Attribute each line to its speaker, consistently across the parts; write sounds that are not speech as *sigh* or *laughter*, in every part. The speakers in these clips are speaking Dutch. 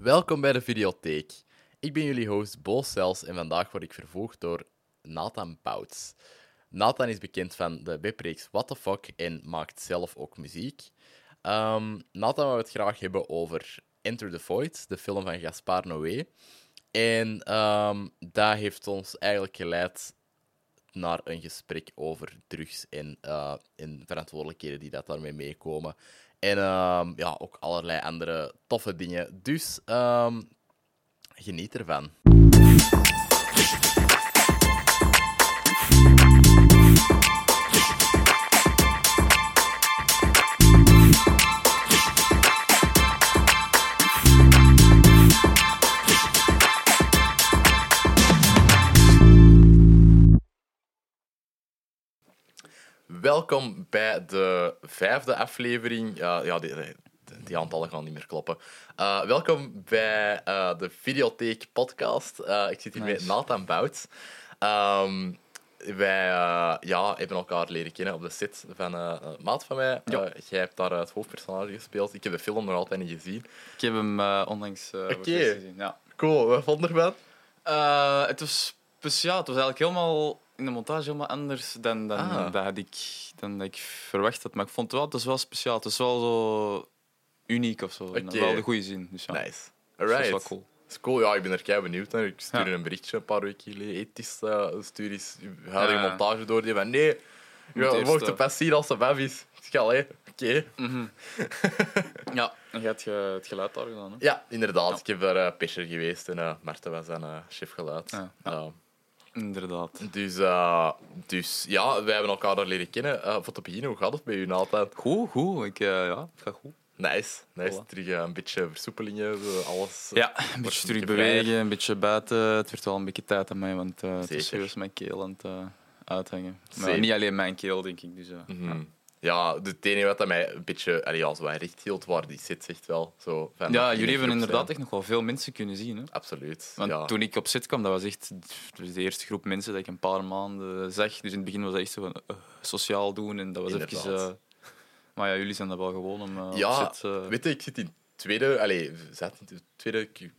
Speaker 1: Welkom bij de videotheek. Ik ben jullie host Bo Cels en vandaag word ik vervolgd door Nathan Bouts. Nathan is bekend van de webreeks What the Fuck en maakt zelf ook muziek. Ehm Nathan wou het graag hebben over Enter the Void, de film van Gaspar Noé. En ehm dat heeft ons eigenlijk geleid naar een gesprek over drugs en, eh, en verantwoordelijkheden die dat daarmee meekomen. En ehm, ja, ook allerlei andere toffe dingen. Dus ehm, geniet ervan. Welkom bij de vijfde aflevering. Eh, ja, die, die- die aantallen gaan niet meer kloppen. Eh, welkom bij eh, de Videotheek Podcast. Eh, ik zit hier met
Speaker 2: Nice.
Speaker 1: Nathan Bout. Ehm, wij eh, ja, hebben elkaar leren kennen op de set van eh, een maat van mij.
Speaker 2: Ja.
Speaker 1: Eh, jij hebt daar eh, het hoofdpersonage gespeeld. Ik heb de film nog altijd niet gezien.
Speaker 2: Ik heb hem eh, onlangs eh, voor het
Speaker 1: Oké.
Speaker 2: eerst gezien. Ja.
Speaker 1: Cool, wat vond je ervan?
Speaker 2: Eh, het was speciaal. Het was eigenlijk helemaal in de montage helemaal anders dan, dan,
Speaker 1: Ah.
Speaker 2: dat, ik, dan dat ik verwacht had. Maar ik vond het wel, het was wel speciaal. Het was wel zo uniek of zo. In
Speaker 1: Oké.
Speaker 2: Wel de goede zin. Dus ja,
Speaker 1: Nice.
Speaker 2: Dus
Speaker 1: Alright.
Speaker 2: dat is wel cool.
Speaker 1: Dat is cool, ja, ik ben er kei benieuwd naar. Ik stuur
Speaker 2: Ja.
Speaker 1: je een berichtje een paar weken geleden. Ethisch, eh stuur eens je huidige
Speaker 2: Ja.
Speaker 1: montage door. Die van nee,
Speaker 2: Moet
Speaker 1: je
Speaker 2: eerst,
Speaker 1: mocht de
Speaker 2: eh, Mm.
Speaker 1: pas zien als de baf is. Ik zeg, allee, oké.
Speaker 2: Ja, en je hebt ge- het geluid daar gedaan. Hè?
Speaker 1: Ja, inderdaad. Ik heb daar eh Pescher geweest en eh Marten was dan eh chef geluid.
Speaker 2: Ja.
Speaker 1: Eh,
Speaker 2: Inderdaad.
Speaker 1: dus, eh, dus ja, wij hebben elkaar daar leren kennen. Eh voor te beginnen, hoe gaat het bij u altijd?
Speaker 2: Goed, goed. Ik, eh, ja, het gaat goed.
Speaker 1: Nice, nice.
Speaker 2: Voilà.
Speaker 1: Terug eh, een beetje versoepelingen, zo, alles. eh,
Speaker 2: Ja, een
Speaker 1: wordt
Speaker 2: beetje terug
Speaker 1: vrijer.
Speaker 2: bewegen, een beetje buiten. Het werd wel een beetje tijd aan mij, want eh, het
Speaker 1: Zeker.
Speaker 2: is serieus mijn keel aan het eh, uithangen. Maar
Speaker 1: Zeker.
Speaker 2: niet alleen mijn keel, denk ik. Dus, eh, ja.
Speaker 1: Mhm. Ja, de enige wat dat mij een beetje, allee, als wij recht hield, waar die zit, zegt wel. Zo, van dat
Speaker 2: Ja,
Speaker 1: die in
Speaker 2: jullie
Speaker 1: een
Speaker 2: hebben
Speaker 1: groep
Speaker 2: inderdaad
Speaker 1: zijn.
Speaker 2: echt nog wel veel mensen kunnen zien. Hè?
Speaker 1: Absoluut.
Speaker 2: Want
Speaker 1: ja.
Speaker 2: toen ik op zit kwam, dat was echt dat was de eerste groep mensen dat ik een paar maanden zag. Dus in het begin was dat echt zo van, eh, sociaal doen en dat was
Speaker 1: Inderdaad.
Speaker 2: even... eh, maar ja, jullie zijn dat wel gewoon om eh,
Speaker 1: ja,
Speaker 2: op zit... eh,
Speaker 1: weet je, ik zit in tweede, allee, zat in de tweede, ik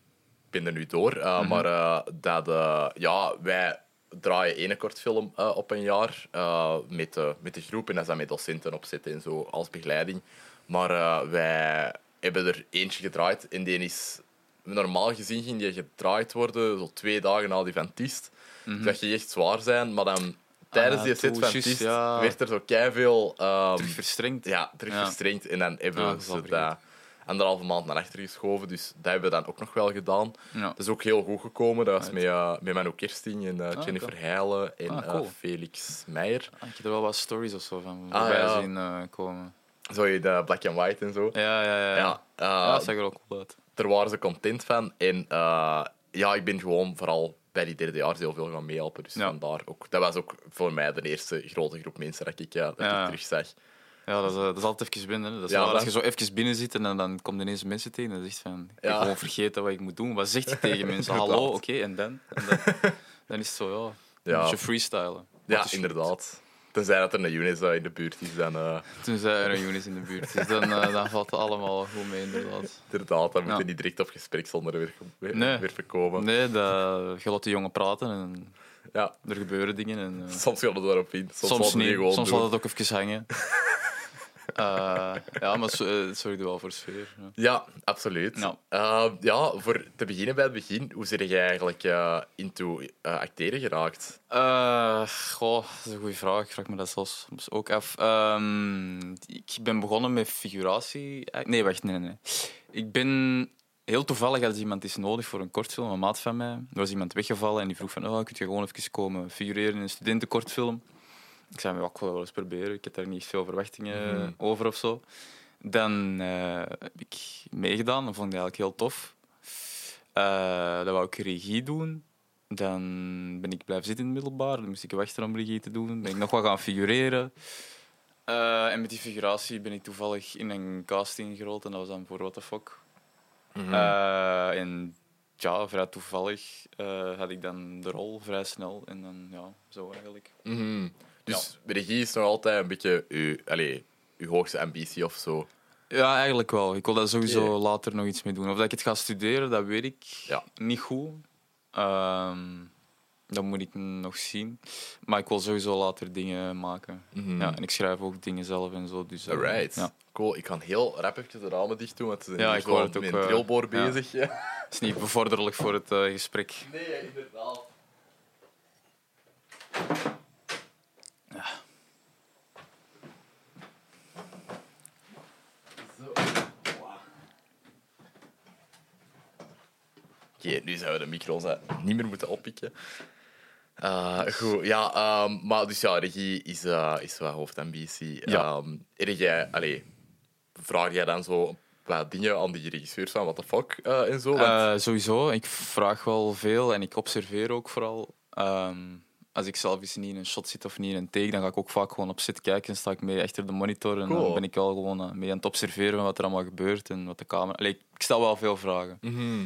Speaker 1: ben er nu door, eh,
Speaker 2: Mhm.
Speaker 1: maar eh, dat, eh, ja, wij draaien één kortfilm eh, op een jaar eh, met, de, met de groep en dat is dan met docenten opzetten en zo als begeleiding. Maar eh, wij hebben er eentje gedraaid en die is normaal gezien ging die gedraaid worden zo twee dagen na die van Tiest. Dat je echt zwaar zijn, maar dan tijdens
Speaker 2: Mhm. Ah,
Speaker 1: die set
Speaker 2: toe,
Speaker 1: van
Speaker 2: juist,
Speaker 1: Tiest
Speaker 2: ja.
Speaker 1: werd er zo keiveel...
Speaker 2: *laughs*
Speaker 1: ehm,
Speaker 2: terug verstrengd.
Speaker 1: ja, terug
Speaker 2: Ja.
Speaker 1: verstrengd. En dan hebben
Speaker 2: Ja,
Speaker 1: we
Speaker 2: dat is wel
Speaker 1: ze dat anderhalve maand naar achter geschoven. Dus dat hebben we dan ook nog wel gedaan.
Speaker 2: Ja.
Speaker 1: Dat is ook heel goed gekomen. Dat was
Speaker 2: Right.
Speaker 1: met, eh met Manu Kersting en eh,
Speaker 2: Ah, oké.
Speaker 1: Jennifer Heijlen en
Speaker 2: Ah, cool.
Speaker 1: eh, Felix Meijer.
Speaker 2: Ah, Ik heb er wel wat stories of zo van
Speaker 1: Ah,
Speaker 2: voorbij
Speaker 1: ja.
Speaker 2: zien eh, komen.
Speaker 1: Zo je de Black and White en zo.
Speaker 2: Ja, ja, ja.
Speaker 1: Ja,
Speaker 2: ja.
Speaker 1: eh,
Speaker 2: Ja, dat zag er ook cool uit.
Speaker 1: daar waren ze content van. En eh, ja, ik ben gewoon vooral bij die derde jaar heel veel gaan meehelpen. Dus
Speaker 2: Ja.
Speaker 1: vandaar ook. Dat was ook voor mij de eerste grote groep mensen dat ik, eh, dat
Speaker 2: Ja.
Speaker 1: ik terug zag.
Speaker 2: Ja, dat is, eh, dat is altijd even binnen. Hè. Dat is
Speaker 1: Ja,
Speaker 2: raar als
Speaker 1: dat-
Speaker 2: je zo even binnen zit en dan, dan komt ineens mensen tegen en dan zegt van, ik
Speaker 1: Ja.
Speaker 2: heb gewoon vergeten wat ik moet doen. Wat zegt je
Speaker 1: *laughs*
Speaker 2: tegen mensen?
Speaker 1: Inderdaad.
Speaker 2: Hallo, oké, en dan? En dan, dan is het zo, ja,
Speaker 1: Ja.
Speaker 2: een beetje freestylen.
Speaker 1: Ja,
Speaker 2: Dat is-
Speaker 1: inderdaad. Tenzij dat er een Younes eh, in de buurt is, dan... eh,
Speaker 2: Toen zei er een Younes in de buurt, dus dan, eh, dan valt het allemaal wel goed mee,
Speaker 1: *laughs*
Speaker 2: inderdaad.
Speaker 1: Inderdaad, dan moet
Speaker 2: Ja.
Speaker 1: je niet direct op gespreksonderwerpen
Speaker 2: Nee.
Speaker 1: werpen komen.
Speaker 2: Nee, dat, je laat die jongen praten en
Speaker 1: Ja,
Speaker 2: er gebeuren dingen. En, eh,
Speaker 1: soms gaan we erop in, soms,
Speaker 2: soms
Speaker 1: laten we
Speaker 2: niet,
Speaker 1: die gewoon
Speaker 2: soms
Speaker 1: doen.
Speaker 2: laat het ook
Speaker 1: *laughs*
Speaker 2: even hangen. Eh, ja, maar zo- eh, het zorgt wel voor sfeer. ja.
Speaker 1: Ja, absoluut.
Speaker 2: Ja.
Speaker 1: Eh, ja, voor te beginnen bij het begin, hoe zit jij eigenlijk eh, into eh, acteren geraakt?
Speaker 2: Eh, goh, dat is een goede vraag. Ik vraag me dat zelfs soms ook af. Ehm, ik ben begonnen met figuratie. eh, Nee, wacht, nee, nee. Ik ben heel toevallig als iemand is nodig voor een kortfilm, een maat van mij. Er was iemand weggevallen en die vroeg van, oh, kun je gewoon even komen figureren in een studentenkortfilm? Ik zei, ja, ik wil wel eens proberen. Ik had daar niet veel verwachtingen
Speaker 1: Mhm.
Speaker 2: over of zo. Dan eh, heb ik meegedaan. Dat vond ik eigenlijk heel tof. Eh dan wou ik regie doen. Dan ben ik blijven zitten in het middelbaar. Dan moest ik wachten om regie te doen. Ben ik nog wat gaan figureren. Eh, en met die figuratie ben ik toevallig in een casting gerold. En dat was dan voor What the Fuck. Eh, en ja, vrij toevallig eh, had ik dan de rol vrij snel. En dan, ja, zo eigenlijk.
Speaker 1: Mhm. Dus regie is nog altijd een beetje uw, allee, uw hoogste ambitie of zo.
Speaker 2: Ja, eigenlijk wel. Ik wil daar sowieso
Speaker 1: Oké.
Speaker 2: later nog iets mee doen. Of dat ik het ga studeren, dat weet ik
Speaker 1: Ja.
Speaker 2: niet goed. Ehm, dat moet ik nog zien. Maar ik wil sowieso later dingen maken.
Speaker 1: Mhm.
Speaker 2: Ja, en ik schrijf ook dingen zelf en zo. Dus, eh,
Speaker 1: Alright.
Speaker 2: Ja.
Speaker 1: Cool. Ik kan heel rap even de ramen dicht doen, want ze zijn
Speaker 2: Ja,
Speaker 1: hier
Speaker 2: ik
Speaker 1: zo
Speaker 2: hoor het
Speaker 1: met
Speaker 2: ook,
Speaker 1: een
Speaker 2: eh,
Speaker 1: drillboor
Speaker 2: ja.
Speaker 1: bezig. *laughs* Ja.
Speaker 2: Het is niet bevorderlijk voor het eh, gesprek.
Speaker 1: Nee, inderdaad. Zo. Wow. Oké, nu zouden we de micro's eh, niet meer moeten oppikken. Eh, goed, ja, ehm, maar dus ja, regie is, eh is wel hoofdambitie.
Speaker 2: Ja.
Speaker 1: Ehm, en jij, allee, vraag jij dan zo wat dingen aan die regisseurs van what the fuck eh, en zo? Want-
Speaker 2: Eh, sowieso, ik vraag wel veel en ik observeer ook vooral. Ehm, als ik zelf eens niet in een shot zit of niet in een take, dan ga ik ook vaak gewoon op zit kijken en sta ik mee achter de monitor. En
Speaker 1: Cool.
Speaker 2: dan ben ik al gewoon eh, mee aan het observeren van wat er allemaal gebeurt en wat de camera... Allee, ik stel wel veel vragen.
Speaker 1: Mhm.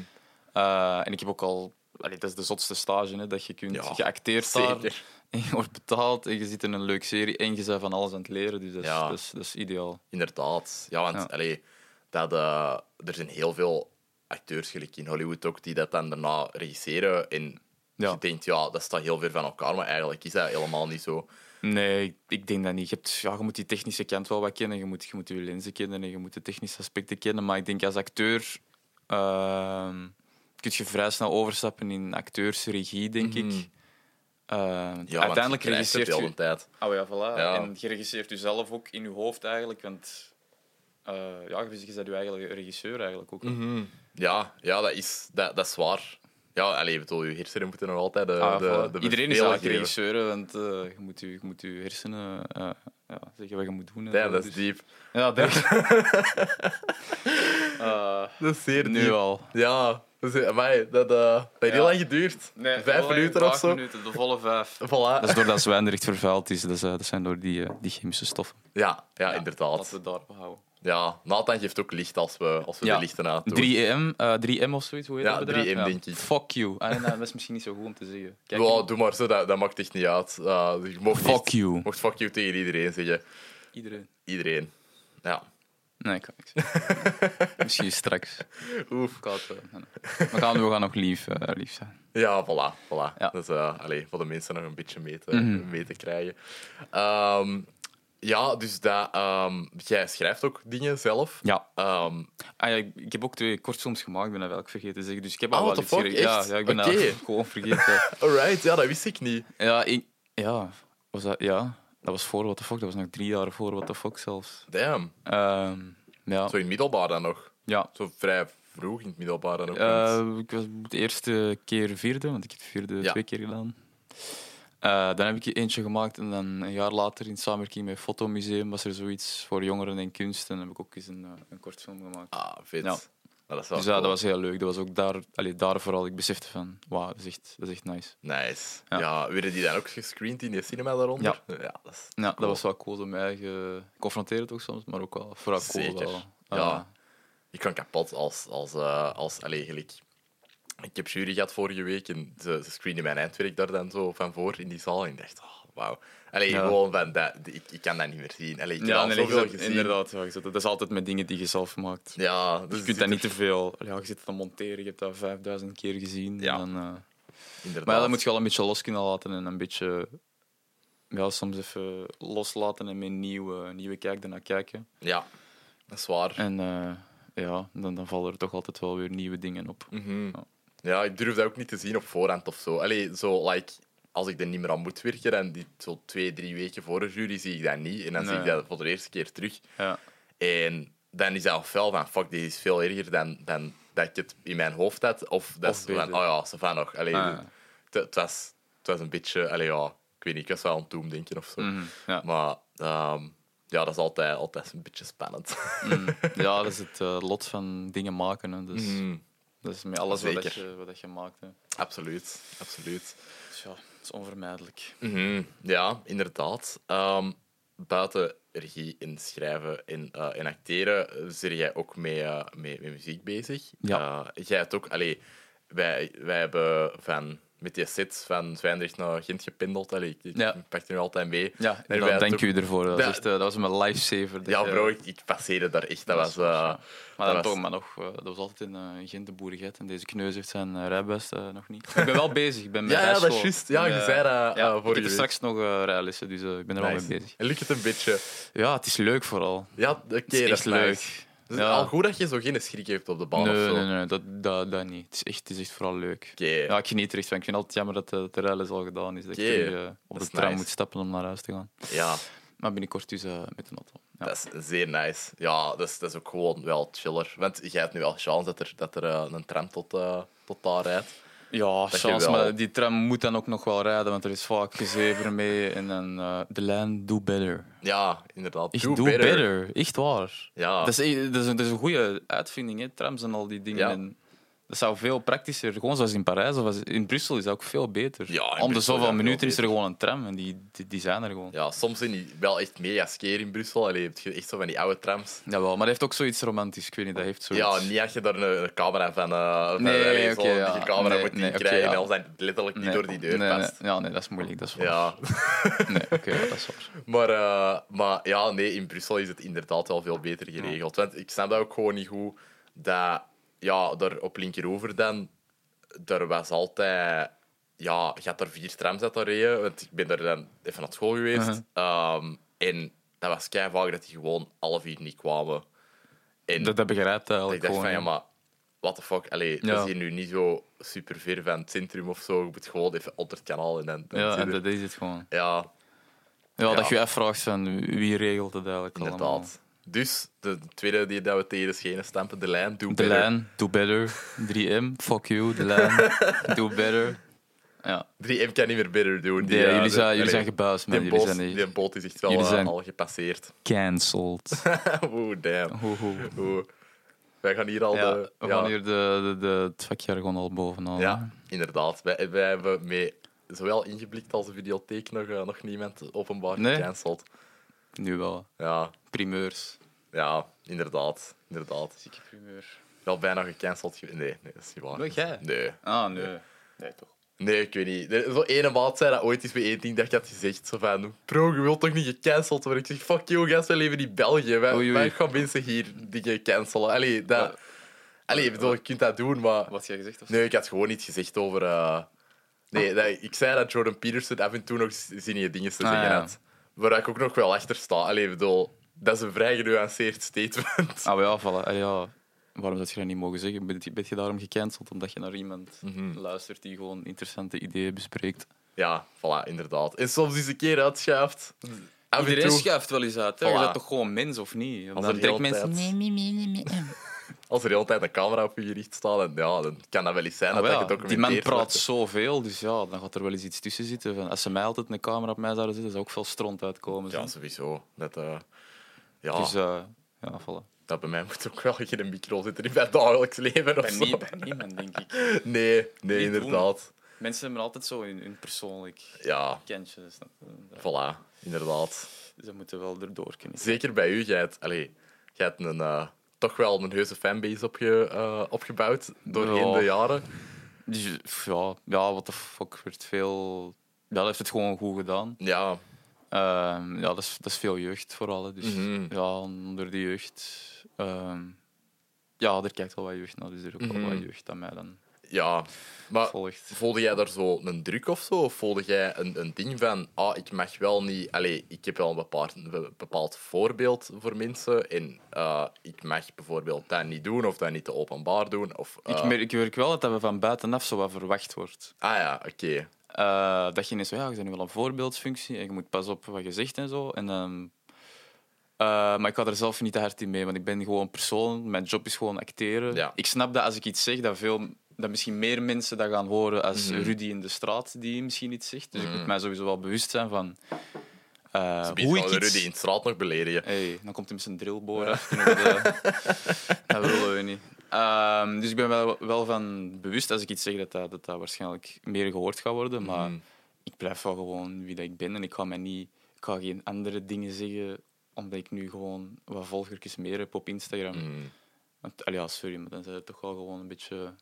Speaker 2: Eh, en ik heb ook al... Allee, dat is de zotste stage, hè, dat je kunt...
Speaker 1: Ja,
Speaker 2: je acteert daar,
Speaker 1: Zeker.
Speaker 2: *laughs* en je wordt betaald en je zit in een leuke serie en je bent van alles aan het leren. Dus dat is,
Speaker 1: Ja.
Speaker 2: dat is, dat is ideaal.
Speaker 1: Inderdaad. Ja, want
Speaker 2: Ja.
Speaker 1: allee, dat, eh, er zijn heel veel acteurs, gelijk in Hollywood ook, die dat dan daarna regisseren. En
Speaker 2: Ja.
Speaker 1: je denkt, ja, dat staat heel ver van elkaar, maar eigenlijk is dat helemaal niet zo.
Speaker 2: Nee, ik, ik denk dat niet. Je, hebt, ja, je moet die technische kant wel wat kennen. Je moet, je moet je lenzen kennen en je moet de technische aspecten kennen. Maar ik denk als acteur ehm kun je vrij snel overstappen in acteursregie, denk
Speaker 1: Mhm.
Speaker 2: ik. Ehm,
Speaker 1: Ja,
Speaker 2: uiteindelijk
Speaker 1: want je
Speaker 2: regisseert
Speaker 1: krijgt het
Speaker 2: je...
Speaker 1: heel de tijd.
Speaker 2: Oh ja, voilà.
Speaker 1: Ja.
Speaker 2: En je regisseert jezelf ook in je hoofd eigenlijk. Want eh ja, je bent- je bent je eigen regisseur eigenlijk ook.
Speaker 1: Mhm.
Speaker 2: Ah,
Speaker 1: Ja, ja dat, is, dat, dat is waar. Ja, allee, ik bedoel, je hersenen moeten nog altijd de,
Speaker 2: Ah,
Speaker 1: de,
Speaker 2: voilà.
Speaker 1: de
Speaker 2: Iedereen is
Speaker 1: bevelen
Speaker 2: eigenlijk
Speaker 1: geven.
Speaker 2: regisseur, hè, want eh, je, moet je, je moet je hersenen eh, ja, zeggen wat je moet doen. en
Speaker 1: Ja,
Speaker 2: zo,
Speaker 1: dat is
Speaker 2: dus-
Speaker 1: diep. *laughs*
Speaker 2: Ja, dat
Speaker 1: Dat is zeer
Speaker 2: Eh, nu
Speaker 1: diep.
Speaker 2: al.
Speaker 1: Ja, dat, is, amai, dat, eh, dat heeft heel
Speaker 2: Ja.
Speaker 1: lang geduurd. Vijf minuten of zo.
Speaker 2: minuten, de volle vijf.
Speaker 1: Voilà.
Speaker 2: Dat is doordat zwijnrecht vervuild is. Dat, is, eh, dat zijn door die, eh, die chemische stoffen.
Speaker 1: Ja, ja,
Speaker 2: Laten
Speaker 1: inderdaad.
Speaker 2: we daar behouden.
Speaker 1: Ja, Nathan geeft ook licht als we, als we
Speaker 2: Ja.
Speaker 1: de lichten aan doen.
Speaker 2: 3M, eh, 3M of zoiets, hoe heet
Speaker 1: Ja,
Speaker 2: dat bedrijf?
Speaker 1: 3M denk ik.
Speaker 2: Fuck you. Ah, nee, nee, dat is misschien niet zo goed om te zeggen. Kijk,
Speaker 1: Ja, doe maar zo, dat, dat maakt echt niet uit. Eh, je mocht
Speaker 2: Fuck
Speaker 1: echt-
Speaker 2: you.
Speaker 1: je mocht fuck you tegen iedereen zeggen.
Speaker 2: iedereen.
Speaker 1: Iedereen. Ja.
Speaker 2: Nee, ik kan *laughs* niks. misschien straks.
Speaker 1: Oef.
Speaker 2: Ik had, eh, nee, nee. We, gaan, we gaan nog lief, eh, lief zijn.
Speaker 1: Ja, voilà. voilà.
Speaker 2: Ja.
Speaker 1: Dus eh, allee, voor de mensen nog een beetje mee te,
Speaker 2: Mhm.
Speaker 1: mee te krijgen. Ehm, ja, dus dat, ehm, jij schrijft ook dingen zelf.
Speaker 2: Ja.
Speaker 1: Ehm,
Speaker 2: Ah, ja, ik- ik heb ook twee kortfilms gemaakt, ik ben dat wel vergeten te zeggen. Dus ik heb
Speaker 1: Ah,
Speaker 2: al
Speaker 1: what
Speaker 2: wel
Speaker 1: the
Speaker 2: iets
Speaker 1: fuck,
Speaker 2: gereden. Ja,
Speaker 1: echt?
Speaker 2: ja, ik ben
Speaker 1: Oké.
Speaker 2: dat *laughs* gewoon vergeten.
Speaker 1: alright, ja, dat wist ik niet.
Speaker 2: Ja, ik, ja, was dat, ja, dat was voor What the Fuck. Dat was nog drie jaar voor What the Fuck zelfs.
Speaker 1: Damn.
Speaker 2: Ehm, ja.
Speaker 1: Zo in het middelbaar dan nog.
Speaker 2: ja.
Speaker 1: Zo vrij vroeg in het middelbaar dan ook. want-
Speaker 2: Eh, ik was de eerste keer vierde, want ik heb vierde
Speaker 1: Ja.
Speaker 2: twee keer gedaan. Eh, dan heb ik eentje gemaakt en dan een jaar later in samenwerking met Fotomuseum was er zoiets voor jongeren en kunst. En dan heb ik ook eens een, eh, een kort film gemaakt.
Speaker 1: Ah, vet.
Speaker 2: Ja.
Speaker 1: Maar Ah, dat is wel
Speaker 2: Dus ja,
Speaker 1: cool.
Speaker 2: dat was heel leuk. Dat was ook daar, allee, daar vooral, ik besefte van, wauw, dat, is echt- dat is echt nice.
Speaker 1: Nice. Ja.
Speaker 2: Ja.
Speaker 1: werden die dan ook gescreend in die cinema daaronder? Ja. dat is
Speaker 2: Ja,
Speaker 1: cool.
Speaker 2: dat was wel cool om mij eigen... Confronterend ook soms, maar ook wel vooral cool.
Speaker 1: Zeker.
Speaker 2: Wel. Ah.
Speaker 1: Ja. Ik kan kapot als... als, eh, als allee, gelijk. Ik heb jury gehad vorige week en ze, ze screenden mijn eindwerk daar dan zo van voor in die zaal. En ik dacht, oh, wauw. Allee,
Speaker 2: Ja.
Speaker 1: gewoon van, dat, ik, ik kan dat niet meer zien. Allee, ik heb
Speaker 2: Ja,
Speaker 1: al
Speaker 2: nee,
Speaker 1: zoveel
Speaker 2: je zet-
Speaker 1: gezien.
Speaker 2: inderdaad. ja, je zet- dat is altijd met dingen die je zelf maakt.
Speaker 1: Ja, dus
Speaker 2: je kunt dat niet te veel. Ja, je zit het aan monteren, je hebt dat 5000 keer gezien.
Speaker 1: Ja.
Speaker 2: En dan, eh,
Speaker 1: Inderdaad.
Speaker 2: Maar ja, dat moet je wel een beetje los kunnen laten en een beetje ja, soms even loslaten en met een nieuwe, nieuwe kijk ernaar kijken.
Speaker 1: Ja, dat is waar.
Speaker 2: En eh, ja, dan, dan vallen er toch altijd wel weer nieuwe dingen op.
Speaker 1: Mhm.
Speaker 2: Ja.
Speaker 1: Ja, ik durf dat ook niet te zien op voorhand of zo. Allee, zo, like, als ik er niet meer aan moet werken, en die zo twee, drie weken voor de jury zie ik dat niet. En dan zie ik
Speaker 2: Nee.
Speaker 1: dat voor de eerste keer terug.
Speaker 2: Ja.
Speaker 1: En dan is dat ofwel van, fuck, dit is veel erger dan, dan dat ik het in mijn hoofd had. Of dat
Speaker 2: Of
Speaker 1: is
Speaker 2: beter.
Speaker 1: van, oh ja, ze van nog. Allee,
Speaker 2: Ah.
Speaker 1: het- het, was, het was een beetje, allee, ja, ik weet niet, ik was wel aan het doemdenken of zo.
Speaker 2: Mhm, ja.
Speaker 1: Maar ehm, ja, dat is altijd, altijd een beetje spannend.
Speaker 2: Mm. ja, dat is het eh, lot van dingen maken. Hè. Dus,
Speaker 1: Mhm.
Speaker 2: Dat is met alles wat, dat
Speaker 1: Zeker.
Speaker 2: je, wat dat je maakt. Hè.
Speaker 1: *laughs* Absoluut, absoluut.
Speaker 2: Dus ja, dat is onvermijdelijk.
Speaker 1: Mhm, ja, inderdaad. Ehm, buiten regie en schrijven en, eh, en acteren eh, zit jij ook mee, eh, mee, met muziek bezig.
Speaker 2: Ja.
Speaker 1: Eh, jij hebt ook, allee, wij, wij hebben van met die sets van Zwijndrecht naar Gent gepindeld. Allee, ik ik
Speaker 2: Ja.
Speaker 1: pakte nu altijd mee.
Speaker 2: Ja,
Speaker 1: Daar
Speaker 2: dan
Speaker 1: wij
Speaker 2: dank
Speaker 1: toch-
Speaker 2: u ervoor. Dat,
Speaker 1: Ja.
Speaker 2: was echt, eh, dat was mijn lifesaver. dat
Speaker 1: Ja,
Speaker 2: je-
Speaker 1: bro, ik, ik passeerde daar echt. Dat
Speaker 2: Dat
Speaker 1: was...
Speaker 2: was-
Speaker 1: eh,
Speaker 2: Maar dat,
Speaker 1: was-
Speaker 2: toch, maar nog, eh, dat was altijd in eh Gent de boerigheid. En deze kneus heeft zijn uh, rijbewijs eh, nog niet. Ik ben
Speaker 1: *laughs*
Speaker 2: wel bezig. Ik ben met
Speaker 1: Ja, ja, dat
Speaker 2: rijschool.
Speaker 1: is juist. Ja,
Speaker 2: Ik ben,
Speaker 1: je
Speaker 2: eh,
Speaker 1: zei dat eh,
Speaker 2: ja, ik
Speaker 1: vorige
Speaker 2: heb er
Speaker 1: week.
Speaker 2: straks nog eh rijlessen, dus eh, ik ben er al
Speaker 1: Nice.
Speaker 2: mee bezig.
Speaker 1: En Lukt het een beetje?
Speaker 2: Ja, het is leuk vooral.
Speaker 1: Ja, oké,
Speaker 2: Het is
Speaker 1: dat
Speaker 2: echt
Speaker 1: is
Speaker 2: leuk.
Speaker 1: nice. Dus
Speaker 2: Ja.
Speaker 1: al goed dat je zo geen schrik heeft op de baan of
Speaker 2: nee,
Speaker 1: zo.
Speaker 2: nee, nee, dat, dat, dat niet. Het is echt, het is echt vooral leuk.
Speaker 1: Oké.
Speaker 2: Ja, ik geniet er echt van. Ik vind het altijd jammer dat de, dat de rijles al gedaan is. Dat
Speaker 1: Oké,
Speaker 2: ik terug, eh,
Speaker 1: dat
Speaker 2: op de
Speaker 1: is
Speaker 2: tram
Speaker 1: nice.
Speaker 2: moet stappen om naar huis te gaan.
Speaker 1: Ja,
Speaker 2: Maar binnenkort dus eh, met een auto. Ja.
Speaker 1: dat is zeer nice. Ja, dat is, dat is ook gewoon wel chiller. Want jij hebt nu wel chance dat er, dat er eh, een tram tot, eh, tot daar rijdt.
Speaker 2: Ja,
Speaker 1: je
Speaker 2: chance,
Speaker 1: wel-
Speaker 2: maar die tram moet dan ook nog wel rijden, want er is vaak gezever mee. En dan eh, de lijn, do better.
Speaker 1: Ja, inderdaad.
Speaker 2: Echt,
Speaker 1: Do
Speaker 2: do, better. Echt waar.
Speaker 1: Ja.
Speaker 2: Dat, is, e- dat, is een, dat is een goede uitvinding, hè, trams en al die dingen.
Speaker 1: Ja.
Speaker 2: En dat zou veel praktischer, gewoon zoals in Parijs of als, in Brussel, is dat ook veel beter.
Speaker 1: Ja, in
Speaker 2: Om de
Speaker 1: Brussel, ja,
Speaker 2: zoveel
Speaker 1: veel
Speaker 2: minuten is er
Speaker 1: beter.
Speaker 2: gewoon een tram en die, die, die zijn er gewoon.
Speaker 1: Ja, soms zijn die wel echt mega scare in Brussel. Allee, heb je echt zo van die oude trams.
Speaker 2: Jawel, maar dat heeft ook zoiets romantisch, ik weet niet, dat heeft zoiets.
Speaker 1: Ja, niet als je daar een, een camera van... eh van
Speaker 2: Nee,
Speaker 1: allee,
Speaker 2: oké,
Speaker 1: zo'n
Speaker 2: ja.
Speaker 1: dikke camera
Speaker 2: Nee,
Speaker 1: moet niet
Speaker 2: nee, oké,
Speaker 1: krijgen.
Speaker 2: ja.
Speaker 1: Als dat letterlijk niet
Speaker 2: Nee,
Speaker 1: door die deur
Speaker 2: nee,
Speaker 1: past.
Speaker 2: nee. Ja, nee, dat is moeilijk, dat is waar.
Speaker 1: Ja,
Speaker 2: Nee, oké, ja, dat is waar.
Speaker 1: maar, eh, maar ja, nee, in Brussel is het inderdaad wel veel beter geregeld. Want ik snap dat ook gewoon niet goed dat ja, er op linkeroever dan, er was altijd, ja, je had er vier trams uit te rijden, want ik ben er dan even naar school geweest.
Speaker 2: Mhm.
Speaker 1: Ehm, en dat was kei vaak dat die gewoon alle vier niet kwamen. En
Speaker 2: Dat, dat begrijpt hij
Speaker 1: ik
Speaker 2: eh, eigenlijk
Speaker 1: dacht
Speaker 2: gewoon.
Speaker 1: van, ja,
Speaker 2: hè.
Speaker 1: maar what the fuck, allee,
Speaker 2: Ja.
Speaker 1: we zijn nu niet zo super ver van het centrum of zo. Je moet gewoon even onder het kanaal en dan... dan
Speaker 2: Ja,
Speaker 1: zit
Speaker 2: en
Speaker 1: je-
Speaker 2: dat is het gewoon.
Speaker 1: ja,
Speaker 2: Ja, dat
Speaker 1: Ja.
Speaker 2: je je afvraagt van wie regelt het eigenlijk allemaal.
Speaker 1: Inderdaad. Dus de tweede die dat we tegen de schenen stampen, de lijn, doe
Speaker 2: De
Speaker 1: better.
Speaker 2: lijn, do better. 3M, fuck you.
Speaker 1: *laughs*
Speaker 2: De lijn, do better. Ja,
Speaker 1: 3M kan niet meer better doen.
Speaker 2: Ja,
Speaker 1: eh,
Speaker 2: jullie
Speaker 1: de-
Speaker 2: zijn- jullie
Speaker 1: allee,
Speaker 2: zijn gebuist, man.
Speaker 1: Die
Speaker 2: Jullie
Speaker 1: boot-
Speaker 2: zijn echt-
Speaker 1: die boot is echt wel
Speaker 2: jullie
Speaker 1: eh,
Speaker 2: zijn-
Speaker 1: al gepasseerd. *laughs*
Speaker 2: cancelled.
Speaker 1: Oeh, damn.
Speaker 2: Ho, ho.
Speaker 1: Oeh. Wij gaan hier al
Speaker 2: Ja,
Speaker 1: de...
Speaker 2: we
Speaker 1: ja,
Speaker 2: gaan hier de, de, de, het vakjargon al bovenaan.
Speaker 1: ja, inderdaad. Wij, wij hebben mee zowel ingeblikt als de videotheek nog, eh, nog niemand openbaar
Speaker 2: Nee.
Speaker 1: gecanceld.
Speaker 2: Nu wel.
Speaker 1: Ja,
Speaker 2: Primeurs.
Speaker 1: ja, inderdaad. Inderdaad.
Speaker 2: Zieke primeur.
Speaker 1: Wel bijna gecanceld. ge- Nee, nee, dat is niet waar.
Speaker 2: Nee, jij?
Speaker 1: Nee.
Speaker 2: Ah, nee. Nee, toch.
Speaker 1: Nee, ik weet niet. Er- Zo'n ene maat zei dat ooit eens bij één ding dat ik had gezegd. Zo van, bro, je wilt toch niet gecanceld worden? Ik zeg, fuck you, gast, wij leven in België. Wij,
Speaker 2: Oei, oei.
Speaker 1: wij gaan mensen hier dingen cancelen. Allee, dat... Allee, ik bedoel, je kunt dat doen, maar...
Speaker 2: Wat jij gezegd of
Speaker 1: Nee, ik had gewoon iets gezegd over... eh, Nee, dat, ik zei dat Jordan Peterson af en toe nog z- zinnige dingen te
Speaker 2: Ah,
Speaker 1: zeggen
Speaker 2: ja.
Speaker 1: had. Waar ik ook nog wel achter sta. Allee, ik bedoel, dat is een vrij genuanceerd statement.
Speaker 2: Ah, maar ja, voilà. Ah, ja. Waarom zou je dat niet mogen zeggen? Ben je, ben je daarom gecanceld? Omdat je naar iemand luistert die gewoon interessante ideeën bespreekt.
Speaker 1: Ja, voilà, inderdaad. En soms is een keer uitschuift. Af en
Speaker 2: Iedereen
Speaker 1: toe.
Speaker 2: schuift wel eens uit. Hè?
Speaker 1: Voilà.
Speaker 2: Je bent toch gewoon mens of niet?
Speaker 1: Als
Speaker 2: Dan
Speaker 1: er
Speaker 2: trekt
Speaker 1: heel
Speaker 2: mensen.
Speaker 1: tijd-
Speaker 2: Nee, nee, nee, nee, nee.
Speaker 1: *laughs* Als er de hele tijd een camera op je gericht staat, en ja, dan kan dat wel eens zijn
Speaker 2: Ah,
Speaker 1: dat
Speaker 2: wel
Speaker 1: dat
Speaker 2: ja, Die
Speaker 1: gedocumenteerd
Speaker 2: man praat
Speaker 1: wordt.
Speaker 2: zoveel, dus ja, dan gaat er wel eens iets tussen zitten. Van, als ze mij altijd een camera op mij zouden zetten, zou ook veel stront uitkomen.
Speaker 1: Ja,
Speaker 2: zo.
Speaker 1: sowieso. Dat, eh, ja,
Speaker 2: Dus eh, ja, voilà.
Speaker 1: dat bij mij moet ook wel *laughs* geen micro zitten in mijn dagelijks leven of zo.
Speaker 2: niemand, denk ik.
Speaker 1: Nee, nee,
Speaker 2: Niet doen.
Speaker 1: inderdaad.
Speaker 2: Mensen hebben altijd zo hun, hun persoonlijk
Speaker 1: Ja,
Speaker 2: kentje. Dus dat, eh,
Speaker 1: voilà, inderdaad.
Speaker 2: ze moeten wel erdoor kunnen.
Speaker 1: Zeker bij u, jij hebt, allee, jij hebt een, eh, toch wel een heuse fanbase opge, eh, opgebouwd doorheen
Speaker 2: Ja.
Speaker 1: de jaren.
Speaker 2: Dus, pff, ja, ja, wat de fuck, werd veel. Ja, dat heeft het gewoon goed gedaan.
Speaker 1: Ja,
Speaker 2: Ehm, ja, dat is, dat is veel jeugd vooral. hè. Dus
Speaker 1: Mhm.
Speaker 2: ja, onder de jeugd. ehm, ja, er kijkt wel wat jeugd naar, dus er ook wel wat
Speaker 1: Mhm.
Speaker 2: jeugd aan mij dan
Speaker 1: ja. Maar
Speaker 2: volgt.
Speaker 1: Voelde jij daar zo een druk of zo? Of voelde jij een, een ding van, ah, ik mag wel niet... Allee, ik heb wel een bepaald, een be- bepaald voorbeeld voor mensen en eh, ik mag bijvoorbeeld dat niet doen of dat niet te openbaar doen. Of, eh,
Speaker 2: Ik, merk, ik merk wel dat dat we van buitenaf zo wat verwacht wordt.
Speaker 1: Ah ja, oké.
Speaker 2: Eh, dat je ineens zo, ja, je bent nu wel een voorbeeldfunctie en je moet pas op wat je zegt en zo. En, ehm, eh, maar ik ga er zelf niet te hard in mee, want ik ben gewoon een persoon. Mijn job is gewoon acteren.
Speaker 1: Ja.
Speaker 2: Ik snap dat als ik iets zeg, dat, veel, dat misschien meer mensen dat gaan horen als
Speaker 1: Mhm.
Speaker 2: Rudy in de straat die misschien iets zegt. Dus ik
Speaker 1: Mhm.
Speaker 2: moet mij sowieso wel bewust zijn van eh,
Speaker 1: Dus
Speaker 2: hoe
Speaker 1: Hoe
Speaker 2: ik iets...
Speaker 1: Rudy in de straat nog beledigen.
Speaker 2: Hey, dan komt hij met zijn drillboor af. *laughs* Kunnen we Dat, dat willen we niet. Ehm, dus ik ben wel, wel van bewust als ik iets zeg dat dat, dat dat waarschijnlijk meer gehoord gaat worden. Maar
Speaker 1: Mm.
Speaker 2: ik blijf wel gewoon wie dat ik ben en ik ga, mij niet, ik ga geen andere dingen zeggen omdat ik nu gewoon wat volgertjes meer heb op Instagram.
Speaker 1: Mm.
Speaker 2: Want, allee, ja, sorry, maar dan zijn het toch wel gewoon een beetje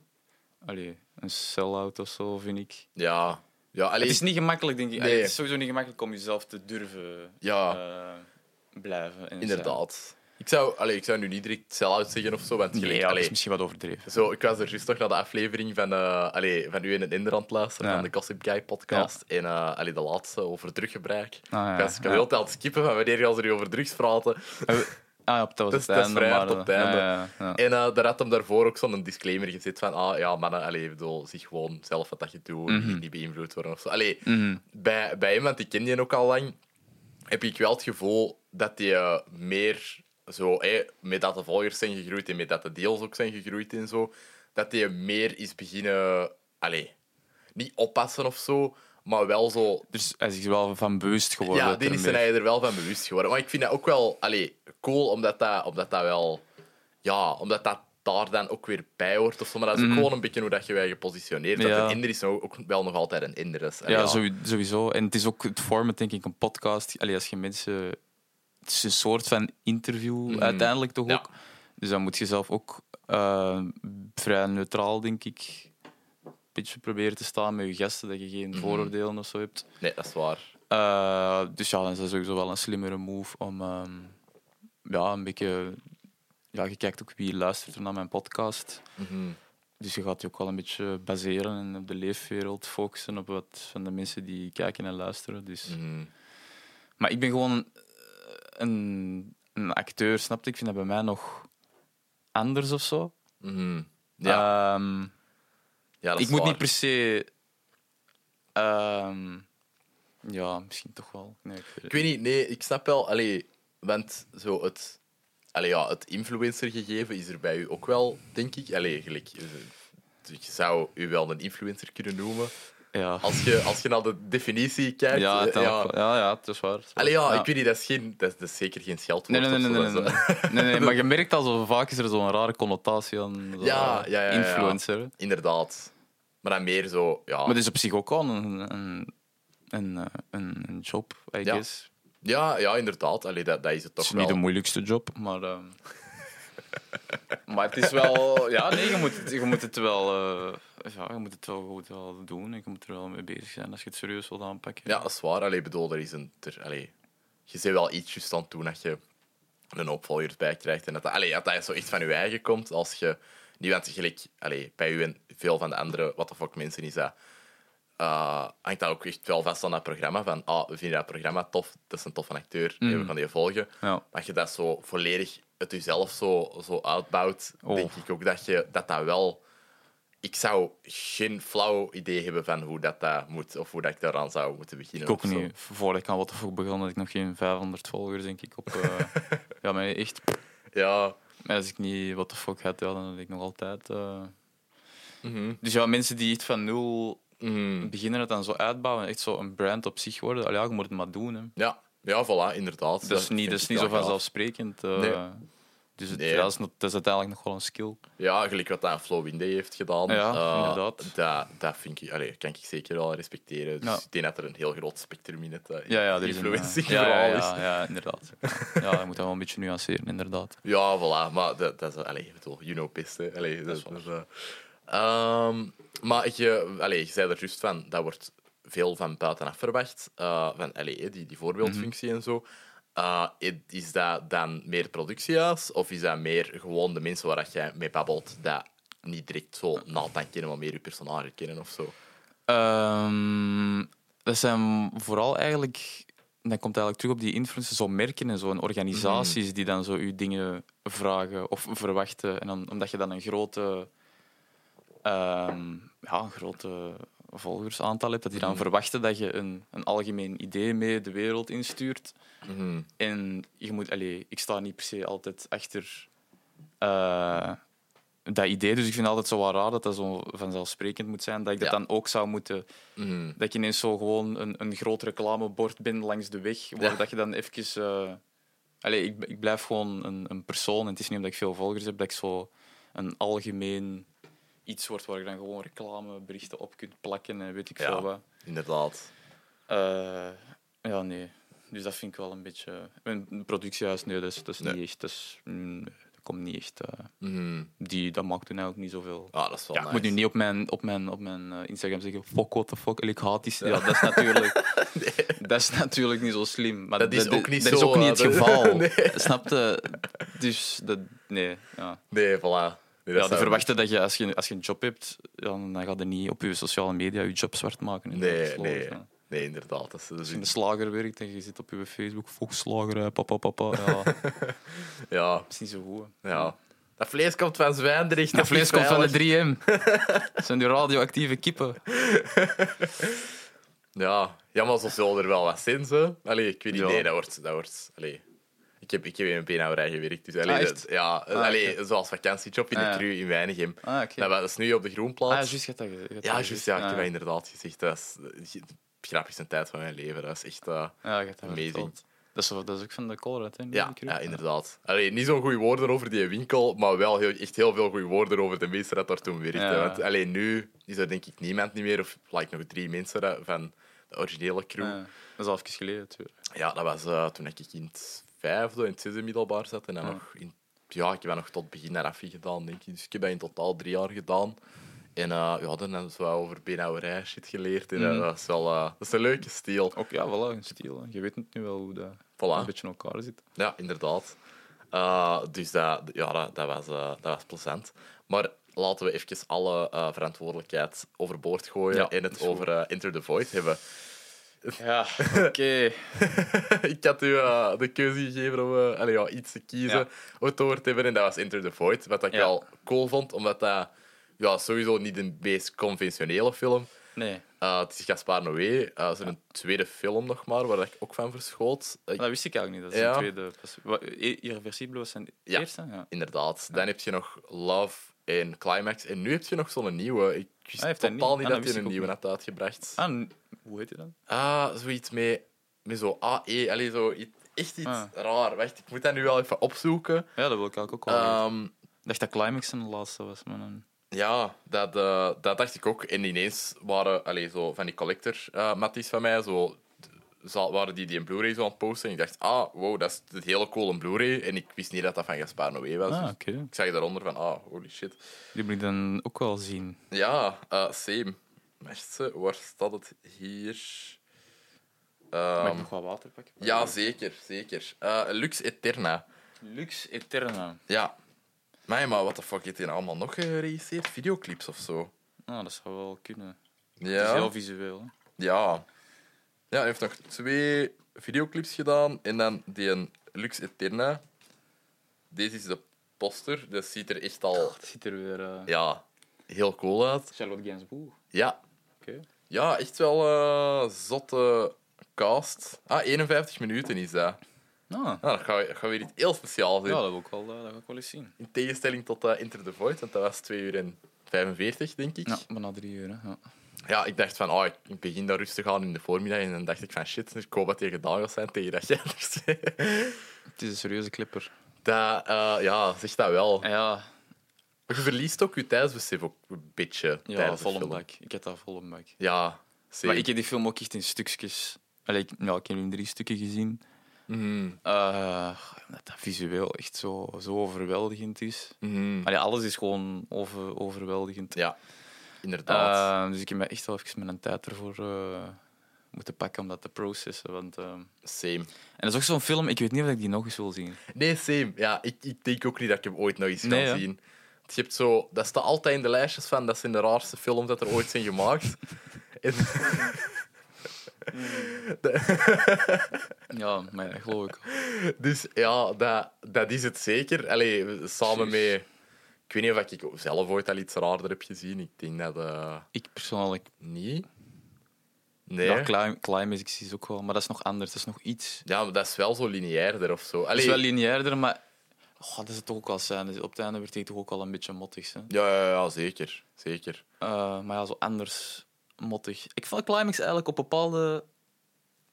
Speaker 2: allee, een sell-out of zo, vind ik.
Speaker 1: Ja. Ja, allee,
Speaker 2: Het is niet gemakkelijk, denk ik. Allee,
Speaker 1: Nee.
Speaker 2: het is sowieso niet gemakkelijk om jezelf te durven
Speaker 1: ja
Speaker 2: eh, blijven. en
Speaker 1: inderdaad. Ik zou, allee, ik zou nu niet direct sell-out zeggen of zo, want
Speaker 2: zijn.
Speaker 1: gelijk,
Speaker 2: Nee, ja, dat
Speaker 1: allee,
Speaker 2: is misschien wat overdreven.
Speaker 1: Zo, ik was er juist toch naar de aflevering van, eh allee, van u in het Inderland luisteren,
Speaker 2: Ja.
Speaker 1: van de Gossip Guy podcast. En eh, allee, de laatste over druggebruik.
Speaker 2: Ah, ja,
Speaker 1: ik was ik
Speaker 2: ja.
Speaker 1: was heel tijd aan het skippen van wanneer gaan ze nu over drugs praten.
Speaker 2: Ah, we- ah, ja, dat was
Speaker 1: Dat is- dat
Speaker 2: het
Speaker 1: is
Speaker 2: einde.
Speaker 1: vrij
Speaker 2: maar,
Speaker 1: hard op
Speaker 2: eh,
Speaker 1: het einde.
Speaker 2: ja, ja, ja.
Speaker 1: En eh, daar had hem daarvoor ook zo'n disclaimer gezet van, ah ja, mannen, allee, ik bedoel, zie gewoon zelf wat dat je doet, niet- niet beïnvloed worden of zo. Allee,
Speaker 2: Mhm.
Speaker 1: bij, bij hem, want ik ken die ook al lang, heb ik wel het gevoel dat hij eh, meer zo, eh, met dat de volgers zijn gegroeid en met dat de deals ook zijn gegroeid en zo, dat hij meer is beginnen, allee, niet oppassen of zo, maar wel zo
Speaker 2: Dus hij is zich wel van bewust geworden.
Speaker 1: ja,
Speaker 2: dat
Speaker 1: die
Speaker 2: er
Speaker 1: is
Speaker 2: meer-
Speaker 1: hij er wel van bewust geworden. Maar ik vind dat ook wel allee, cool, omdat dat, omdat dat wel... Ja, omdat dat daar dan ook weer bij hoort of zo. Maar dat is ook gewoon een beetje hoe dat je je gepositioneerd hebt.
Speaker 2: Mhm. Ja.
Speaker 1: Een inder is nou ook wel nog altijd een inder. Dus, allee,
Speaker 2: Ja, sowie- sowieso. En het is ook het format, denk ik, een podcast. Allee, als je mensen... Het is een soort van interview, uiteindelijk toch
Speaker 1: Mhm. Ja.
Speaker 2: ook. Dus dan moet je zelf ook eh, vrij neutraal, denk ik, een beetje proberen te staan met je gasten, dat je geen
Speaker 1: Mhm.
Speaker 2: vooroordelen of zo hebt.
Speaker 1: Nee, dat is waar.
Speaker 2: Eh, dus ja, dan is dat sowieso wel een slimmere move om... ehm, ja, een beetje... Ja, je kijkt ook wie luistert er naar mijn podcast.
Speaker 1: Mhm.
Speaker 2: Dus je gaat je ook wel een beetje baseren en op de leefwereld focussen, op wat van de mensen die kijken en luisteren. Dus.
Speaker 1: Mhm.
Speaker 2: Maar ik ben gewoon een, eh, een, een acteur, snap je? Ik vind dat bij mij nog anders of zo.
Speaker 1: Mhm. Ja,
Speaker 2: Ehm,
Speaker 1: ja, dat is
Speaker 2: ik moet
Speaker 1: waar.
Speaker 2: niet per se. ehm, ja, misschien toch wel. Nee, ik weet het
Speaker 1: Ik weet niet, nee, ik snap wel... Allee, want zo het... Allee, ja, het influencergegeven is er bij u ook wel, denk ik. Allee, gelijk... Je zou u wel een influencer kunnen noemen.
Speaker 2: niet. Ja,
Speaker 1: Als je, als je naar de definitie kijkt...
Speaker 2: ja,
Speaker 1: eh,
Speaker 2: uiteindelijk wel. ja. ja, het is waar. het is waar.
Speaker 1: Allee, ja, ik weet niet, dat is, geen, dat is, dat is zeker geen
Speaker 2: Nee,
Speaker 1: scheldwoord.
Speaker 2: nee, nee, nee,
Speaker 1: of zo,
Speaker 2: nee, nee,
Speaker 1: dat is- eh,
Speaker 2: nee, nee, maar je
Speaker 1: *laughs*
Speaker 2: merkt al zo vaak is er zo'n rare connotatie aan
Speaker 1: Ja,
Speaker 2: zo,
Speaker 1: ja, Ah. ja, ja.
Speaker 2: influencer.
Speaker 1: Inderdaad. Maar dan meer zo, ja.
Speaker 2: Maar dus- dat is op zich ook al een, een, een, eh, een, een job, I
Speaker 1: Ja,
Speaker 2: guess. Het
Speaker 1: ja, ja, inderdaad. Allee, dat, dat is het toch
Speaker 2: is
Speaker 1: wel.
Speaker 2: niet de moeilijkste job, maar... ehm, maar het is wel... Ja, nee, je moet het, je moet het wel... eh, ja, je moet het wel goed wel doen en je moet er wel mee bezig zijn als je het serieus wilt aanpakken.
Speaker 1: Ja, dat is waar. Allee, bedoel, er is een... Er, allee, je zit wel ietsjes aan toe dat je een opvolger bij krijgt. En dat, dat- allee, dat dat zo echt van je eigen komt. Als je... Niet want gelijk... Allee, bij u en veel van de andere what the fuck mensen is dat... eh, hangt dat ook echt wel vast aan dat programma. Van, ah, we vinden dat programma tof. Dat is een toffe acteur. en We gaan die volgen.
Speaker 2: Ja.
Speaker 1: dat je dat zo volledig uit jezelf zo, zo uitbouwt,
Speaker 2: Oh.
Speaker 1: denk ik ook dat je dat, dat wel. Ik zou geen flauw idee hebben van hoe dat, dat moet of hoe dat ik daaraan zou moeten beginnen.
Speaker 2: Ik ook
Speaker 1: of zo.
Speaker 2: niet. Voordat ik aan What the Fuck begon, had ik nog geen 500 volgers, denk ik, op... eh,
Speaker 1: *laughs*
Speaker 2: ja, maar echt...
Speaker 1: Ja,
Speaker 2: Maar als ik niet What the Fuck had, ja, dan had ik nog altijd... eh. Dus ja, mensen die echt van nul
Speaker 1: mhm.
Speaker 2: beginnen het dan zo uitbouwen, echt zo een brand op zich worden. Allee, ja, je moet het maar doen, hè.
Speaker 1: ja. ja, voilà, inderdaad.
Speaker 2: Dat is Dus niet,
Speaker 1: vind
Speaker 2: dat is
Speaker 1: ik
Speaker 2: niet zo
Speaker 1: wel gaaf.
Speaker 2: vanzelfsprekend. eh,
Speaker 1: Nee.
Speaker 2: Dus het,
Speaker 1: Nee.
Speaker 2: ja, dat, is, nog- dat is uiteindelijk nog wel een skill.
Speaker 1: Ja, gelijk wat dat Flow Windy heeft gedaan.
Speaker 2: Ja,
Speaker 1: eh,
Speaker 2: inderdaad.
Speaker 1: Dat, dat vind ik, allee, kan ik zeker wel respecteren. Dus
Speaker 2: Ja.
Speaker 1: ik denk dat er een heel groot spectrum in het eh,
Speaker 2: Ja, ja, er is een, eh,
Speaker 1: influencing
Speaker 2: ja, ja,
Speaker 1: verhaal is.
Speaker 2: ja, ja, inderdaad. Ja, je moet dat wel een beetje nuanceren, inderdaad.
Speaker 1: Ja, voilà. Maar dat, dat is... Allee, ik bedoel, you know best, hè. Allee, dat, dat is... eh, ehm, maar je, allee, je zei er juist van, dat wordt veel van buitenaf verwacht. eh, van, allee, hè, die, die voorbeeldfunctie
Speaker 2: Mhm.
Speaker 1: en zo. Eh, i- is dat dan meer productiehuis? Of is dat meer gewoon de mensen waar dat jij mee babbelt, dat niet direct zo naald aan kennen, maar meer je personage kennen of zo?
Speaker 2: Ehm, dat zijn vooral eigenlijk... en Dat komt eigenlijk terug op die influencers, zo merken en zo. En organisaties die dan zo je dingen vragen of verwachten. En dan, omdat je dan een grote... ehm, ja, een grote volgersaantal hebt, dat die dan verwachten dat je een, een algemeen idee mee de wereld instuurt.
Speaker 1: Mhm.
Speaker 2: En je moet, allee, ik sta niet per se altijd achter eh, dat idee. Dus ik vind het altijd zo wel raar dat dat zo vanzelfsprekend moet zijn. Dat ik dat
Speaker 1: Ja.
Speaker 2: dan ook zou moeten.
Speaker 1: Mhm.
Speaker 2: Dat je ineens zo gewoon een, een groot reclamebord bent langs de weg. Waar
Speaker 1: Ja.
Speaker 2: dat je dan even. eh, allee, ik, ik blijf gewoon een, een persoon. En het is niet omdat ik veel volgers heb dat ik zo een algemeen iets word waar ik dan gewoon reclameberichten op kunt plakken en weet ik
Speaker 1: Ja.
Speaker 2: veel wat.
Speaker 1: Inderdaad.
Speaker 2: Eh, ja, nee. Dus dat vind ik wel een beetje. Een productiehuis, nee, dat is, dat is
Speaker 1: Nee.
Speaker 2: niet echt. Dat, is, mm, dat komt niet echt. eh,
Speaker 1: Mhm.
Speaker 2: die, dat maakt toen eigenlijk niet zoveel.
Speaker 1: Ah, dat is wel
Speaker 2: Ja, ik moet nu
Speaker 1: nice.
Speaker 2: niet op mijn, op mijn, op mijn eh, Instagram zeggen: fuck, what the fuck, en ik haat die. Ja, dat, is
Speaker 1: *laughs*
Speaker 2: natuurlijk, dat is natuurlijk niet zo slim. Maar
Speaker 1: Dat is ook niet zo,
Speaker 2: dat is ook niet het
Speaker 1: eh, dat- *laughs*
Speaker 2: geval.
Speaker 1: Nee.
Speaker 2: Snap je? Dus dat, nee. Ja.
Speaker 1: Nee, voilà. Nee, dat zou-
Speaker 2: Ja, die verwachten dat je als, je als je een job hebt, dan, dan ga je niet op je sociale media je job zwart maken. En dat is
Speaker 1: Nee,
Speaker 2: logisch,
Speaker 1: nee.
Speaker 2: ja.
Speaker 1: Nee, inderdaad. Dat is, dat is-
Speaker 2: Als je in de slager werkt en je zit op je Facebook, fuck slager, eh, papa, papa. Ja, dat
Speaker 1: ja,
Speaker 2: is niet zo goed. hè.
Speaker 1: ja. Dat vlees komt van Zwijndrecht.
Speaker 2: Dat vlees komt van de
Speaker 1: drie.
Speaker 2: 3M. Dat *laughs* zijn die radioactieve kippen.
Speaker 1: Ja, ja, maar zo zullen er wel wat zin, zo. Allee, ik weet niet.
Speaker 2: Ja.
Speaker 1: Nee, dat wordt... Dat wordt allee. Ik heb, ik heb in een beenhouwerij gewerkt. Dus, allee,
Speaker 2: Ah, echt?
Speaker 1: dat- ja,
Speaker 2: Ah,
Speaker 1: allee,
Speaker 2: oké.
Speaker 1: zoals vakantiejob in de
Speaker 2: Ah, ja.
Speaker 1: cru in Weinigem.
Speaker 2: Ah, oké.
Speaker 1: Dat, wa- dat is nu op de
Speaker 2: Ah,
Speaker 1: Groenplaats.
Speaker 2: juist, je hebt dat gezegd. je hebt
Speaker 1: ja,
Speaker 2: dat
Speaker 1: juist.
Speaker 2: gezegd.
Speaker 1: Ja, ik heb
Speaker 2: Ah,
Speaker 1: dat inderdaad gezegd. Dat is eh, de grappigste tijd van mijn leven. Dat is echt... eh,
Speaker 2: ja, je hebt dat
Speaker 1: Amazing.
Speaker 2: verteld. Dat is, zo- dat is ook van de Colruyt, hè?
Speaker 1: Ja,
Speaker 2: die crew.
Speaker 1: ja, inderdaad. Allee, niet zo'n goede woorden over die winkel, maar wel heel, echt heel veel goede woorden over de mensen dat daar toen werkten.
Speaker 2: Ja.
Speaker 1: Want alleen nu is er denk ik niemand niet meer, of like, nog drie mensen dat- van de originele crew.
Speaker 2: Ja,
Speaker 1: Ja,
Speaker 2: Dat is al even geleden, natuurlijk.
Speaker 1: dat was eh, toen ik in het vijfde, in het zesde middelbaar zat. En dan
Speaker 2: Ja.
Speaker 1: nog in, ja, ik heb dat nog tot begin naar afie gedaan, denk ik. Dus ik heb dat in totaal drie jaar gedaan. En eh ja, dan hebben ze wel over benauwerij shit geleerd. En eh,
Speaker 2: Mhm.
Speaker 1: dat, is wel, eh, dat is een leuke stijl.
Speaker 2: Ook ja, voilà, een stil. hè. Je weet het nu wel hoe dat
Speaker 1: Voilà.
Speaker 2: een beetje in elkaar zit.
Speaker 1: Ja, inderdaad. Eh, dus dat, ja, dat, dat, was, eh, dat was plezant. Maar laten we even alle eh, verantwoordelijkheid overboord gooien
Speaker 2: Ja,
Speaker 1: en
Speaker 2: dat
Speaker 1: het
Speaker 2: is goed.
Speaker 1: over eh, Enter the Void hebben.
Speaker 2: Ja, *laughs* oké.
Speaker 1: *laughs* Ik had u eh, de keuze gegeven om eh, allee, ja, iets te kiezen
Speaker 2: Ja.
Speaker 1: om het over te hebben en dat was Enter the Void. Wat ik
Speaker 2: Ja.
Speaker 1: wel cool vond, omdat dat ja, sowieso niet de meest conventionele film
Speaker 2: Nee,
Speaker 1: Eh Het is Gaspar Noé, eh zijn tweede film nog maar, waar ik ook van verschoot. Eh, Ik-
Speaker 2: dat wist ik eigenlijk niet. Dat is
Speaker 1: Ja.
Speaker 2: een tweede... pas- wa- i- Irreversibele was zijn
Speaker 1: Ja.
Speaker 2: eerste? Ja.
Speaker 1: Inderdaad. Dan heb je nog Love en Climax. En nu heb je nog zo'n nieuwe. Ik wist
Speaker 2: Ah, heeft hij
Speaker 1: totaal
Speaker 2: niet?
Speaker 1: niet
Speaker 2: Ah, dat
Speaker 1: dat
Speaker 2: wist
Speaker 1: je
Speaker 2: ik
Speaker 1: een
Speaker 2: ook
Speaker 1: nieuwe
Speaker 2: niet.
Speaker 1: hebt uitgebracht.
Speaker 2: Ah, n- hoe heet die dan?
Speaker 1: Ah, zoiets met, met zo AE. Allee, zo i- echt iets
Speaker 2: Ah.
Speaker 1: raar. Wacht, ik moet dat nu wel even opzoeken.
Speaker 2: Ja, dat wil ik eigenlijk ook wel. weten.
Speaker 1: Ehm,
Speaker 2: Ik Eh, dacht dat Climax zijn laatste was, maar dan...
Speaker 1: ja, dat, eh, dat dacht ik ook. En ineens waren allee, zo van die collector eh matties van mij zo... za- Waren die die een Blu-ray zo aan het posten? En ik dacht, ah, wow, dat is een hele coole Blu-ray. En ik wist niet dat dat van Gaspar Noé was.
Speaker 2: Ah,
Speaker 1: Dus
Speaker 2: oké.
Speaker 1: ik zag daaronder van, ah, holy shit.
Speaker 2: Die moet ik dan ook wel zien.
Speaker 1: Ja, eh same. Mensen, waar staat het hier?
Speaker 2: Mag
Speaker 1: Ehm
Speaker 2: ik nog wat water pakken?
Speaker 1: ja, zeker, zeker. Eh, Lux Eterna.
Speaker 2: Lux Eterna.
Speaker 1: Ja. Maar, maar wat de fuck heeft hij nou allemaal nog geregisseerd? Videoclips of zo?
Speaker 2: Nou, dat zou wel kunnen. Het is
Speaker 1: Ja.
Speaker 2: heel visueel. hè.
Speaker 1: Ja. Ja, hij heeft nog twee videoclips gedaan. En dan die een Lux Eterna. Deze is de poster. Dat ziet er echt al
Speaker 2: Het ziet er weer... eh,
Speaker 1: ja, heel cool uit.
Speaker 2: Charlotte Gainsbourg. Oké.
Speaker 1: Ja, Ja, echt wel eh zotte cast. Ah, 51 minuten is dat.
Speaker 2: Ah,
Speaker 1: Nou, dan gaan we, gaan we weer iets heel speciaals doen.
Speaker 2: ja, dat wil ik wel, eh, dat wil ik wel eens zien.
Speaker 1: In tegenstelling tot eh Enter the Void, want dat was 2 uur en 45, denk ik.
Speaker 2: Ja,
Speaker 1: Ja,
Speaker 2: maar na drie uur. Hè. Ja.
Speaker 1: ik dacht van, oh, ik begin daar rustig aan in de voormiddag. En dan dacht ik van, shit, ik hoop dat die gedaan gaat zijn tegen dat jij er zit. *laughs*
Speaker 2: Het is een serieuze clipper.
Speaker 1: Dat, eh, ja, zeg dat wel.
Speaker 2: Ah Ja,
Speaker 1: Je verliest ook je tijdsbesef ook een beetje
Speaker 2: ja
Speaker 1: tijdens de
Speaker 2: vol een
Speaker 1: film.
Speaker 2: bak. Ik heb dat vol een bak.
Speaker 1: Ja,
Speaker 2: Maar
Speaker 1: zeker.
Speaker 2: ik heb die film ook echt in stukjes. Allee, ik, nou, ik heb hem in drie stukken gezien.
Speaker 1: Mhm,
Speaker 2: Eh, omdat dat visueel echt zo, zo overweldigend is.
Speaker 1: mhm.
Speaker 2: Allee, alles is gewoon over, overweldigend.
Speaker 1: Ja, inderdaad.
Speaker 2: Eh, dus ik heb me echt wel even mijn tijd ervoor eh, moeten pakken om dat te processen. Want, eh,
Speaker 1: Same.
Speaker 2: En dat is ook zo'n film, ik weet niet of ik die nog eens wil zien.
Speaker 1: Nee, same. Ja, ik, ik denk ook niet dat ik hem ooit nog eens
Speaker 2: Nee,
Speaker 1: ga
Speaker 2: ja.
Speaker 1: zien. Want Je hebt zo, dat staat altijd in de lijstjes van dat zijn de raarste films dat er ooit zijn
Speaker 2: *laughs*
Speaker 1: gemaakt. En-
Speaker 2: Ja, maar dat geloof ik.
Speaker 1: dus ja, dat, dat is het zeker. Allee, samen
Speaker 2: Precies.
Speaker 1: met... Ik weet niet of ik ook zelf ooit al iets raarder heb gezien. Ik denk dat... eh,
Speaker 2: Ik persoonlijk.
Speaker 1: niet. Nee.
Speaker 2: Ja,
Speaker 1: Ja,
Speaker 2: Clim- Climax ik zie ze ook wel, maar dat is nog anders. Dat is nog iets.
Speaker 1: maar dat is wel zo lineairder of zo.
Speaker 2: Het
Speaker 1: Allee,
Speaker 2: is wel lineairder, maar oh, dat is het toch ook al zijn. Dus op het einde werd hij toch ook al een beetje mottig. Hè?
Speaker 1: ja, ja, ja, zeker. Zeker.
Speaker 2: Eh, maar ja, zo anders mottig. Ik vond Climax eigenlijk op bepaalde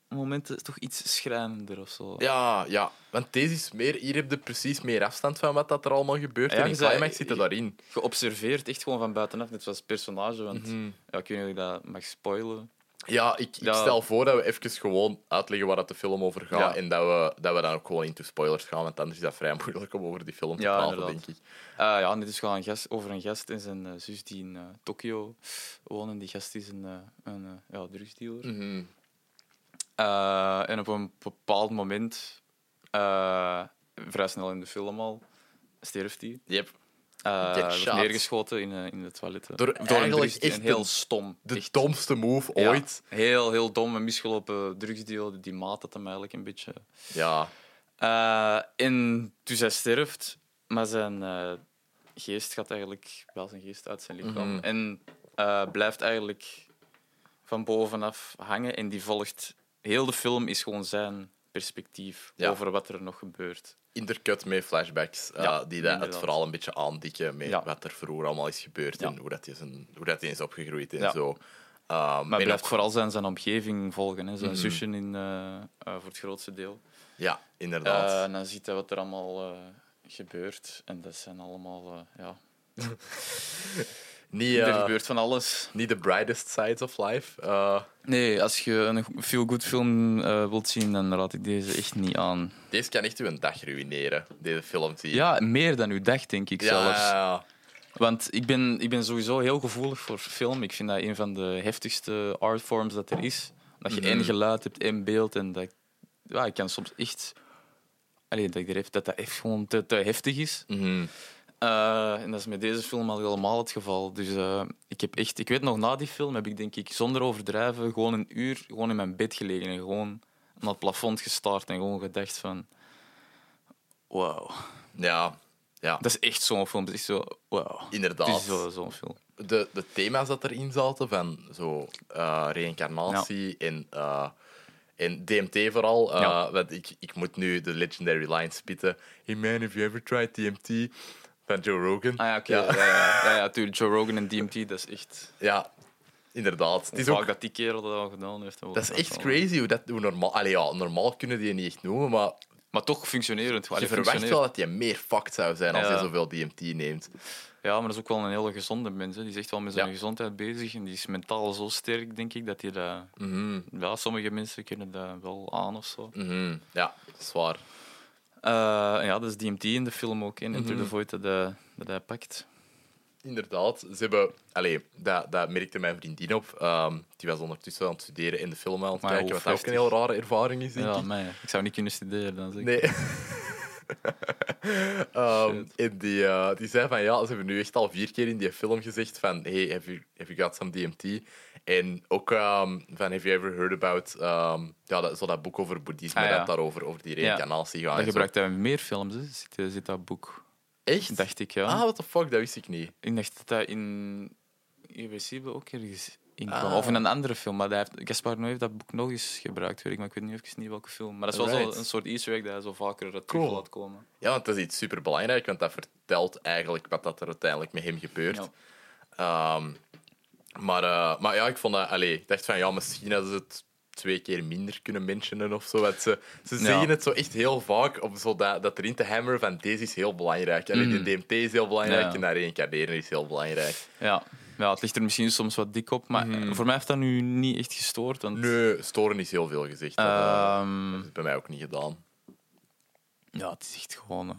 Speaker 2: momenten toch iets schrijnender of zo.
Speaker 1: Ja, ja. Want deze is meer... Hier heb je precies meer afstand van wat dat er allemaal gebeurt.
Speaker 2: Ja,
Speaker 1: en in
Speaker 2: je zei-
Speaker 1: Climax zit er daarin. Mhm.
Speaker 2: Geobserveerd, echt gewoon van buitenaf, net zoals personage. Want ja, ik weet niet of ik dat mag spoilen.
Speaker 1: Ja, ik, ik
Speaker 2: Ja.
Speaker 1: stel voor dat we even gewoon uitleggen waar dat de film over gaat.
Speaker 2: Ja.
Speaker 1: En dat we, dat we dan ook gewoon into spoilers gaan, want anders is dat vrij moeilijk om over die film te
Speaker 2: Ja,
Speaker 1: praten,
Speaker 2: inderdaad.
Speaker 1: denk ik.
Speaker 2: Eh, ja, en dit is gewoon een gast, over een gast en zijn eh, zus die in eh, Tokio woont. En die gast is een, eh, een eh, ja, drugsdealer.
Speaker 1: Mhm.
Speaker 2: Eh, en op een bepaald moment, eh, vrij snel in de film al, sterft hij.
Speaker 1: Yep.
Speaker 2: Eh,
Speaker 1: Get
Speaker 2: wordt
Speaker 1: shot.
Speaker 2: neergeschoten in, eh, in de toilet. hè.
Speaker 1: Door
Speaker 2: een
Speaker 1: eigenlijk
Speaker 2: drugsdealer.
Speaker 1: echt
Speaker 2: En heel
Speaker 1: de-
Speaker 2: stom.
Speaker 1: De
Speaker 2: Echt,
Speaker 1: domste move
Speaker 2: ja,
Speaker 1: ooit.
Speaker 2: heel, heel dom en misgelopen drugsdeal. Die maat dat hem eigenlijk een beetje.
Speaker 1: Ja.
Speaker 2: Eh, en dus hij sterft, maar zijn eh, geest gaat eigenlijk wel zijn geest uit zijn lichaam.
Speaker 1: Mhm.
Speaker 2: En eh, blijft eigenlijk van bovenaf hangen. En die volgt. Heel de film is gewoon zijn perspectief
Speaker 1: Ja.
Speaker 2: over wat er nog gebeurt.
Speaker 1: intercut met flashbacks, eh,
Speaker 2: Ja,
Speaker 1: die dat het
Speaker 2: inderdaad.
Speaker 1: vooral een beetje aandikken met
Speaker 2: Ja.
Speaker 1: wat er vroeger allemaal is gebeurd
Speaker 2: Ja.
Speaker 1: en hoe dat, hij zijn, hoe dat hij is opgegroeid en
Speaker 2: Ja.
Speaker 1: zo. Ehm,
Speaker 2: Maar
Speaker 1: en
Speaker 2: hij blijft
Speaker 1: ook-
Speaker 2: vooral zijn, zijn omgeving volgen. Hè. Zijn
Speaker 1: Mhm.
Speaker 2: zusje in, eh, eh, voor het grootste deel.
Speaker 1: ja,
Speaker 2: Eh,
Speaker 1: inderdaad.
Speaker 2: en dan ziet hij wat er allemaal eh, gebeurt. En dat zijn allemaal... eh, ja.
Speaker 1: niet, eh,
Speaker 2: Er gebeurt van alles.
Speaker 1: niet de brightest sides of life. Eh,
Speaker 2: Nee, als je een feel-good film eh, wilt zien, dan raad ik deze echt niet aan.
Speaker 1: deze kan echt uw dag ruïneren, deze film. Die...
Speaker 2: Ja, meer dan u dacht, denk ik
Speaker 1: Ja,
Speaker 2: zelfs.
Speaker 1: ja,
Speaker 2: Want ik ben, ik ben sowieso heel gevoelig voor film. Ik vind dat een van de heftigste artforms dat er is. Dat je
Speaker 1: Mhm.
Speaker 2: één geluid hebt, één beeld. En dat, ja, ik kan soms echt... Allee, dat, ik er echt, dat dat echt gewoon te, te heftig is.
Speaker 1: ja. Mhm.
Speaker 2: Eh, en dat is met deze film al helemaal het geval. Dus eh, ik heb echt, ik weet nog na die film heb ik denk ik zonder overdrijven gewoon een uur gewoon in mijn bed gelegen en gewoon aan het plafond gestaard en gewoon gedacht van, wow,
Speaker 1: ja, ja.
Speaker 2: dat is echt zo'n film. Dat is zo, wow.
Speaker 1: Inderdaad.
Speaker 2: Het is zo- zo'n film.
Speaker 1: de, de thema's dat erin zaten van zo eh, reïncarnatie en, eh, en DMT vooral. eh,
Speaker 2: Ja.
Speaker 1: Want ik, ik moet nu de legendary line spitten. Hey man, have you ever tried DMT? Van Joe Rogan.
Speaker 2: Ah ja, oké.
Speaker 1: Ja.
Speaker 2: Ja. Ja, ja, ja, tuurlijk, Joe Rogan en DMT, dat is echt.
Speaker 1: Ja, inderdaad. Het
Speaker 2: Het is
Speaker 1: is ook,
Speaker 2: dat die kerel dat al gedaan heeft.
Speaker 1: dat is echt crazy hoe dat hoe normaal... Allee, ja, normaal kunnen die je niet echt noemen, maar
Speaker 2: Maar toch functionerend.
Speaker 1: je
Speaker 2: Allee,
Speaker 1: verwacht
Speaker 2: functioneert.
Speaker 1: wel dat je meer fucked zou zijn als
Speaker 2: Ja.
Speaker 1: je zoveel DMT neemt.
Speaker 2: Ja, maar dat is ook wel een hele gezonde mens. Hè. Die is echt wel met zijn
Speaker 1: Ja.
Speaker 2: gezondheid bezig. En die is mentaal zo sterk, denk ik, dat hij dat...
Speaker 1: Mhm,
Speaker 2: Ja, sommige mensen kunnen dat wel aan of zo.
Speaker 1: mhm. Ja, zwaar.
Speaker 2: Eh, en ja, dat is DMT in de film ook, in Enter
Speaker 1: Mhm.
Speaker 2: the Void, dat, hij- dat hij pakt.
Speaker 1: Inderdaad, ze hebben... Allee, dat, dat merkte mijn vriendin op. Ehm, die was ondertussen aan het studeren en de film aan het
Speaker 2: Maar
Speaker 1: kijken,
Speaker 2: hoe
Speaker 1: wat dat ook een
Speaker 2: heftig.
Speaker 1: heel rare ervaring is, denk
Speaker 2: Ja,
Speaker 1: ik.
Speaker 2: mij. Ik zou niet kunnen studeren dan. Zeg.
Speaker 1: Nee. *laughs* Ehm, en die, eh, die zei van, ja, ze hebben nu echt al vier keer in die film gezegd van, hey, have you, have you got some DMT? En ook ehm, van, have you ever heard about... ehm, ja, dat, zo dat boek over boeddhisme,
Speaker 2: Ah, ja.
Speaker 1: dat daarover, over die
Speaker 2: Ja.
Speaker 1: reïncarnatie gaat.
Speaker 2: Dat
Speaker 1: en zo.
Speaker 2: gebruikt hij in meer films, hè. Zit, eh, zit dat boek.
Speaker 1: Echt?
Speaker 2: Dacht ik, ja.
Speaker 1: Ah, what the fuck, dat wist ik niet.
Speaker 2: Ik dacht dat dat in Irreversibel ook ergens in kwam.
Speaker 1: Ah.
Speaker 2: Of in een andere film. Maar hij heeft, Gaspar Noé heeft dat boek nog eens gebruikt, weet ik. Maar ik weet nu even niet welke film. Maar dat is wel
Speaker 1: Right.
Speaker 2: zo een soort easter egg dat hij zo vaker terug
Speaker 1: Cool.
Speaker 2: laat komen.
Speaker 1: Ja, want dat is iets superbelangrijk, want dat vertelt eigenlijk wat dat er uiteindelijk met hem gebeurt.
Speaker 2: Ja.
Speaker 1: Ehm, maar, eh, maar ja, ik vond dat... Allee, ik dacht van, ja, misschien dat ze het twee keer minder kunnen mentionen of zo. Want ze ze
Speaker 2: Ja.
Speaker 1: zeggen het zo echt heel vaak om zo dat, dat erin te hammeren van deze is heel belangrijk. Allee,
Speaker 2: Mhm.
Speaker 1: de DMT is heel belangrijk
Speaker 2: Ja.
Speaker 1: en dat reïncarneren is heel belangrijk.
Speaker 2: Ja. ja, het ligt er misschien soms wat dik op, maar voor mij heeft dat nu niet echt gestoord. Want,
Speaker 1: Mhm. Nee, storen is heel veel gezegd. Dat, eh,
Speaker 2: Ehm,
Speaker 1: dat is bij mij ook niet gedaan.
Speaker 2: ja, het is echt gewoon. eh,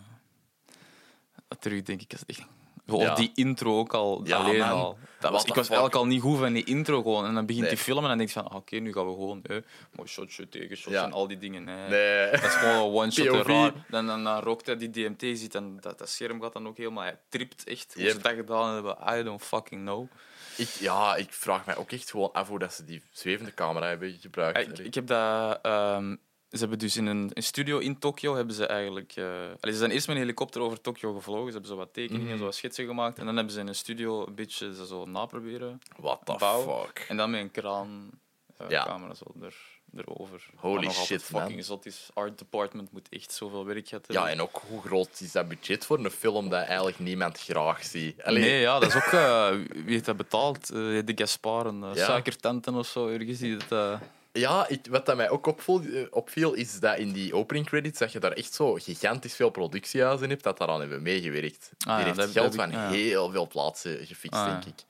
Speaker 2: terug denk ik, is het echt. Gewoon
Speaker 1: Ja.
Speaker 2: die intro ook al.
Speaker 1: Ja,
Speaker 2: alleen
Speaker 1: man.
Speaker 2: al. Dat was,
Speaker 1: What
Speaker 2: ik
Speaker 1: the
Speaker 2: was
Speaker 1: fuck?
Speaker 2: eigenlijk al niet goed van die intro gewoon. En dan begint
Speaker 1: Nee.
Speaker 2: die film en dan denk je van: ah, oké, nu gaan we gewoon. eh, mooi shotje tegen shot
Speaker 1: Ja.
Speaker 2: en al die dingen. hè.
Speaker 1: Nee.
Speaker 2: Dat is gewoon een one-shot
Speaker 1: POV.
Speaker 2: eraan. Dan, dan, dan rookt hij die DMT, ziet en dat, dat scherm gaat dan ook helemaal. Hij tript echt. Hoe
Speaker 1: Yep.
Speaker 2: ze dat gedaan hebben, I don't fucking know.
Speaker 1: *laughs* Ik, ja, ik vraag mij ook echt gewoon af hoe dat ze die zwevende camera hebben gebruikt.
Speaker 2: Eh, Ik, ik heb dat. ehm, ze hebben dus in een, een studio in Tokio hebben ze eigenlijk. eh, allee, ze zijn eerst met een helikopter over Tokio gevlogen. Ze hebben zo wat tekeningen,
Speaker 1: Mhm.
Speaker 2: zo wat schetsen gemaakt. En dan hebben ze in een studio een beetje ze zo naproberen.
Speaker 1: What the
Speaker 2: bouw.
Speaker 1: fuck?
Speaker 2: En dan met een kraan eh,
Speaker 1: Ja.
Speaker 2: camera zo er, erover.
Speaker 1: Holy
Speaker 2: Wat nog altijd
Speaker 1: shit, man.
Speaker 2: fucking zot is. Art department moet echt zoveel werk gehad hebben.
Speaker 1: Ja, en ook hoe groot is dat budget voor een film dat eigenlijk niemand graag ziet? Allee,
Speaker 2: Nee, ja, dat is ook. eh, wie heeft dat betaald? Eh, de Gaspar, een eh,
Speaker 1: Ja.
Speaker 2: suikertenten of zo, ergens. Die dat, eh,
Speaker 1: Ja, ik, wat dat mij ook opvoel, eh, opviel, is dat in die opening credits dat je daar echt zo gigantisch veel productiehuizen hebt dat daaraan hebben meegewerkt.
Speaker 2: Ah, ja,
Speaker 1: Die
Speaker 2: dat
Speaker 1: heeft
Speaker 2: heb-
Speaker 1: geld
Speaker 2: dat heb
Speaker 1: van
Speaker 2: ik- ja.
Speaker 1: heel veel plaatsen gefixt,
Speaker 2: Ah, ja.
Speaker 1: denk ik.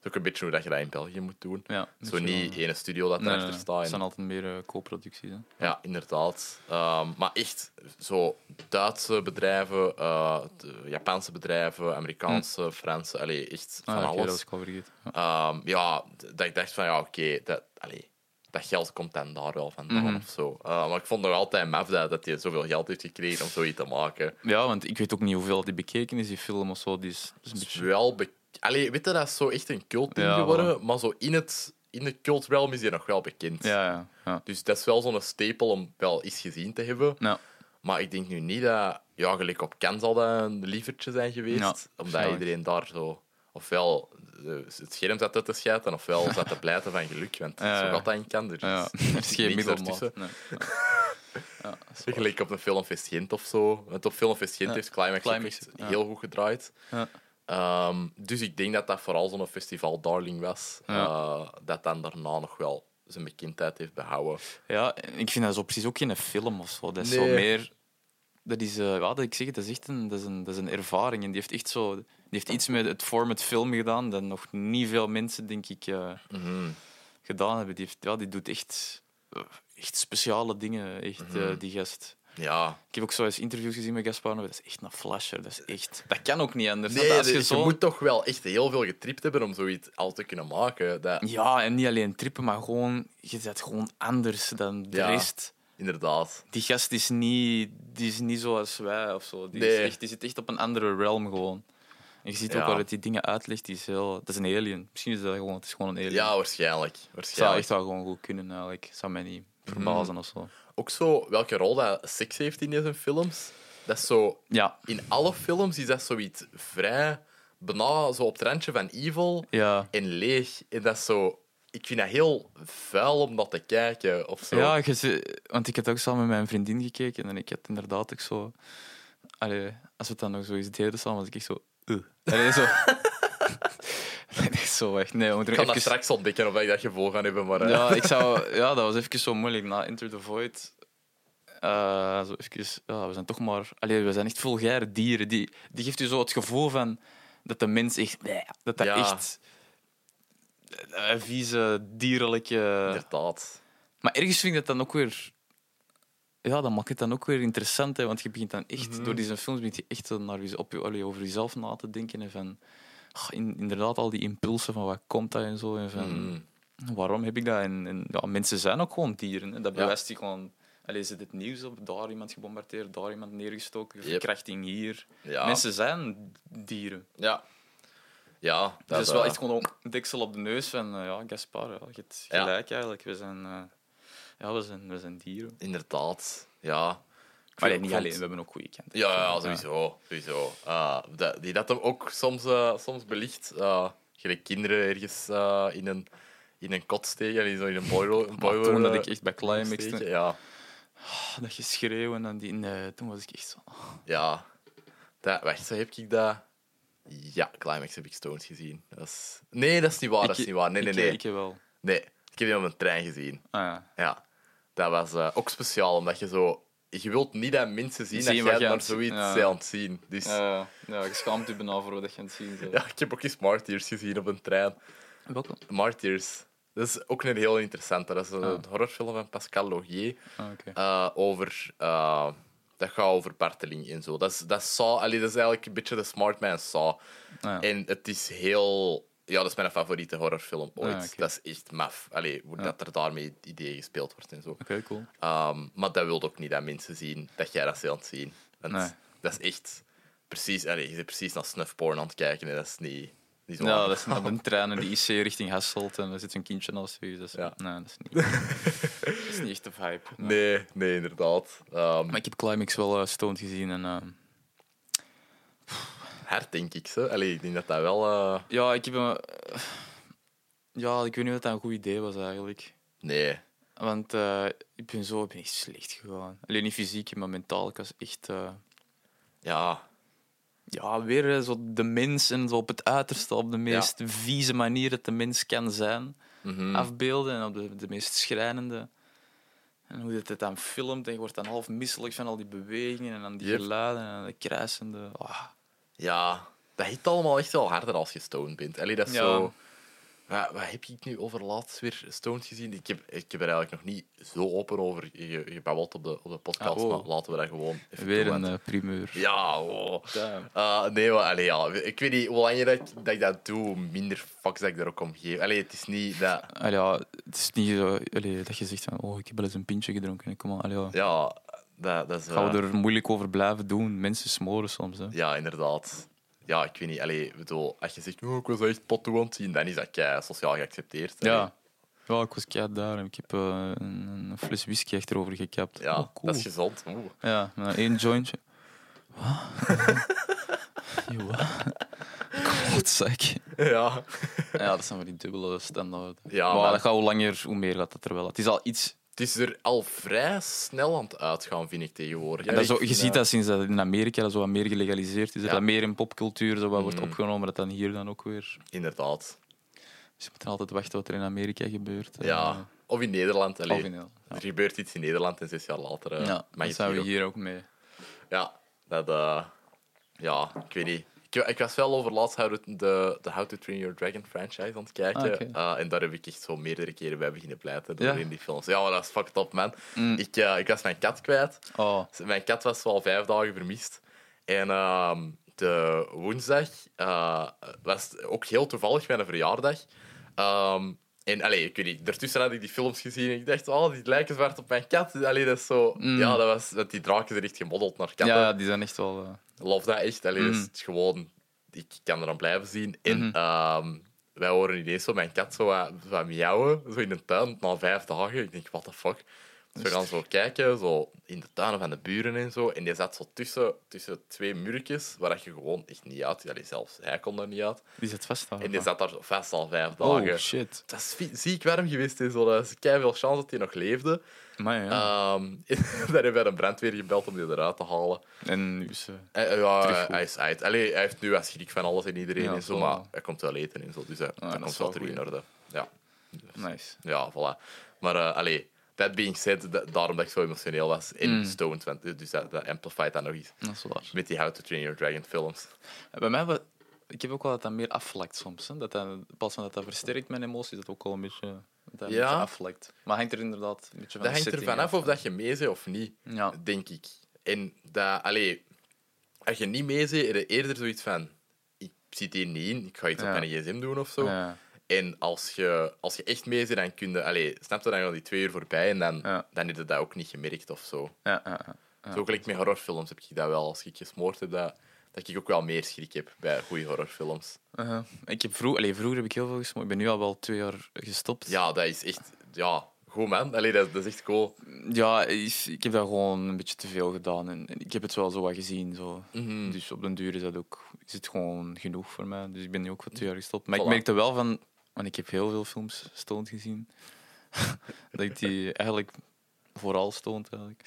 Speaker 1: is ook een beetje hoe dat je dat in België moet doen.
Speaker 2: Ja,
Speaker 1: Zo niet één studio dat
Speaker 2: Nee, nee,
Speaker 1: erachter
Speaker 2: nee.
Speaker 1: staat.
Speaker 2: Het
Speaker 1: en-
Speaker 2: zijn altijd meer eh, co-producties. hè.
Speaker 1: Ja, inderdaad. Ehm, maar echt, zo Duitse bedrijven, eh, de Japanse bedrijven, Amerikaanse, Franse, allee, echt van
Speaker 2: Hm. Ah, oké, dat
Speaker 1: alles.
Speaker 2: is ik al vergeten. Ja.
Speaker 1: Ehm, ja, d- dat ik dacht van ja, oké, dat, allee, dat geld komt dan daar wel vandaan
Speaker 2: Mhm.
Speaker 1: of zo. Eh, maar ik vond nog altijd maf dat, dat hij zoveel geld heeft gekregen om zoiets te maken.
Speaker 2: Ja, want ik weet ook niet hoeveel die bekeken is, die film of zo. Die is, dat is een
Speaker 1: Het is
Speaker 2: beetje...
Speaker 1: wel be- allee, weet je, dat is zo echt een cult ding
Speaker 2: Ja,
Speaker 1: geworden, maar zo in, het, in de cult realm is hij nog wel bekend.
Speaker 2: Ja, ja, ja.
Speaker 1: Dus dat is wel zo'n stapel om wel eens gezien te hebben.
Speaker 2: Ja.
Speaker 1: Maar ik denk nu niet dat... Ja, gelijk op Ken zal dat een lievertje zijn geweest.
Speaker 2: Ja,
Speaker 1: omdat
Speaker 2: snap ik.
Speaker 1: iedereen daar zo... Ofwel eh, het scherm zat uit te schijten, ofwel zat te blijten van geluk. Want
Speaker 2: Ja,
Speaker 1: zo
Speaker 2: ja.
Speaker 1: gaat dat in Ken. Er is, *laughs*
Speaker 2: Ja, *laughs* er is geen
Speaker 1: niks
Speaker 2: middelmaat.
Speaker 1: ertussen.
Speaker 2: Nee. nee. Ja, dat is waar.
Speaker 1: Gelijk op een filmfest Gent of zo. Want op filmfest Gent
Speaker 2: Ja,
Speaker 1: heeft Climax, ook
Speaker 2: Climax,
Speaker 1: echt
Speaker 2: ja.
Speaker 1: heel goed gedraaid.
Speaker 2: Ja.
Speaker 1: Ehm, dus ik denk dat dat vooral zo'n festival darling was.
Speaker 2: Ja.
Speaker 1: eh, dat dan daarna nog wel zijn bekendheid heeft behouden.
Speaker 2: Ja, en ik vind dat zo precies ook geen film of zo. Dat is
Speaker 1: Nee.
Speaker 2: zo meer. Dat is, eh, ja, dat ik zeg, dat is echt een, dat is een, dat is een ervaring. En die heeft echt zo. Die heeft iets met het format film gedaan dat nog niet veel mensen, denk ik, eh,
Speaker 1: Mhm.
Speaker 2: gedaan hebben. Die, heeft, ja, die doet echt, eh, echt speciale dingen, echt, eh,
Speaker 1: Mhm.
Speaker 2: die gast.
Speaker 1: Ja,
Speaker 2: Ik heb ook zo eens interviews gezien met Gaspar. Noé, Dat is echt een flasher. Dat, is echt, dat kan ook niet anders.
Speaker 1: Nee,
Speaker 2: Dat als je
Speaker 1: je,
Speaker 2: zo-
Speaker 1: moet toch wel echt heel veel getript hebben om zoiets al te kunnen maken. Dat,
Speaker 2: Ja, en niet alleen trippen, maar gewoon, je bent gewoon anders dan de
Speaker 1: Ja.
Speaker 2: rest.
Speaker 1: Inderdaad.
Speaker 2: die gast is niet, die is niet zoals wij of zo. Die,
Speaker 1: Nee.
Speaker 2: is echt, die zit echt op een andere realm gewoon. En je ziet
Speaker 1: Ja.
Speaker 2: ook waar het die dingen uitlegt. Die is heel, dat is een alien. Misschien is dat gewoon, het is gewoon een alien.
Speaker 1: Ja, waarschijnlijk.
Speaker 2: het zou
Speaker 1: waarschijnlijk.
Speaker 2: echt wel gewoon goed kunnen eigenlijk. Zou mij niet
Speaker 1: Mhm.
Speaker 2: verbazen of zo.
Speaker 1: Ook zo, welke rol dat seks heeft in deze films. Dat is zo,
Speaker 2: Ja,
Speaker 1: in alle films is dat zoiets vrij, bijna zo op het randje van evil
Speaker 2: ja.
Speaker 1: en leeg. En dat is zo, ik vind dat heel vuil om dat te kijken of zo.
Speaker 2: Ja, je ze- want ik had ook samen met mijn vriendin gekeken en ik had inderdaad ook zo. Allee, als we het dan nog zo eens deden samen, was ik echt zo. Uh. Allee, zo. *laughs* nee, nee, zo echt. Nee, we moeten
Speaker 1: ik
Speaker 2: nog
Speaker 1: kan dat
Speaker 2: even-
Speaker 1: straks ontdekken of ik dat gevoel ga hebben, maar... eh,
Speaker 2: Ja, ik zou, ja, dat was even zo moeilijk na Enter the Void. eh, zo even, ja, we zijn toch maar. Allee, we zijn echt vulgaire dieren. Die, die geeft u zo het gevoel van dat de mens echt. Dat dat
Speaker 1: Ja.
Speaker 2: echt. eh, vieze, dierlijke.
Speaker 1: Inderdaad.
Speaker 2: Maar ergens vind ik dat dan ook weer. Ja, dat maakt het dan ook weer interessant, hè, want je begint dan echt,
Speaker 1: Mhm.
Speaker 2: door deze films begint je echt zo naar jez- op, je- allee, over jezelf na te denken. En van, ah, in- inderdaad, al die impulsen van waar komt dat en zo. En van,
Speaker 1: Mhm.
Speaker 2: waarom heb ik dat? En, en ja, mensen zijn ook gewoon dieren. Hè. Dat
Speaker 1: Ja.
Speaker 2: bewijst hij gewoon. Allee, zit het nieuws op, daar iemand gebombardeerd, daar iemand neergestoken,
Speaker 1: Yep.
Speaker 2: verkrachting hier.
Speaker 1: Ja.
Speaker 2: Mensen zijn dieren.
Speaker 1: Ja. Ja, dat,
Speaker 2: Dat is Dus wel
Speaker 1: eh,
Speaker 2: echt gewoon een deksel op de neus van, eh, ja, Gaspar, ja, je hebt
Speaker 1: Ja.
Speaker 2: gelijk eigenlijk. We zijn, eh, ja, we zijn, we zijn dieren.
Speaker 1: Inderdaad, ja. Ik
Speaker 2: Maar
Speaker 1: vind-
Speaker 2: niet
Speaker 1: vond-
Speaker 2: alleen, we hebben ook goede kent.
Speaker 1: Ja, ja, sowieso. sowieso. Eh, dat, die dat hem ook soms, eh, soms belicht. eh gelijk kinderen ergens eh, in, een, in een kot steken, allee, zo in een boiler.
Speaker 2: Maar
Speaker 1: boiler
Speaker 2: toen dat ik
Speaker 1: eh,
Speaker 2: echt bij Climax...
Speaker 1: steken.
Speaker 2: stond,
Speaker 1: Ja,
Speaker 2: Dat je schreeuwen en dan die... Nee, toen was ik echt zo...
Speaker 1: ja. Dat, wacht, zo heb ik dat... Ja, Climax heb ik Stones gezien. Dat is... Nee, dat is niet waar. dat is
Speaker 2: Ik-
Speaker 1: niet waar. Nee, nee,
Speaker 2: ik-
Speaker 1: nee.
Speaker 2: Ik heb wel...
Speaker 1: nee. Ik heb die op een trein gezien.
Speaker 2: Ah, ja.
Speaker 1: Ja. Dat was eh, ook speciaal, omdat je zo... Je wilt niet dat mensen zien,
Speaker 2: Zien
Speaker 1: dat
Speaker 2: wat
Speaker 1: jij
Speaker 2: jij
Speaker 1: naar
Speaker 2: aan-
Speaker 1: zoiets
Speaker 2: ja.
Speaker 1: bent aan het zien. Dus...
Speaker 2: Ja, ja, je schaamt je bijna voor wat je aan het zien bent.
Speaker 1: Ja, ik heb ook eens Martyrs gezien op een trein.
Speaker 2: Welkom.
Speaker 1: Martyrs. Dat is ook een heel interessante. Dat is een
Speaker 2: Ah.
Speaker 1: horrorfilm van Pascal Logier.
Speaker 2: Ah, oké.
Speaker 1: eh, over, eh, dat gaat over barteling en zo. Dat is, dat is, Saw, allee, dat is eigenlijk een beetje de Smart Man Saw.
Speaker 2: Ah, ja.
Speaker 1: En het is heel... Ja, dat is mijn favoriete horrorfilm ooit.
Speaker 2: Ah, oké.
Speaker 1: Dat is echt maf. Allee, hoe dat er daarmee ideeën gespeeld wordt en zo.
Speaker 2: Oké, cool.
Speaker 1: Ehm, maar dat wil ook niet dat mensen zien dat jij dat zult zien. Want
Speaker 2: Nee.
Speaker 1: Dat is echt precies, allee, je bent precies naar snuffporn aan het kijken en dat is niet, niet zo
Speaker 2: Ja,
Speaker 1: handig.
Speaker 2: dat is *laughs* dan een trein en die IC richting Hasselt en er zit een kindje naast je. Dus,
Speaker 1: Ja.
Speaker 2: Nee, dat is *laughs* niet... dat is niet echt de vibe. Nee.
Speaker 1: Nee, nee, inderdaad. Ehm
Speaker 2: Maar ik heb Climax wel eh, stoned gezien en... ehm,
Speaker 1: hard denk ik ze. Allee, ik denk dat dat wel. eh,
Speaker 2: Ja, ik heb een... Ja, ik weet niet of dat een goed idee was eigenlijk.
Speaker 1: Nee.
Speaker 2: Want eh, ik ben zo ik ben echt slecht gegaan. Alleen niet fysiek, maar mentaal. Ik was echt... eh,
Speaker 1: Ja.
Speaker 2: Ja, weer eh, zo de mens en zo op het uiterste, op de meest vieze manier dat de mens kan zijn.
Speaker 1: Mhm.
Speaker 2: Afbeelden en op de, de meest schrijnende. En hoe dat het dan filmt en je wordt dan half misselijk van al die bewegingen en dan die
Speaker 1: Yep.
Speaker 2: geluiden en de kruisende... Ah.
Speaker 1: Ja. Dat hit allemaal echt wel harder als je stoned bent. Allee, dat is
Speaker 2: Ja.
Speaker 1: zo. Wat, wat heb ik nu over laatst weer Stoned gezien? Ik heb, ik heb er eigenlijk nog niet zo open over ge- gebabbeld op de, op de podcast,
Speaker 2: Ah, oh.
Speaker 1: maar laten we dat gewoon even
Speaker 2: Weer
Speaker 1: doen,
Speaker 2: een
Speaker 1: want-
Speaker 2: eh, primeur.
Speaker 1: Ja, wow.
Speaker 2: Damn.
Speaker 1: Eh, nee, maar allee, ja. ik weet niet, hoe langer dat, ik- dat ik dat doe, hoe minder fucks dat ik er ook om geef. Allee, het is niet dat...
Speaker 2: Allee, ja, het is niet zo allee, dat je zegt van, oh, ik heb wel eens een pintje gedronken. Kom maar, allee, ja.
Speaker 1: Ja, dat, dat is...
Speaker 2: Gaan
Speaker 1: eh,
Speaker 2: we er moeilijk over blijven doen? Mensen smoren soms. Hè.
Speaker 1: Ja, inderdaad. Ja, ik weet niet. Allee, bedoel, als je zegt, oh, ik was echt pot toe aan het zien, dan is dat kei sociaal geaccepteerd. Allee,
Speaker 2: Ja. ja, ik was keihard daar en ik heb eh, een, een fles whisky achterover gekapt.
Speaker 1: ja
Speaker 2: Oh, cool.
Speaker 1: dat is gezond. Oeh.
Speaker 2: Ja, maar één jointje.
Speaker 1: *laughs*
Speaker 2: Wat? Joh. Klootzak.
Speaker 1: Ja.
Speaker 2: *laughs* Ja, dat zijn wel die dubbele standaarden.
Speaker 1: Ja,
Speaker 2: maar
Speaker 1: maar-
Speaker 2: dat gaat hoe langer, hoe meer gaat dat er wel. Het is al iets.
Speaker 1: Het is er al vrij snel aan het uitgaan, vind ik tegenwoordig.
Speaker 2: En dat
Speaker 1: Allee,
Speaker 2: zo, je
Speaker 1: ik vind
Speaker 2: ziet dat sinds dat in Amerika dat zo wat meer gelegaliseerd is. Dat
Speaker 1: Ja.
Speaker 2: dat meer in popcultuur zo wat wordt
Speaker 1: Mm.
Speaker 2: opgenomen. Dat dan hier dan ook weer.
Speaker 1: Inderdaad.
Speaker 2: Dus je moet dan altijd wachten wat er in Amerika gebeurt. Eh,
Speaker 1: Ja. Of in Nederland. Allee,
Speaker 2: of in Nederland.
Speaker 1: Er gebeurt iets in Nederland en zes jaar later eh,
Speaker 2: Ja,
Speaker 1: mag
Speaker 2: dat
Speaker 1: je
Speaker 2: zijn
Speaker 1: het
Speaker 2: we
Speaker 1: hier ook.
Speaker 2: hier ook mee.
Speaker 1: Ja, dat... eh, ja, ik weet niet. Ik, ik was wel over laatst How to- de, de How to Train Your Dragon franchise aan het kijken.
Speaker 2: Ah, oké.
Speaker 1: Eh, en daar heb ik echt zo meerdere keren bij beginnen pleiten door
Speaker 2: Ja.
Speaker 1: in die films. Ja, maar dat is fucked up, man.
Speaker 2: Mm.
Speaker 1: Ik, eh, ik was mijn kat kwijt.
Speaker 2: Oh,
Speaker 1: Mijn kat was al vijf dagen vermist. En ehm, de woensdag eh, was het ook heel toevallig mijn verjaardag. Ehm, en allee, ik weet niet, daartussen had ik die films gezien en ik dacht, oh, die lijken zwart op mijn kat. Allee, dat is zo... Ja, dat was... want Die draken zijn echt gemodeld naar katten.
Speaker 2: Mm. ja, die zijn echt wel. eh,
Speaker 1: Love dat echt. Allee, dus
Speaker 2: Mm.
Speaker 1: het is gewoon... Ik kan er aan blijven zien. En
Speaker 2: Mhm.
Speaker 1: ehm, wij horen ineens zo mijn kat zo wat, wat miauwen, zo in de tuin, na vijf dagen. Ik denk, what the fuck? Dus we gaan zo kijken, zo in de tuinen van de buren en zo. En die zat zo tussen, tussen twee muurtjes, waar dat je gewoon echt niet uit... Allee, zelfs hij kon er niet uit.
Speaker 2: die zit vast. daar,
Speaker 1: En die
Speaker 2: of
Speaker 1: zat daar zo vast al vijf
Speaker 2: wat?
Speaker 1: dagen.
Speaker 2: Oh shit.
Speaker 1: Dat is fi- ziek warm geweest. hè, Zo. Dat is veel chance dat hij nog leefde.
Speaker 2: Maar ja.
Speaker 1: Ehm *laughs* daar hebben wij de brandweer gebeld om die eruit te halen.
Speaker 2: en nu is, eh,
Speaker 1: Eh, eh, ja,
Speaker 2: Terug goed.
Speaker 1: hij is uit. Allee, hij heeft nu wel schrik van alles en iedereen
Speaker 2: Ja,
Speaker 1: en zo,
Speaker 2: voilà.
Speaker 1: maar hij komt wel eten en zo, dus hij, dat
Speaker 2: dat
Speaker 1: komt
Speaker 2: is
Speaker 1: wel
Speaker 2: wel
Speaker 1: terug in
Speaker 2: goed,
Speaker 1: orde. Ja,
Speaker 2: nice.
Speaker 1: ja, voilà. Maar eh allee, that being said, da- daarom dat ik zo emotioneel was in
Speaker 2: Mm.
Speaker 1: Stoned, want, eh, dus dat, dat amplified dat nog eens.
Speaker 2: Dat is waar.
Speaker 1: Met die How to Train Your Dragon films.
Speaker 2: Bij mij, wa- ik heb ook wel dat dat meer afvlakt soms. Hè. Dat dat, pas omdat dat versterkt mijn emoties, dat ook al een beetje, dat dat een
Speaker 1: Ja.
Speaker 2: beetje afvlakt. Maar hangt er inderdaad een beetje van
Speaker 1: Dat
Speaker 2: de
Speaker 1: hangt er
Speaker 2: setting
Speaker 1: vanaf of dat je mee bent of niet,
Speaker 2: Ja.
Speaker 1: denk ik. En dat, allee, als je niet mee bent, heb je eerder zoiets van, ik zit hier niet in, ik ga iets
Speaker 2: Ja.
Speaker 1: op mijn gsm doen of zo.
Speaker 2: Ja.
Speaker 1: En als je, als je echt mee bent, dan kun je... Allee, snap je, dan gaan die twee uur voorbij en dan,
Speaker 2: Ja.
Speaker 1: dan heb je dat ook niet gemerkt of zo.
Speaker 2: Ja, ja, ja.
Speaker 1: Zo gelijk met horrorfilms heb ik dat wel. Als ik gesmoord heb, dat, dat ik ook wel meer schrik heb bij goede horrorfilms.
Speaker 2: Uh-huh. ik heb vroeg, allee, vroeger heb ik heel veel gesmoord. Ik ben nu al wel twee jaar gestopt.
Speaker 1: Ja, dat is echt... Ja, goed, man. Allee, dat, dat is echt cool.
Speaker 2: Ja, is- ik heb daar gewoon een beetje te veel gedaan. En en ik heb het wel zo wat gezien. Zo.
Speaker 1: Mhm.
Speaker 2: Dus op den duur is dat ook is het gewoon genoeg voor mij. Dus ik ben nu ook wat twee jaar gestopt. Maar
Speaker 1: Voilà.
Speaker 2: ik merkte wel van... Want ik heb heel veel films stoned gezien. *laughs* dat ik die eigenlijk vooral stoned eigenlijk.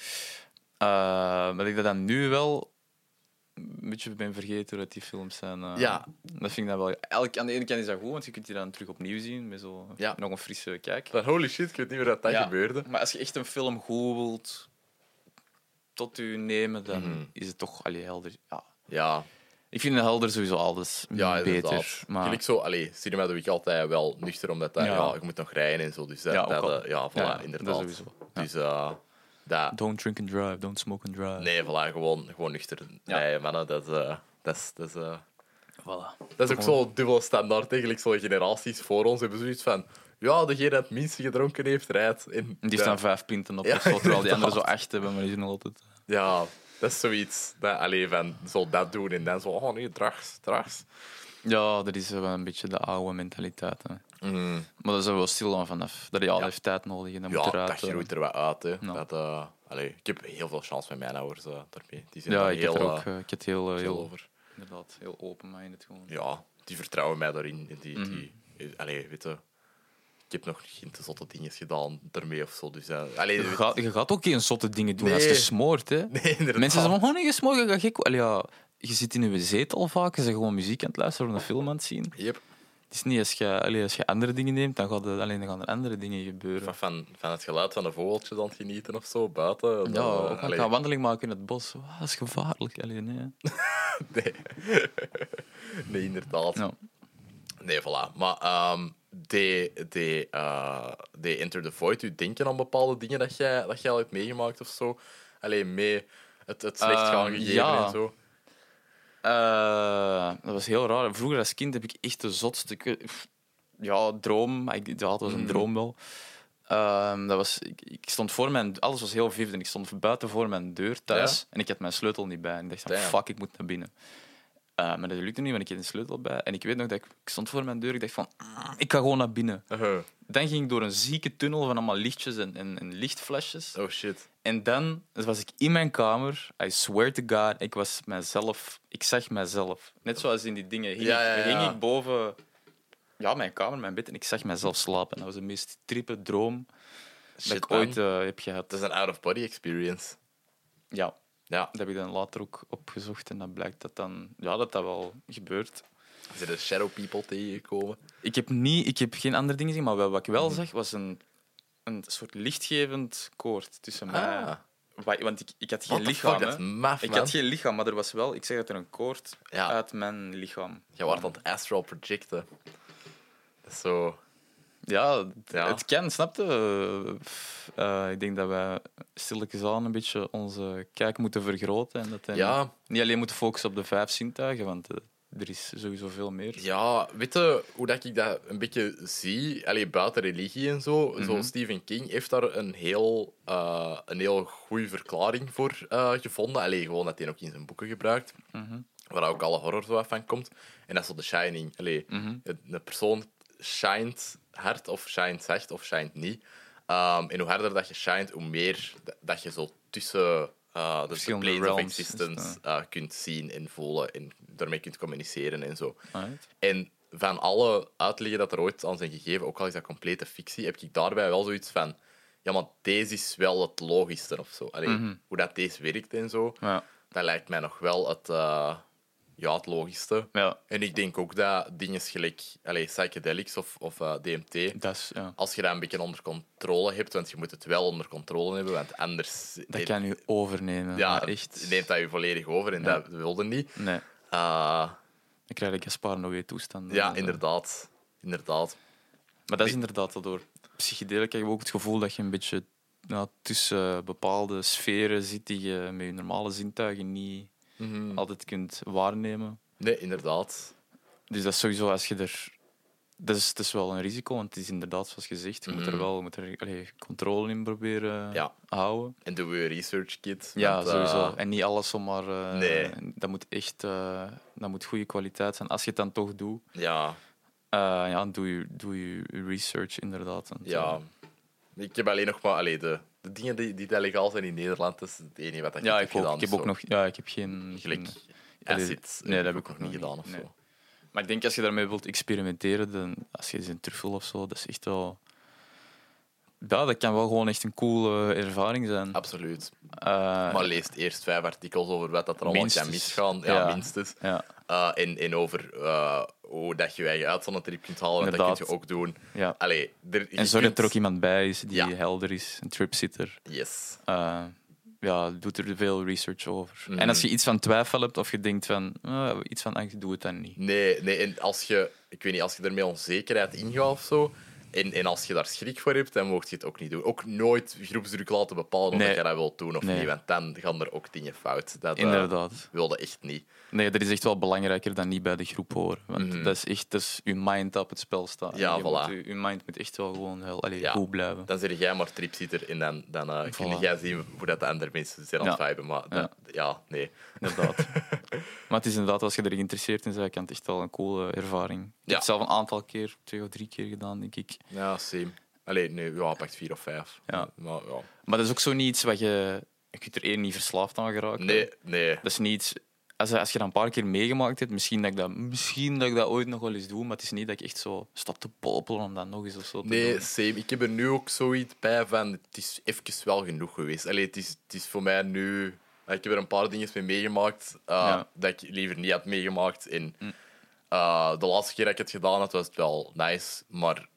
Speaker 2: Eh, maar dat ik dat dan nu wel een beetje ben vergeten hoe dat die films zijn. eh.
Speaker 1: Ja.
Speaker 2: Dat vind ik dan wel... Eigenlijk, aan de ene kant is dat goed, want je kunt die dan terug opnieuw zien. Met zo
Speaker 1: Ja.
Speaker 2: nog een frisse kijk.
Speaker 1: Van, holy shit, ik weet niet meer dat dat
Speaker 2: Ja,
Speaker 1: gebeurde.
Speaker 2: Maar als je echt een film goed wilt tot u nemen, dan
Speaker 1: Mhm.
Speaker 2: is het toch allee, helder. Ja.
Speaker 1: Ja,
Speaker 2: Ik vind het helder sowieso alles
Speaker 1: ja
Speaker 2: beter.
Speaker 1: inderdaad.
Speaker 2: Maar
Speaker 1: Gelijk zo, allee, cinema doe ik altijd wel nuchter, omdat dat, ja.
Speaker 2: Ja.
Speaker 1: je moet nog rijden en zo. Dus dat,
Speaker 2: Ja, ook
Speaker 1: dat,
Speaker 2: al.
Speaker 1: eh, ja, voilà,
Speaker 2: Ja, ja, dat
Speaker 1: inderdaad.
Speaker 2: sowieso. Ja.
Speaker 1: Dus eh, dat...
Speaker 2: don't drink and drive, don't smoke and drive.
Speaker 1: Nee, voilà, gewoon, gewoon nuchter
Speaker 2: Ja.
Speaker 1: rijden, mannen. Dat, is, eh, dat, is, dat, is, eh,
Speaker 2: Voilà.
Speaker 1: dat is ook zo'n dubbele standaard. Eigenlijk zo'n generaties voor ons hebben zoiets van... Ja, degene dat het minste gedronken heeft, rijdt. En
Speaker 2: En die
Speaker 1: ja,
Speaker 2: staan vijf punten op,
Speaker 1: *laughs* Ja,
Speaker 2: of zo, terwijl die anderen zo
Speaker 1: inderdaad.
Speaker 2: acht hebben, maar die zijn nog altijd...
Speaker 1: Ja, dat is zoiets. Dat, alleen van, zo dat doen en dan zo... Oh nee, drags, drags.
Speaker 2: Ja, dat is wel een beetje de oude mentaliteit. Hè.
Speaker 1: Mm,
Speaker 2: Maar daar zijn we wel stil aan vanaf. Dat je altijd
Speaker 1: Ja.
Speaker 2: heeft tijd nodig en dan moet
Speaker 1: ja,
Speaker 2: eruit.
Speaker 1: dat
Speaker 2: eh.
Speaker 1: groeit er wat uit. Hè.
Speaker 2: Ja.
Speaker 1: Dat, eh, allee, ik heb heel veel chance met mijn ouders eh, daarmee. Die zijn
Speaker 2: Ja,
Speaker 1: daar
Speaker 2: ik
Speaker 1: heel,
Speaker 2: heb er ook
Speaker 1: eh,
Speaker 2: eh, ik heb heel, eh,
Speaker 1: chill
Speaker 2: heel,
Speaker 1: over.
Speaker 2: inderdaad, heel open-minded gewoon.
Speaker 1: Ja, die vertrouwen mij daarin. en Die,
Speaker 2: Mhm.
Speaker 1: die, allee, weet je... Ik heb nog geen te zotte dingen gedaan daarmee of zo. Dus, eh, allee,
Speaker 2: Je
Speaker 1: weet-
Speaker 2: gaat, je gaat ook geen zotte dingen doen als
Speaker 1: Nee.
Speaker 2: je smoort, hè.
Speaker 1: Nee, inderdaad.
Speaker 2: Mensen zeggen gewoon niet gesmoord, je gaat gek. worden." Allee, ja, je zit in je zetel vaak, je bent gewoon muziek aan het luisteren of een film aan het zien.
Speaker 1: Yep.
Speaker 2: Het is niet als je, allee, als je andere dingen neemt, dan, gaat er- alleen, dan gaan er andere dingen gebeuren.
Speaker 1: Van, van, van het geluid van de vogeltjes aan het genieten of zo, buiten.
Speaker 2: Ja,
Speaker 1: dan, eh,
Speaker 2: ook een
Speaker 1: allee,
Speaker 2: gaan wandeling maken in het bos, Wauw, dat is
Speaker 1: *laughs*
Speaker 2: gevaarlijk. Allee, nee.
Speaker 1: nee. nee, inderdaad.
Speaker 2: Ja.
Speaker 1: Nee, voilà. Maar ehm die, die, eh, die Enter the Void, u denken aan bepaalde dingen dat jij, dat jij al hebt meegemaakt of zo? Alleen mee het, het slecht gaan
Speaker 2: Ehm,
Speaker 1: gegeven
Speaker 2: ja.
Speaker 1: en zo.
Speaker 2: Eh, dat was heel raar. Vroeger als kind heb ik echt de zotste... ik weet- pff, Ja, droom. maar Ik, ja, het was een droom wel. Ehm, dat was, ik, ik stond voor mijn... Alles was heel vivid en ik stond buiten voor mijn deur thuis. En ik had mijn sleutel niet bij. En ik dacht, van,
Speaker 1: Damn.
Speaker 2: fuck, ik moet naar binnen. Eh, maar dat lukte niet, want ik had een sleutel bij. En ik weet nog dat ik, ik stond voor mijn deur. Ik dacht van, "Mm, ik ga gewoon naar binnen.
Speaker 1: Eh,
Speaker 2: Dan ging ik door een zieke tunnel van allemaal lichtjes en, en, en lichtflesjes.
Speaker 1: Oh shit.
Speaker 2: En dan was ik in mijn kamer. I swear to God, ik was mezelf. Ik zag mezelf. Net zoals in die dingen. Hing,
Speaker 1: Ja, ja,
Speaker 2: ik,
Speaker 1: ja.
Speaker 2: hing ik boven ja, mijn kamer, mijn bed, en ik zag mezelf slapen. Dat was de meest trippe droom
Speaker 1: Shit,
Speaker 2: dat ik
Speaker 1: man.
Speaker 2: ooit eh, heb gehad.
Speaker 1: Dat is een out-of-body experience.
Speaker 2: Ja,
Speaker 1: Ja,
Speaker 2: dat heb ik dan later ook opgezocht. En dat blijkt dat dan, ja, dat, dat wel gebeurt.
Speaker 1: er zitten shadow people tegengekomen.
Speaker 2: Ik heb, niet, ik heb geen andere dingen gezien, maar wel wat ik wel
Speaker 1: Mhm.
Speaker 2: zag was een, een soort lichtgevend koord tussen mij.
Speaker 1: Ah.
Speaker 2: Wa- Want ik, ik had geen
Speaker 1: What the
Speaker 2: lichaam.
Speaker 1: fuck, dat is
Speaker 2: hè.
Speaker 1: maf,
Speaker 2: Ik
Speaker 1: man.
Speaker 2: had geen lichaam, maar er was wel, ik zeg dat er een koord
Speaker 1: Ja.
Speaker 2: uit mijn lichaam.
Speaker 1: Je wordt aan het astral projecten. Dat is Zo.
Speaker 2: Ja, d-
Speaker 1: Ja.
Speaker 2: het kan, snapte. eh, ik denk dat wij stilletjes aan een beetje onze kijk moeten vergroten. En dat dan
Speaker 1: Ja.
Speaker 2: niet alleen moeten focussen op de vijf zintuigen, want eh, er is sowieso veel meer.
Speaker 1: Ja, weet je hoe dat ik dat een beetje zie? Allee, buiten religie en zo.
Speaker 2: Mhm.
Speaker 1: Zo Stephen King heeft daar een heel, eh, een heel goede verklaring voor eh, gevonden. Allee, gewoon dat hij ook in zijn boeken gebruikt.
Speaker 2: Mhm.
Speaker 1: Waar ook alle horror zo wat van komt. En dat is zo The Shining. Allee,
Speaker 2: Mhm.
Speaker 1: het- Een persoon shined hard of shined zacht of shined niet. Ehm, en hoe harder dat je shined, hoe meer dat, dat je zo tussen eh, de- de,
Speaker 2: Verschillende
Speaker 1: planes of
Speaker 2: realms is het,
Speaker 1: existence eh, kunt zien en voelen en daarmee kunt communiceren en zo.
Speaker 2: Alright.
Speaker 1: En van alle uitleggen dat er ooit aan zijn gegeven, ook al is dat complete fictie, heb ik daarbij wel zoiets van... Ja, maar deze is wel het logischste of zo. Allee, Hoe dat deze werkt en zo,
Speaker 2: Mhm. Ja.
Speaker 1: dat lijkt mij nog wel het, eh, ja, het logischste.
Speaker 2: Ja,
Speaker 1: En ik denk ook dat dingen gelijk allee, psychedelics of, of eh, DMT,
Speaker 2: dat is... Ja.
Speaker 1: als je dat een beetje onder controle hebt, want je moet het wel onder controle hebben, want anders...
Speaker 2: Dat kan je overnemen.
Speaker 1: ja,
Speaker 2: maar echt.
Speaker 1: neemt dat je volledig over en
Speaker 2: Ja.
Speaker 1: dat wilde niet.
Speaker 2: Nee,
Speaker 1: Eh,
Speaker 2: dan krijg ik Gaspar nog weer toestanden. eh,
Speaker 1: ja, inderdaad. Inderdaad.
Speaker 2: Maar dat is inderdaad dat door psychedelica heb je ook het gevoel dat je een beetje nou, tussen bepaalde sferen zit die je met je normale zintuigen niet
Speaker 1: Mhm.
Speaker 2: altijd kunt waarnemen.
Speaker 1: Nee, inderdaad.
Speaker 2: Dus dat is sowieso als je er. Dat is, dat is wel een risico, want het is inderdaad zoals gezegd, je moet er wel je moet er, allee, controle in proberen
Speaker 1: Mhm. Ja.
Speaker 2: houden.
Speaker 1: En doe je research kit.
Speaker 2: Ja,
Speaker 1: want, eh,
Speaker 2: sowieso. En niet alles zomaar. eh,
Speaker 1: Nee.
Speaker 2: Dat moet echt eh, dat moet goede kwaliteit zijn. Als je het dan toch doet,
Speaker 1: ja,
Speaker 2: eh, ja, doe, je, doe je research inderdaad. Want, eh,
Speaker 1: ja. Ik heb alleen nog maar allee, de, de dingen die, die dat legaal zijn in Nederland. Dat is het enige wat ik
Speaker 2: Ja,
Speaker 1: heb
Speaker 2: ik, ook.
Speaker 1: gedaan.
Speaker 2: ik heb
Speaker 1: of
Speaker 2: ook
Speaker 1: zo. Mm,
Speaker 2: nog. Ja, ik heb geen.
Speaker 1: Gelijk
Speaker 2: geen- Allee,
Speaker 1: acid.
Speaker 2: nee,
Speaker 1: heb
Speaker 2: dat
Speaker 1: ik ook nog niet gedaan. Of
Speaker 2: nee.
Speaker 1: zo.
Speaker 2: Maar ik denk als je daarmee wilt experimenteren, dan, als je eens een truffel of zo, dat is echt wel. Ja, dat kan wel gewoon echt een coole ervaring zijn.
Speaker 1: Absoluut.
Speaker 2: Eh,
Speaker 1: Maar leest eerst vijf artikels over wat dat er allemaal kan
Speaker 2: Minstens.
Speaker 1: misgaan. Ja,
Speaker 2: Ja.
Speaker 1: minstens.
Speaker 2: ja,
Speaker 1: Eh, en, en over eh, hoe dat je je eigen uit zo'n trip kunt halen. want Dat
Speaker 2: Inderdaad.
Speaker 1: kun je ook doen.
Speaker 2: ja.
Speaker 1: Allee, er, Ah, je
Speaker 2: En zorg dat
Speaker 1: kunt-
Speaker 2: er ook iemand bij is die
Speaker 1: Ja.
Speaker 2: helder is, een tripsitter.
Speaker 1: Yes.
Speaker 2: Eh ja, doet er veel research over.
Speaker 1: Mm.
Speaker 2: En als je iets van twijfel hebt of je denkt van eh, iets van angst, doe het dan niet.
Speaker 1: Nee, nee, en als je, ik weet niet, als je ermee onzekerheid ingaat of zo, en, en als je daar schrik voor hebt, dan mocht je het ook niet doen. Ook nooit groepsdruk laten bepalen of
Speaker 2: Nee.
Speaker 1: dat je dat wilt doen of
Speaker 2: Nee.
Speaker 1: niet, want dan gaan er ook dingen fout. Dat eh,
Speaker 2: Inderdaad.
Speaker 1: wilde echt niet.
Speaker 2: Nee, dat is echt wel belangrijker dan niet bij de groep horen. Want dat is echt, dat is je mind op het spel staat.
Speaker 1: Mhm. Ja,
Speaker 2: je,
Speaker 1: voilà.
Speaker 2: moet, je- je mind moet echt wel gewoon heel allee,
Speaker 1: Ja.
Speaker 2: goed blijven.
Speaker 1: Dan zeg jij maar tripsitter en dan, dan eh, kun
Speaker 2: Voilà.
Speaker 1: jij zien hoe dat de andere mensen zijn aan het
Speaker 2: Ja.
Speaker 1: viben. Maar dat- ja, nee.
Speaker 2: Inderdaad. *laughs* maar het is inderdaad, als je er geïnteresseerd in bent, kan het echt wel een coole ervaring. Ik
Speaker 1: Ja.
Speaker 2: heb het zelf een aantal keer, twee of drie keer gedaan, denk ik.
Speaker 1: Ja, same. Allee, nee, ja, pakt vier of vijf.
Speaker 2: Ja.
Speaker 1: Maar, ja.
Speaker 2: Maar dat is ook zo niet iets wat je... Je kunt er één niet verslaafd aan geraken.
Speaker 1: Nee, nee.
Speaker 2: Dat is niet iets... Als, als je dat een paar keer meegemaakt hebt, misschien dat, ik dat, misschien dat ik dat ooit nog wel eens doe, maar het is niet dat ik echt zo sta te popelen om dat nog eens of zo te
Speaker 1: Nee,
Speaker 2: doen.
Speaker 1: same. Ik heb er nu ook zoiets bij van. Het is even wel genoeg geweest. Allee, het, is, het is voor mij nu. ah, Ik heb er een paar dingen mee meegemaakt eh,
Speaker 2: Ja. Mm.
Speaker 1: dat ik liever niet had ah, meegemaakt. En, eh, de laatste keer dat ik het gedaan had, was het wel nice. Maar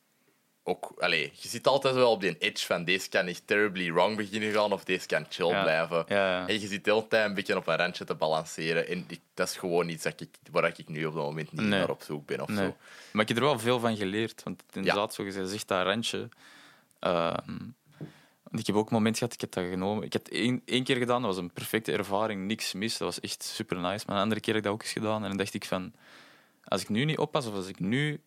Speaker 1: ook, allee, je zit altijd wel op die edge van deze kan echt terribly wrong beginnen gaan of deze kan chill
Speaker 2: Ja.
Speaker 1: blijven.
Speaker 2: Ja, ja.
Speaker 1: En je zit de hele tijd een beetje op een randje te balanceren. En ik- dat is gewoon iets dat ik, waar ik nu op dat moment niet
Speaker 2: Nee.
Speaker 1: naar op zoek ben of
Speaker 2: Nee.
Speaker 1: zo.
Speaker 2: Maar ik heb er wel veel van geleerd. Want inderdaad, zo gezegd, zegt dat randje. ehm, want ik heb ook een moment gehad, ik heb dat genomen. Ik heb het één, één keer gedaan, dat was een perfecte ervaring, niks mis. Dat was echt super nice. Maar een andere keer heb ik dat ook eens gedaan. En dan dacht ik van, als ik nu niet oppas, of als ik nu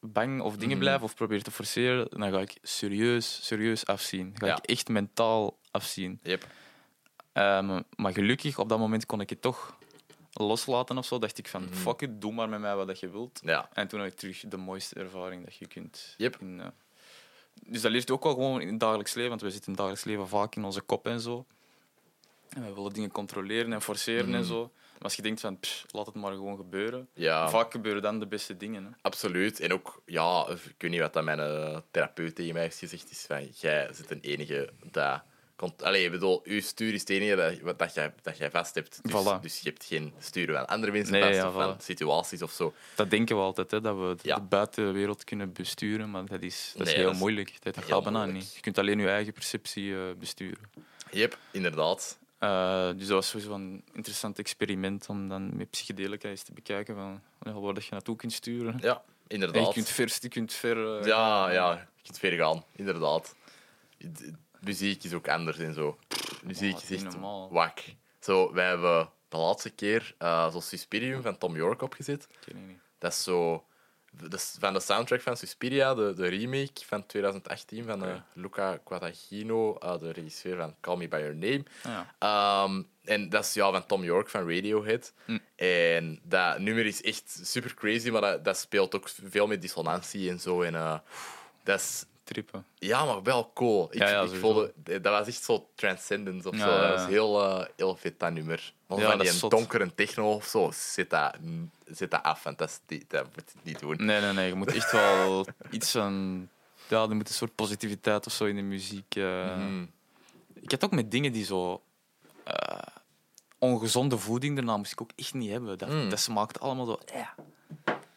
Speaker 2: bang of
Speaker 1: Mhm.
Speaker 2: dingen blijf, of probeer te forceren, dan ga ik serieus, serieus afzien. Ga
Speaker 1: Ja.
Speaker 2: ik echt mentaal afzien.
Speaker 1: Yep.
Speaker 2: Ehm, maar gelukkig, op dat moment kon ik het toch loslaten of zo. Dacht ik van,
Speaker 1: Mhm.
Speaker 2: fuck it, doe maar met mij wat dat je wilt.
Speaker 1: Ja.
Speaker 2: En toen had ik terug de mooiste ervaring dat je kunt.
Speaker 1: Yep.
Speaker 2: in, eh, dus dat leeft ook wel gewoon in het dagelijks leven, want we zitten in het dagelijks leven vaak in onze kop en zo. En we willen dingen controleren en forceren en zo. Maar als je denkt van, pff, laat het maar gewoon gebeuren.
Speaker 1: Ja.
Speaker 2: Vaak gebeuren dan de beste dingen. Hè.
Speaker 1: Absoluut. En ook, ja, ik weet niet wat dat mijn eh, therapeut tegen mij heeft gezegd, is van, jij zit een enige dat... Komt, allee, ik bedoel, uw stuur is het enige dat, wat dat, jij, dat jij vast hebt. Dus,
Speaker 2: Voilà.
Speaker 1: dus je hebt geen sturen aan andere mensen
Speaker 2: Nee,
Speaker 1: vast,
Speaker 2: ja,
Speaker 1: of aan
Speaker 2: voilà.
Speaker 1: situaties of zo.
Speaker 2: Dat denken we altijd, hè, dat we de-
Speaker 1: Ja.
Speaker 2: de buitenwereld kunnen besturen, maar dat is, dat is
Speaker 1: Nee,
Speaker 2: heel
Speaker 1: dat is
Speaker 2: moeilijk. Dat, dat
Speaker 1: heel
Speaker 2: gaat bijna
Speaker 1: moeilijk.
Speaker 2: niet. Je kunt alleen je eigen perceptie eh, besturen.
Speaker 1: Yep, inderdaad.
Speaker 2: Eh, dus dat was sowieso een interessant experiment om dan met psychedelica eens te bekijken van, ja, waar dat je naartoe kunt sturen.
Speaker 1: Ja,
Speaker 2: En je
Speaker 1: inderdaad.
Speaker 2: kunt ver, je kunt ver. eh,
Speaker 1: Ja, ja, je kunt verder gaan, inderdaad. D- Muziek is ook anders en zo. Muziek
Speaker 2: dat
Speaker 1: is
Speaker 2: is niet
Speaker 1: echt
Speaker 2: normaal.
Speaker 1: wak. Zo, wij hebben de laatste keer eh zo'n Suspirium van Tom York opgezet.
Speaker 2: ik weet het niet.
Speaker 1: Dat is zo. dat is van de soundtrack van Suspiria, de, de remake van 2018 van eh,
Speaker 2: Oké.
Speaker 1: Luca Guadagnino, eh, de regisseur van Call Me By Your Name.
Speaker 2: Ja.
Speaker 1: Ehm, en dat is ja, van Tom York van Radiohead.
Speaker 2: Mm.
Speaker 1: En dat nummer is echt super crazy, maar dat, dat speelt ook veel met dissonantie en zo. En, eh, dat is
Speaker 2: Trippen.
Speaker 1: ja, maar wel cool. Ik,
Speaker 2: Ja, ja,
Speaker 1: ik
Speaker 2: sowieso.
Speaker 1: voelde, eh, dat was echt zo transcendence of
Speaker 2: Ja,
Speaker 1: zo.
Speaker 2: ja, ja.
Speaker 1: Dat was heel, eh, heel vet, dat nummer. Of
Speaker 2: Ja,
Speaker 1: van
Speaker 2: dat is
Speaker 1: die
Speaker 2: zot.
Speaker 1: donkere techno of zo, zit dat, zit dat af. Want dat, is niet- dat moet je niet doen.
Speaker 2: Nee, nee, nee. Je moet echt wel *laughs* iets van. Ja, er moet een soort positiviteit of zo in de muziek. eh.
Speaker 1: Mm.
Speaker 2: Ik had ook met dingen die zo. eh, ongezonde voeding daarna moest ik ook echt niet hebben. Dat,
Speaker 1: Mm.
Speaker 2: dat smaakt allemaal zo. eh.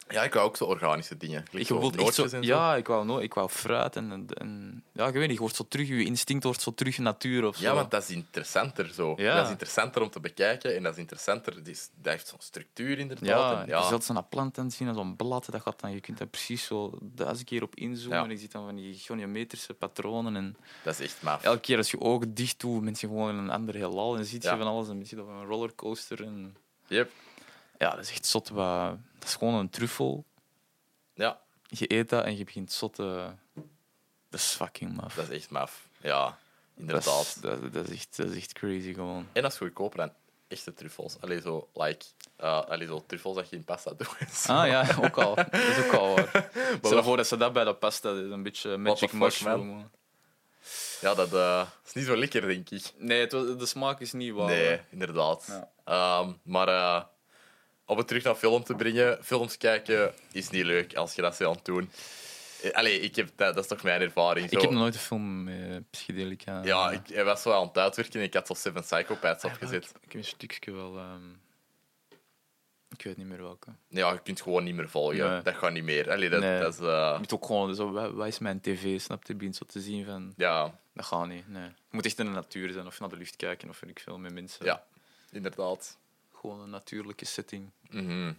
Speaker 1: Ja, ik hou ook zo organische dingen. Like
Speaker 2: Ik
Speaker 1: zo
Speaker 2: wilde echt zo,
Speaker 1: nootjes en zo.
Speaker 2: ja, ik wou, no ik wou fruit en, en, en- ja, ik weet niet, je wordt zo terug, je instinct wordt zo terug natuur of zo.
Speaker 1: Ja, want dat is interessanter zo.
Speaker 2: Ja.
Speaker 1: Dat is interessanter om te bekijken en dat is interessanter. die is- Dat heeft zo'n structuur inderdaad.
Speaker 2: Ja,
Speaker 1: en
Speaker 2: je zult zo'n plant aan zien, zo'n blad, dat gaat dan, je kunt daar precies zo duizend keer op inzoomen.
Speaker 1: Ja.
Speaker 2: En je ziet dan van die goniometrische patronen. En
Speaker 1: dat is echt maf.
Speaker 2: elke keer als je ogen dicht doet, ben je gewoon in een ander heelal. En dan ziet je
Speaker 1: Ja.
Speaker 2: van alles, en je ziet op een rollercoaster. En...
Speaker 1: Yep.
Speaker 2: Ja, dat is echt zot. wat- Dat is gewoon een truffel.
Speaker 1: Ja,
Speaker 2: Je eet dat en je begint zot te... Dat is fucking maf.
Speaker 1: dat is echt maf. Ja,
Speaker 2: Dat
Speaker 1: inderdaad.
Speaker 2: is, dat, dat is echt, dat is echt crazy gewoon.
Speaker 1: En dat is goedkoper dan echte truffels. Allee, zo, like, eh, allee, zo truffels dat je in pasta doet. en zo.
Speaker 2: Ah ja, *laughs* ook al. Dat is ook al *laughs* waar. Stel je
Speaker 1: wat-
Speaker 2: voor dat ze dat bij de pasta is een beetje
Speaker 1: the
Speaker 2: magic
Speaker 1: fuck,
Speaker 2: mushroom.
Speaker 1: man?
Speaker 2: man.
Speaker 1: *laughs* Ja, dat eh, is niet zo lekker, denk ik.
Speaker 2: Nee, het was- de smaak is niet waar.
Speaker 1: Nee, inderdaad.
Speaker 2: Ja.
Speaker 1: Ehm, maar eh, om het terug naar film te brengen, films kijken is niet leuk als je dat zou aan het doen. Eh, Allee, ik heb, dat, dat is toch mijn ervaring. Zo.
Speaker 2: Ik heb nog nooit een film met psychedelica. eh,
Speaker 1: Ja, ik hij was zo aan het uitwerken en ik had zo Seven Psychopaths
Speaker 2: Ah, ja,
Speaker 1: opgezet.
Speaker 2: Ik, ik heb een stukje wel. ehm, Ik weet niet meer welke.
Speaker 1: Ja, je kunt gewoon niet meer volgen.
Speaker 2: Nee.
Speaker 1: Dat gaat niet meer. Allee, dat,
Speaker 2: Nee.
Speaker 1: dat is... eh,
Speaker 2: Je moet ook gewoon zo, wa- wat is mijn tv, snap je? Je begint zo te zien van,
Speaker 1: ja,
Speaker 2: dat gaat niet. Nee. Het moet echt in de natuur zijn of naar de lucht kijken of weet ik veel met mensen.
Speaker 1: Ja. inderdaad.
Speaker 2: Gewoon een natuurlijke setting.
Speaker 1: Mhm.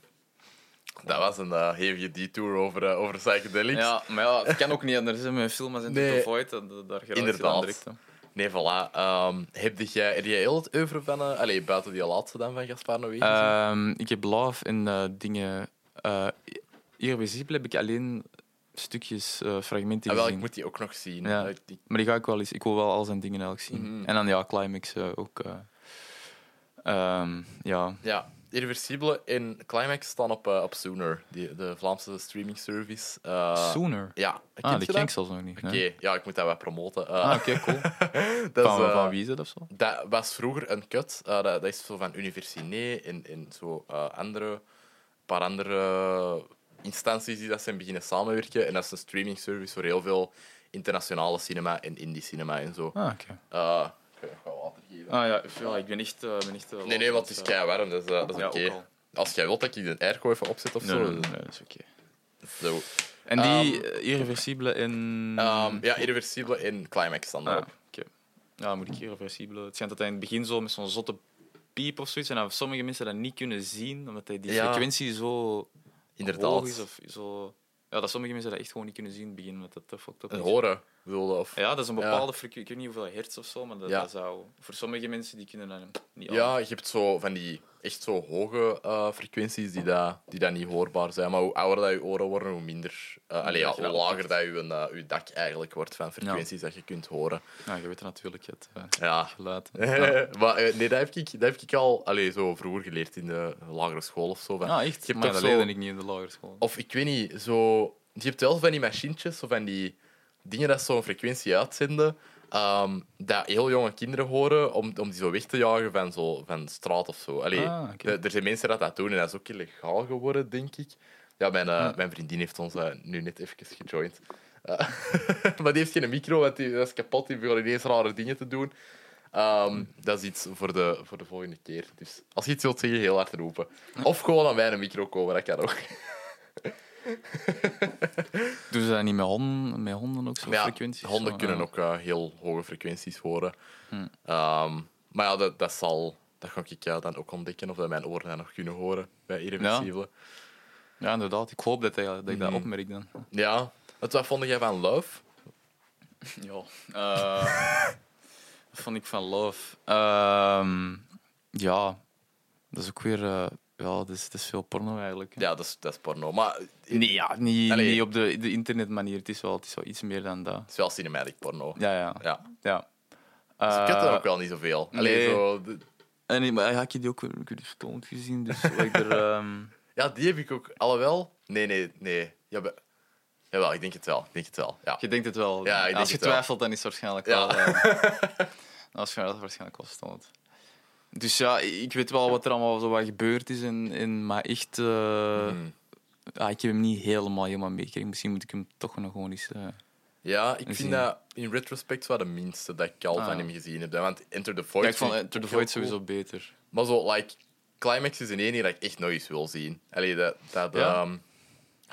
Speaker 1: Dat was een eh hevige detour over, eh, over psychedelics.
Speaker 2: Ja, maar ja, het kan ook niet anders. Hè. Met films en
Speaker 1: Nee.
Speaker 2: nee. Void, dat, dat- daar geraakt je
Speaker 1: Inderdaad.
Speaker 2: dan direct. Hè.
Speaker 1: Nee, voilà. Ehm, heb jij, heb jij heel het oeuvre van... eh, allee, buiten die laatste dan van Gaspar Noé gezien?
Speaker 2: Ehm, ik heb Love en eh, dingen. eh Irreversibel heb ik alleen stukjes, eh, fragmenten
Speaker 1: Ah, wel, ik
Speaker 2: gezien.
Speaker 1: moet die ook nog zien.
Speaker 2: Ja.
Speaker 1: Eh, die-
Speaker 2: Maar die ga ik wel eens. Ik wil wel al zijn dingen eigenlijk zien.
Speaker 1: Mhm.
Speaker 2: En dan ja, Climax eh, ook. eh. Ehm, ja.
Speaker 1: ja, Irreversibele en Climax staan op, eh, op Sooner, die, de Vlaamse streaming service. Eh,
Speaker 2: Sooner.
Speaker 1: Ja,
Speaker 2: ah,
Speaker 1: kent
Speaker 2: die
Speaker 1: je
Speaker 2: ken ik
Speaker 1: dat?
Speaker 2: zelfs nog niet.
Speaker 1: Oké,
Speaker 2: nee.
Speaker 1: ja, ik moet *laughs* dat wel promoten. Eh,
Speaker 2: Ah, oké, cool.
Speaker 1: dat, is,
Speaker 2: van,
Speaker 1: eh,
Speaker 2: van wie is *laughs* dat of zo?
Speaker 1: dat was vroeger een kut. Eh, dat, dat is zo van Universiné en, en zo eh, andere, een paar andere instanties die dat zijn beginnen samenwerken. En dat is een streaming service voor heel veel internationale cinema en indie cinema en zo.
Speaker 2: Ah, oké.
Speaker 1: Eh, ik ga nog wat water geven.
Speaker 2: Ah ja, ja, ik ben echt. eh, ben echt eh,
Speaker 1: Nee, nee, want het is
Speaker 2: eh,
Speaker 1: kei warm, dus eh, dat is
Speaker 2: Ja,
Speaker 1: oké.
Speaker 2: ook al.
Speaker 1: Als jij wilt dat ik de airco even opzet of
Speaker 2: Nee,
Speaker 1: zo.
Speaker 2: nee, nee, nee, dat is oké.
Speaker 1: zo.
Speaker 2: En die eh, irreversibele in...
Speaker 1: Ehm, ja, irreversibele in Climax dan.
Speaker 2: Ah,
Speaker 1: daarop.
Speaker 2: oké. Ja, dan moet ik irreversibele... Het schijnt dat hij in het begin zo met zo'n zotte piep of zoiets, en dat sommige mensen dat niet kunnen zien, omdat hij die
Speaker 1: Ja.
Speaker 2: frequentie zo
Speaker 1: Inderdaad.
Speaker 2: hoog is. Of zo... Ja, dat sommige mensen dat echt gewoon niet kunnen zien in het begin, omdat dat te fucked up
Speaker 1: Een
Speaker 2: is.
Speaker 1: horen, bedoelde of...
Speaker 2: Ja, dat is een bepaalde frequentie. Ik weet niet hoeveel hertz of zo, maar dat,
Speaker 1: Ja.
Speaker 2: dat zou... Voor sommige mensen, die kunnen dat niet aan.
Speaker 1: Ja, je hebt zo van die echt zo hoge eh, frequenties die dat, die dat niet hoorbaar zijn. Maar hoe ouder dat je oren worden, hoe minder... eh allee, ja,
Speaker 2: Dat je
Speaker 1: hoe
Speaker 2: dat
Speaker 1: lager
Speaker 2: oppikt.
Speaker 1: dat je, een, eh, je dak eigenlijk wordt van frequenties dat je kunt horen.
Speaker 2: Nou, je weet dat natuurlijk, het eh,
Speaker 1: Ja.
Speaker 2: geluid.
Speaker 1: maar eh, nee, dat heb ik, dat heb ik al allee, zo vroeger geleerd in de lagere school of zo. Van,
Speaker 2: Ja, echt?
Speaker 1: Je hebt toch
Speaker 2: maar dat
Speaker 1: zo-
Speaker 2: leerde ik niet in de lagere school.
Speaker 1: Of ik weet niet, zo... Je hebt wel van die machientjes, zo van die dingen dat zo'n frequentie uitzenden, ehm, dat heel jonge kinderen horen, om, om die zo weg te jagen van, zo, van straat of zo. Allee,
Speaker 2: Ah, oké.
Speaker 1: de- er zijn mensen dat dat doen en dat is ook illegaal geworden, denk ik. Ja, mijn, eh, mijn vriendin heeft ons eh, nu net even gejoind. Eh, *laughs* maar die heeft geen micro, want die, dat is kapot. Die begon ineens rare dingen te doen. Ehm, dat is iets voor de, voor de volgende keer. Dus als je iets wilt zeggen, heel hard roepen. Of gewoon aan mij een micro komen, dat kan ook.
Speaker 2: Doen ze dat niet met honden, met honden ook zo?
Speaker 1: Maar ja,
Speaker 2: frequenties?
Speaker 1: honden
Speaker 2: Zo,
Speaker 1: kunnen
Speaker 2: ja. Hm.
Speaker 1: ook eh, heel hoge frequenties horen. Ehm, maar ja, dat, dat zal... Dat ga ik ja, dan ook ontdekken, of dat mijn oren dat nog kunnen horen bij irreversibele.
Speaker 2: Ja, inderdaad. Ik hoop dat, hij, dat ik dat opmerk dan.
Speaker 1: Ja. Het, wat vond jij van Love?
Speaker 2: *laughs* Ja. wat vond ik van Love? Ehm, ja, dat is ook weer... eh, ja, dat is, dat is veel porno eigenlijk. hè.
Speaker 1: Ja, dat is, dat is porno. Maar het
Speaker 2: Nee, ja, niet,
Speaker 1: Allee.
Speaker 2: niet op de, de internetmanier. Het is, wel, het is wel iets meer dan dat.
Speaker 1: is wel cinematic porno.
Speaker 2: Ja, ja.
Speaker 1: Ja. Dus
Speaker 2: ja.
Speaker 1: Ze kutten
Speaker 2: Eh,
Speaker 1: ook wel niet zoveel. Allee,
Speaker 2: nee.
Speaker 1: zo, de-
Speaker 2: En ik, maar ja, ik heb die ook weer weer gestoond gezien. Dus wat ik er, *laughs* ehm,
Speaker 1: ja, die heb ik ook. Alhoewel... Nee, nee, nee. Ja, be- Jawel, ik denk het wel. Ik denk het wel, ja.
Speaker 2: je denkt het wel.
Speaker 1: Ja, ik denk
Speaker 2: Als je
Speaker 1: het wel.
Speaker 2: twijfelt, dan is het waarschijnlijk
Speaker 1: Ja. *laughs*
Speaker 2: wel. eh, dan is het waarschijnlijk wel gestoond. Dus ja, ik weet wel wat er allemaal zo wat gebeurd is. En, en, maar echt, eh,
Speaker 1: Hmm.
Speaker 2: ah, ik heb hem niet helemaal, helemaal meegekregen. Misschien moet ik hem toch nog gewoon eens. eh,
Speaker 1: Ja, ik vind
Speaker 2: Zien.
Speaker 1: dat in retrospect wel de minste dat ik al
Speaker 2: Ah.
Speaker 1: van hem gezien heb. Want Enter the
Speaker 2: ja,
Speaker 1: Void...
Speaker 2: ik vond
Speaker 1: vind
Speaker 2: Enter the
Speaker 1: ook heel
Speaker 2: Void
Speaker 1: cool.
Speaker 2: sowieso beter.
Speaker 1: Maar zo, like, Climax is in één die dat ik echt nooit eens wil zien. Allee, dat... dat
Speaker 2: Ja?
Speaker 1: ehm,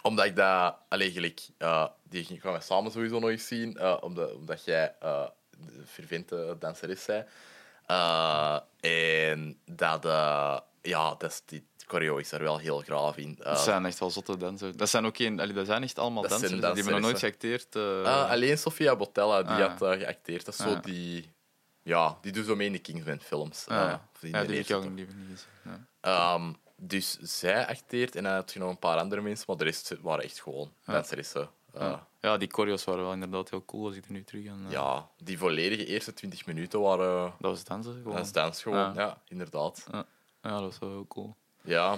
Speaker 1: omdat ik dat... Allee, gelijk... eh, die gaan we samen sowieso nooit eens zien. eh, omdat, omdat jij eh de fervente danseres zij. Eh, en dat... eh, ja, dat is, die choreo is er wel heel graaf in. Eh,
Speaker 2: Dat zijn echt wel zotte dansers. Dat zijn ook geen, allee, dat zijn echt allemaal
Speaker 1: Dat zijn
Speaker 2: dansers. Die hebben nog nooit
Speaker 1: danseressen.
Speaker 2: geacteerd. eh.
Speaker 1: Ah, alleen Sofia Botella die
Speaker 2: Ah.
Speaker 1: had eh, geacteerd. Dat is zo
Speaker 2: Ah.
Speaker 1: die. Ja, die doet zo mee in de Kingsman-films.
Speaker 2: Ah,
Speaker 1: eh,
Speaker 2: ja.
Speaker 1: of in
Speaker 2: ja,
Speaker 1: de
Speaker 2: die heb ik
Speaker 1: eerste
Speaker 2: ook
Speaker 1: toch.
Speaker 2: liever niet gezien. Ja.
Speaker 1: Ehm, dus zij acteert en dan had je nog een paar andere mensen, maar de rest waren echt gewoon danseressen. Eh,
Speaker 2: Ja. ja, die choreo's waren wel inderdaad heel cool als ik er nu terug aan. eh,
Speaker 1: Ja, die volledige eerste 20 minuten waren. eh,
Speaker 2: Dat was dansen gewoon.
Speaker 1: Dat is dans gewoon,
Speaker 2: Ah.
Speaker 1: ja, inderdaad.
Speaker 2: Ja, dat was wel heel cool.
Speaker 1: Ja,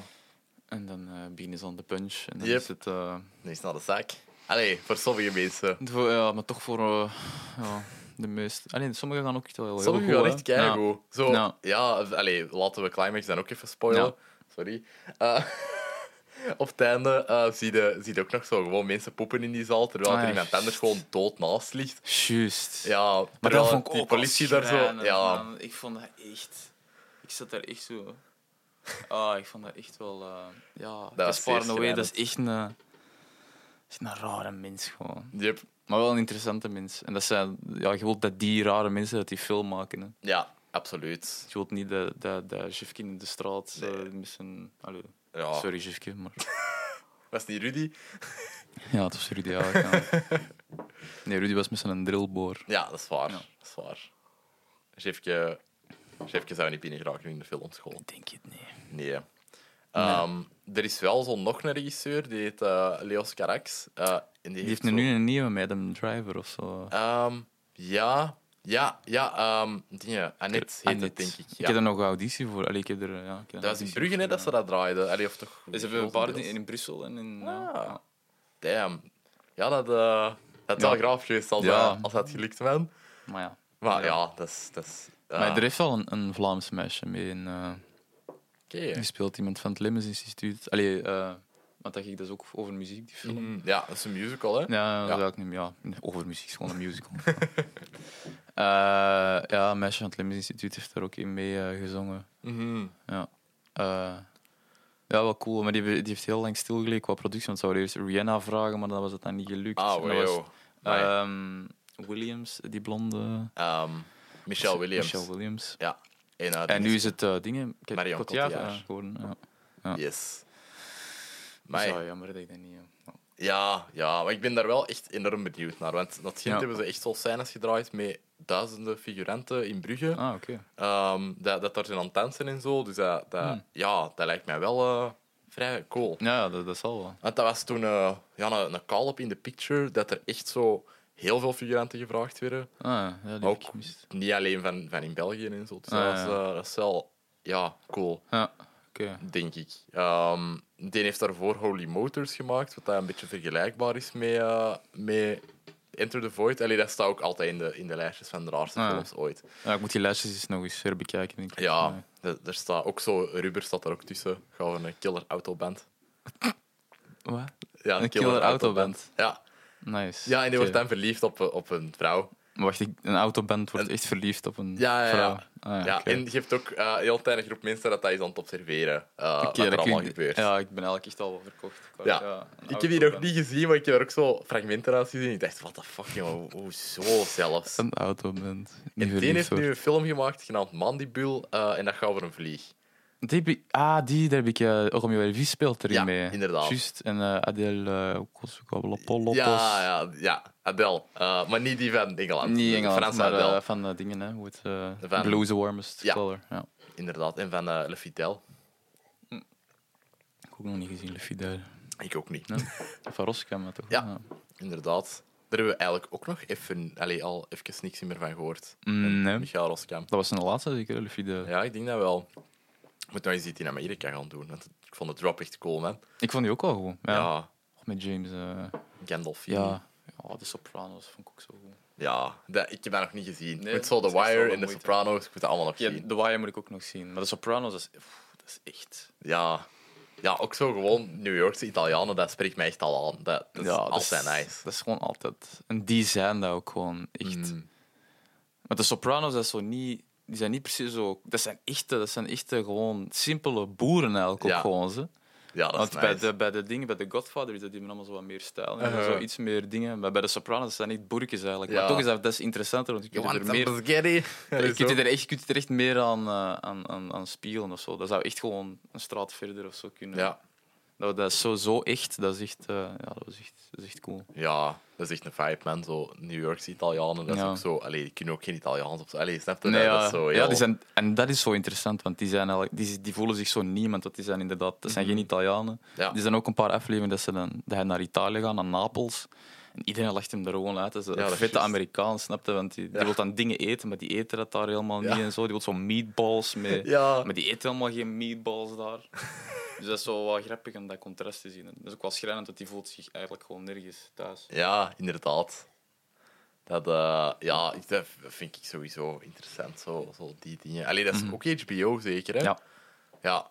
Speaker 2: En dan eh beginnen ze aan de punch. En dan
Speaker 1: Yep.
Speaker 2: is het, eh,
Speaker 1: nee, is naar de zaak. Allee, voor sommige mensen.
Speaker 2: voor- ja, maar toch voor eh, ja, de meeste. Alleen sommigen gaan ook echt wel heel
Speaker 1: Sommigen
Speaker 2: goed.
Speaker 1: gaan
Speaker 2: hè.
Speaker 1: echt kijken.
Speaker 2: Ja.
Speaker 1: Zo,
Speaker 2: Ja.
Speaker 1: ja, allee, laten we Climax dan ook even spoilen.
Speaker 2: Ja.
Speaker 1: Sorry. Eh, *laughs* op het einde eh, zie, je, zie je ook nog zo gewoon mensen poepen in die zaal, terwijl
Speaker 2: Ah,
Speaker 1: er
Speaker 2: ja,
Speaker 1: iemand anders gewoon dood naast ligt.
Speaker 2: Juist.
Speaker 1: Ja,
Speaker 2: maar
Speaker 1: terwijl
Speaker 2: dat vond ik
Speaker 1: die
Speaker 2: ook
Speaker 1: politie daar zo... Ja,
Speaker 2: Ik vond dat echt... Ik zat daar echt zo... Ah, ik vond dat echt wel... eh, ja,
Speaker 1: was
Speaker 2: Gaspar
Speaker 1: zeer
Speaker 2: Noé, dat is
Speaker 1: schrijnend.
Speaker 2: echt een... Dat is een rare mens gewoon.
Speaker 1: yep.
Speaker 2: Maar wel een interessante mens. En dat zijn... Ja, je wilt dat die rare mensen dat die film maken, hè.
Speaker 1: ja absoluut.
Speaker 2: Je wilt niet dat, dat, dat Jufkin in de straat eh, met zijn... Allee,
Speaker 1: Ja.
Speaker 2: Sorry, Jufke, maar...
Speaker 1: Was het niet Rudy?
Speaker 2: *laughs* Ja, het was Rudy eigenlijk. ja. Nee, Rudy was met zijn drillboor.
Speaker 1: Ja, dat is waar.
Speaker 2: Ja.
Speaker 1: Dat is waar. Chefke, Chefke zou niet binnen geraken in de filmschool.
Speaker 2: Ik denk het niet.
Speaker 1: Nee. Ehm, Er is wel zo'n nog een regisseur, die heet eh, Leos Carax. eh, en die,
Speaker 2: Die heeft
Speaker 1: zo-
Speaker 2: nu een nieuwe met een driver of zo.
Speaker 1: Ehm, ja, ja, ja. ehm dingen. Annette heet het,
Speaker 2: Annette.
Speaker 1: denk ik.
Speaker 2: Ik
Speaker 1: Ja.
Speaker 2: heb er nog auditie voor. Allee, ik heb er, ja, ik heb
Speaker 1: Dat was in Brugge net dat ze dat draaiden. Allee, of toch?
Speaker 2: Ze hebben een paar
Speaker 1: grotendeels.
Speaker 2: in, in Brussel en in...
Speaker 1: Ah.
Speaker 2: Ja.
Speaker 1: Damn. Ja, dat, eh dat is
Speaker 2: Ja.
Speaker 1: wel graaf geweest als,
Speaker 2: Ja.
Speaker 1: dat, als dat gelukt was.
Speaker 2: Maar ja.
Speaker 1: Maar ja,
Speaker 2: Ja.
Speaker 1: dat is... Dat is eh,
Speaker 2: Maar er heeft wel een, een Vlaams meisje mee. In, eh,
Speaker 1: Oké.
Speaker 2: die speelt iemand van het Lemmens Instituut. Allee, eh, want dat ging dus ook over muziek, die film.
Speaker 1: Mm, ja, dat is een musical, hè?
Speaker 2: Ja,
Speaker 1: Ja.
Speaker 2: dat wil ik niet meer. Ja, over muziek is gewoon een
Speaker 1: *laughs*
Speaker 2: musical. Eh, ja, een meisje van het Lemmens Instituut heeft daar ook in mee eh, gezongen.
Speaker 1: Mhm.
Speaker 2: Ja. Eh, Ja, wel cool. Maar die, hebben- die heeft heel lang stilgelegen qua productie. Want ze zouden eerst Rihanna vragen, maar dan was het dan niet gelukt.
Speaker 1: Ah,
Speaker 2: En dat was,
Speaker 1: wow. Amai.
Speaker 2: ehm, Williams, die blonde...
Speaker 1: Ehm, Michelle Williams.
Speaker 2: Michelle Williams.
Speaker 1: Ja. En, eh,
Speaker 2: En
Speaker 1: die
Speaker 2: nu is het eh, dingen... K-
Speaker 1: Marion
Speaker 2: Cotillard,
Speaker 1: Cotillard.
Speaker 2: ja, geworden. Ja. ja.
Speaker 1: Yes.
Speaker 2: Dat
Speaker 1: Maar
Speaker 2: is wel jammer dat ik dat niet... ja.
Speaker 1: ja, ja, maar ik ben daar wel echt enorm benieuwd naar. Want dat Gent
Speaker 2: Ja.
Speaker 1: hebben ze echt zo scènes gedraaid met duizenden figuranten in Brugge.
Speaker 2: Ah, oké.
Speaker 1: Ehm, dat, dat daar zijn aan het dansen en zo. Dus dat, dat,
Speaker 2: Hmm.
Speaker 1: ja, dat lijkt mij wel eh, vrij cool.
Speaker 2: Ja, ja, dat, dat zal wel.
Speaker 1: Want dat was toen eh, ja, een, een call-up in de picture dat er echt zo heel veel figuranten gevraagd werden.
Speaker 2: Ah, ja, die heb ik
Speaker 1: Ook
Speaker 2: gemist.
Speaker 1: niet alleen van, van in België en zo. Dus
Speaker 2: Ah,
Speaker 1: dat, was,
Speaker 2: ja.
Speaker 1: eh, dat is wel ja, cool,
Speaker 2: Ja, oké.
Speaker 1: denk ik. Ehm die heeft daarvoor Holy Motors gemaakt, wat daar een beetje vergelijkbaar is met, eh, met Enter the Void. Allee, dat staat ook altijd in de, in de lijstjes van de raarste
Speaker 2: Ah, ja.
Speaker 1: films ooit.
Speaker 2: Ja, ik moet die lijstjes eens nog eens herbekijken. denk ik.
Speaker 1: Ja, d- daar staat ook zo, Rubber staat er ook tussen. Gewoon een killer autoband.
Speaker 2: Wat?
Speaker 1: Ja,
Speaker 2: Een killer autoband.
Speaker 1: Ja.
Speaker 2: Nice.
Speaker 1: ja, en die
Speaker 2: Oké.
Speaker 1: wordt dan verliefd op, eh, op een vrouw.
Speaker 2: Maar Wacht, ik- een autoband wordt echt verliefd op een
Speaker 1: Ja, ja, ja.
Speaker 2: vrouw. Ah,
Speaker 1: ja,
Speaker 2: oké.
Speaker 1: En je hebt ook eh, heel kleine groep mensen dat dat is aan het observeren. eh wat
Speaker 2: Oké,
Speaker 1: er
Speaker 2: dat
Speaker 1: allemaal
Speaker 2: klinkt-
Speaker 1: gebeurt.
Speaker 2: Ja, ik ben eigenlijk echt al wel verkocht. wou-
Speaker 1: Ja.
Speaker 2: een
Speaker 1: ik heb die nog
Speaker 2: autoband.
Speaker 1: niet gezien, maar ik heb er ook zo fragmenten uit gezien. Ik dacht, what the fuck, jongen, hoezo zelfs?
Speaker 2: Een autoband. Niet
Speaker 1: En die
Speaker 2: verliefd
Speaker 1: heeft nu
Speaker 2: wordt.
Speaker 1: een film gemaakt genaamd Mandibule eh, en dat gaat over een vlieg.
Speaker 2: Die heb ik- ah, die, daar heb ik... eh Romeo Elvis speelt erin
Speaker 1: Ja,
Speaker 2: mee.
Speaker 1: inderdaad.
Speaker 2: Juist. En eh Adele eh Kosokolopolopos.
Speaker 1: Ja, ja, ja, Adele. Eh, maar niet die van Engeland.
Speaker 2: Niet
Speaker 1: De
Speaker 2: Engeland,
Speaker 1: Franse
Speaker 2: maar eh,
Speaker 1: Adele,
Speaker 2: van eh, dingen, hè. Hoe het... eh,
Speaker 1: Van-
Speaker 2: Blue's the warmest
Speaker 1: Ja.
Speaker 2: color. Ja.
Speaker 1: inderdaad. En van eh, Le Fidel.
Speaker 2: Ik heb ook nog niet gezien, Le Fidel.
Speaker 1: Ik ook niet.
Speaker 2: Van Roskam, maar toch?
Speaker 1: Ja. Inderdaad. Daar hebben we eigenlijk ook nog even, allee, al even niks meer van gehoord.
Speaker 2: Mm, nee.
Speaker 1: Michael Roskamp.
Speaker 2: Dat was zijn laatste, zeker, hè, Le Fidel.
Speaker 1: Ja, ik denk dat wel. Ik moet nog eens iets in Amerika gaan doen. Want ik vond de drop echt cool, man.
Speaker 2: Ik vond die ook wel goed. Ja.
Speaker 1: Ja,
Speaker 2: Of Met James... eh,
Speaker 1: Gandolfini. Ja,
Speaker 2: Ja. Ja, de Sopranos vond ik ook zo goed.
Speaker 1: dat, ik heb dat nog niet gezien.
Speaker 2: Nee,
Speaker 1: met zo The
Speaker 2: dat is echt wel
Speaker 1: Wire
Speaker 2: wat
Speaker 1: en The
Speaker 2: moeite.
Speaker 1: Sopranos, ik moet dat allemaal nog
Speaker 2: Ja,
Speaker 1: zien.
Speaker 2: The Wire moet ik ook nog zien. Maar de Sopranos, dat is, pff, dat is echt...
Speaker 1: Ja. ja, ook zo gewoon New Yorkse Italianen, dat spreekt mij echt al aan. Dat, dat is altijd
Speaker 2: is,
Speaker 1: nice.
Speaker 2: Dat is gewoon altijd... En die zijn dat ook gewoon echt...
Speaker 1: Mm.
Speaker 2: Maar de Sopranos, dat is zo niet... Die zijn niet precies zo... Dat zijn echte, dat zijn echte gewoon simpele boeren eigenlijk
Speaker 1: Ja.
Speaker 2: ook gewoon, ze.
Speaker 1: Ja, dat is
Speaker 2: Want
Speaker 1: nice.
Speaker 2: bij, de, bij de dingen, bij de Godfather is dat die hebben allemaal zo wat meer stijl. en
Speaker 1: Uh-huh.
Speaker 2: Zo iets meer dingen. Maar bij de Sopranos zijn niet boerkjes eigenlijk.
Speaker 1: Ja.
Speaker 2: Maar toch is dat, dat is interessanter, want je
Speaker 1: You
Speaker 2: kunt er
Speaker 1: want
Speaker 2: meer...
Speaker 1: some
Speaker 2: *laughs*
Speaker 1: spaghetti?
Speaker 2: Je kunt,
Speaker 1: Zo.
Speaker 2: je er echt, je kunt je er echt meer aan, eh, aan, aan, aan spiegelen of zo. Dat zou echt gewoon een straat verder of zo kunnen.
Speaker 1: Ja.
Speaker 2: Dat, dat is zo, zo echt. Dat is echt, eh, ja, dat was echt, dat is echt cool.
Speaker 1: Ja, dat is echt een vibe, man. Zo New Yorkse Italianen, dat is
Speaker 2: Ja.
Speaker 1: ook zo... Allee, die kunnen ook geen Italiaans op... Allee, snap je?
Speaker 2: Nee,
Speaker 1: dat
Speaker 2: ja,
Speaker 1: is zo heel...
Speaker 2: ja, die zijn, en dat is zo interessant, want die, zijn eigenlijk, die, die voelen zich zo niemand. Want die zijn inderdaad, dat zijn geen Italianen.
Speaker 1: Mhm. Ja.
Speaker 2: Er zijn ook een paar afleveringen dat ze dan, dat hij naar Italië gaan, naar Napels. En iedereen lacht hem er gewoon uit. Dat is een
Speaker 1: Ja, dat is
Speaker 2: vette
Speaker 1: juist.
Speaker 2: Amerikaan, snapte? Want die, die
Speaker 1: Ja.
Speaker 2: wil dan dingen eten, maar die eten dat daar helemaal
Speaker 1: Ja.
Speaker 2: niet en zo. Die wil zo meatballs mee.
Speaker 1: Ja.
Speaker 2: Maar die eten helemaal geen
Speaker 1: *laughs*
Speaker 2: meatballs daar. dus dat is zo wel grappig om dat contrast te zien. En Dat is ook wel schrijnend, want die voelt zich eigenlijk gewoon nergens thuis.
Speaker 1: Ja, inderdaad. Dat, eh, ja, ik- dat vind ik sowieso interessant, zo, zo die dingen. Allee, dat is ook HBO zeker, hè?
Speaker 2: Mhm. Ja.
Speaker 1: Ja,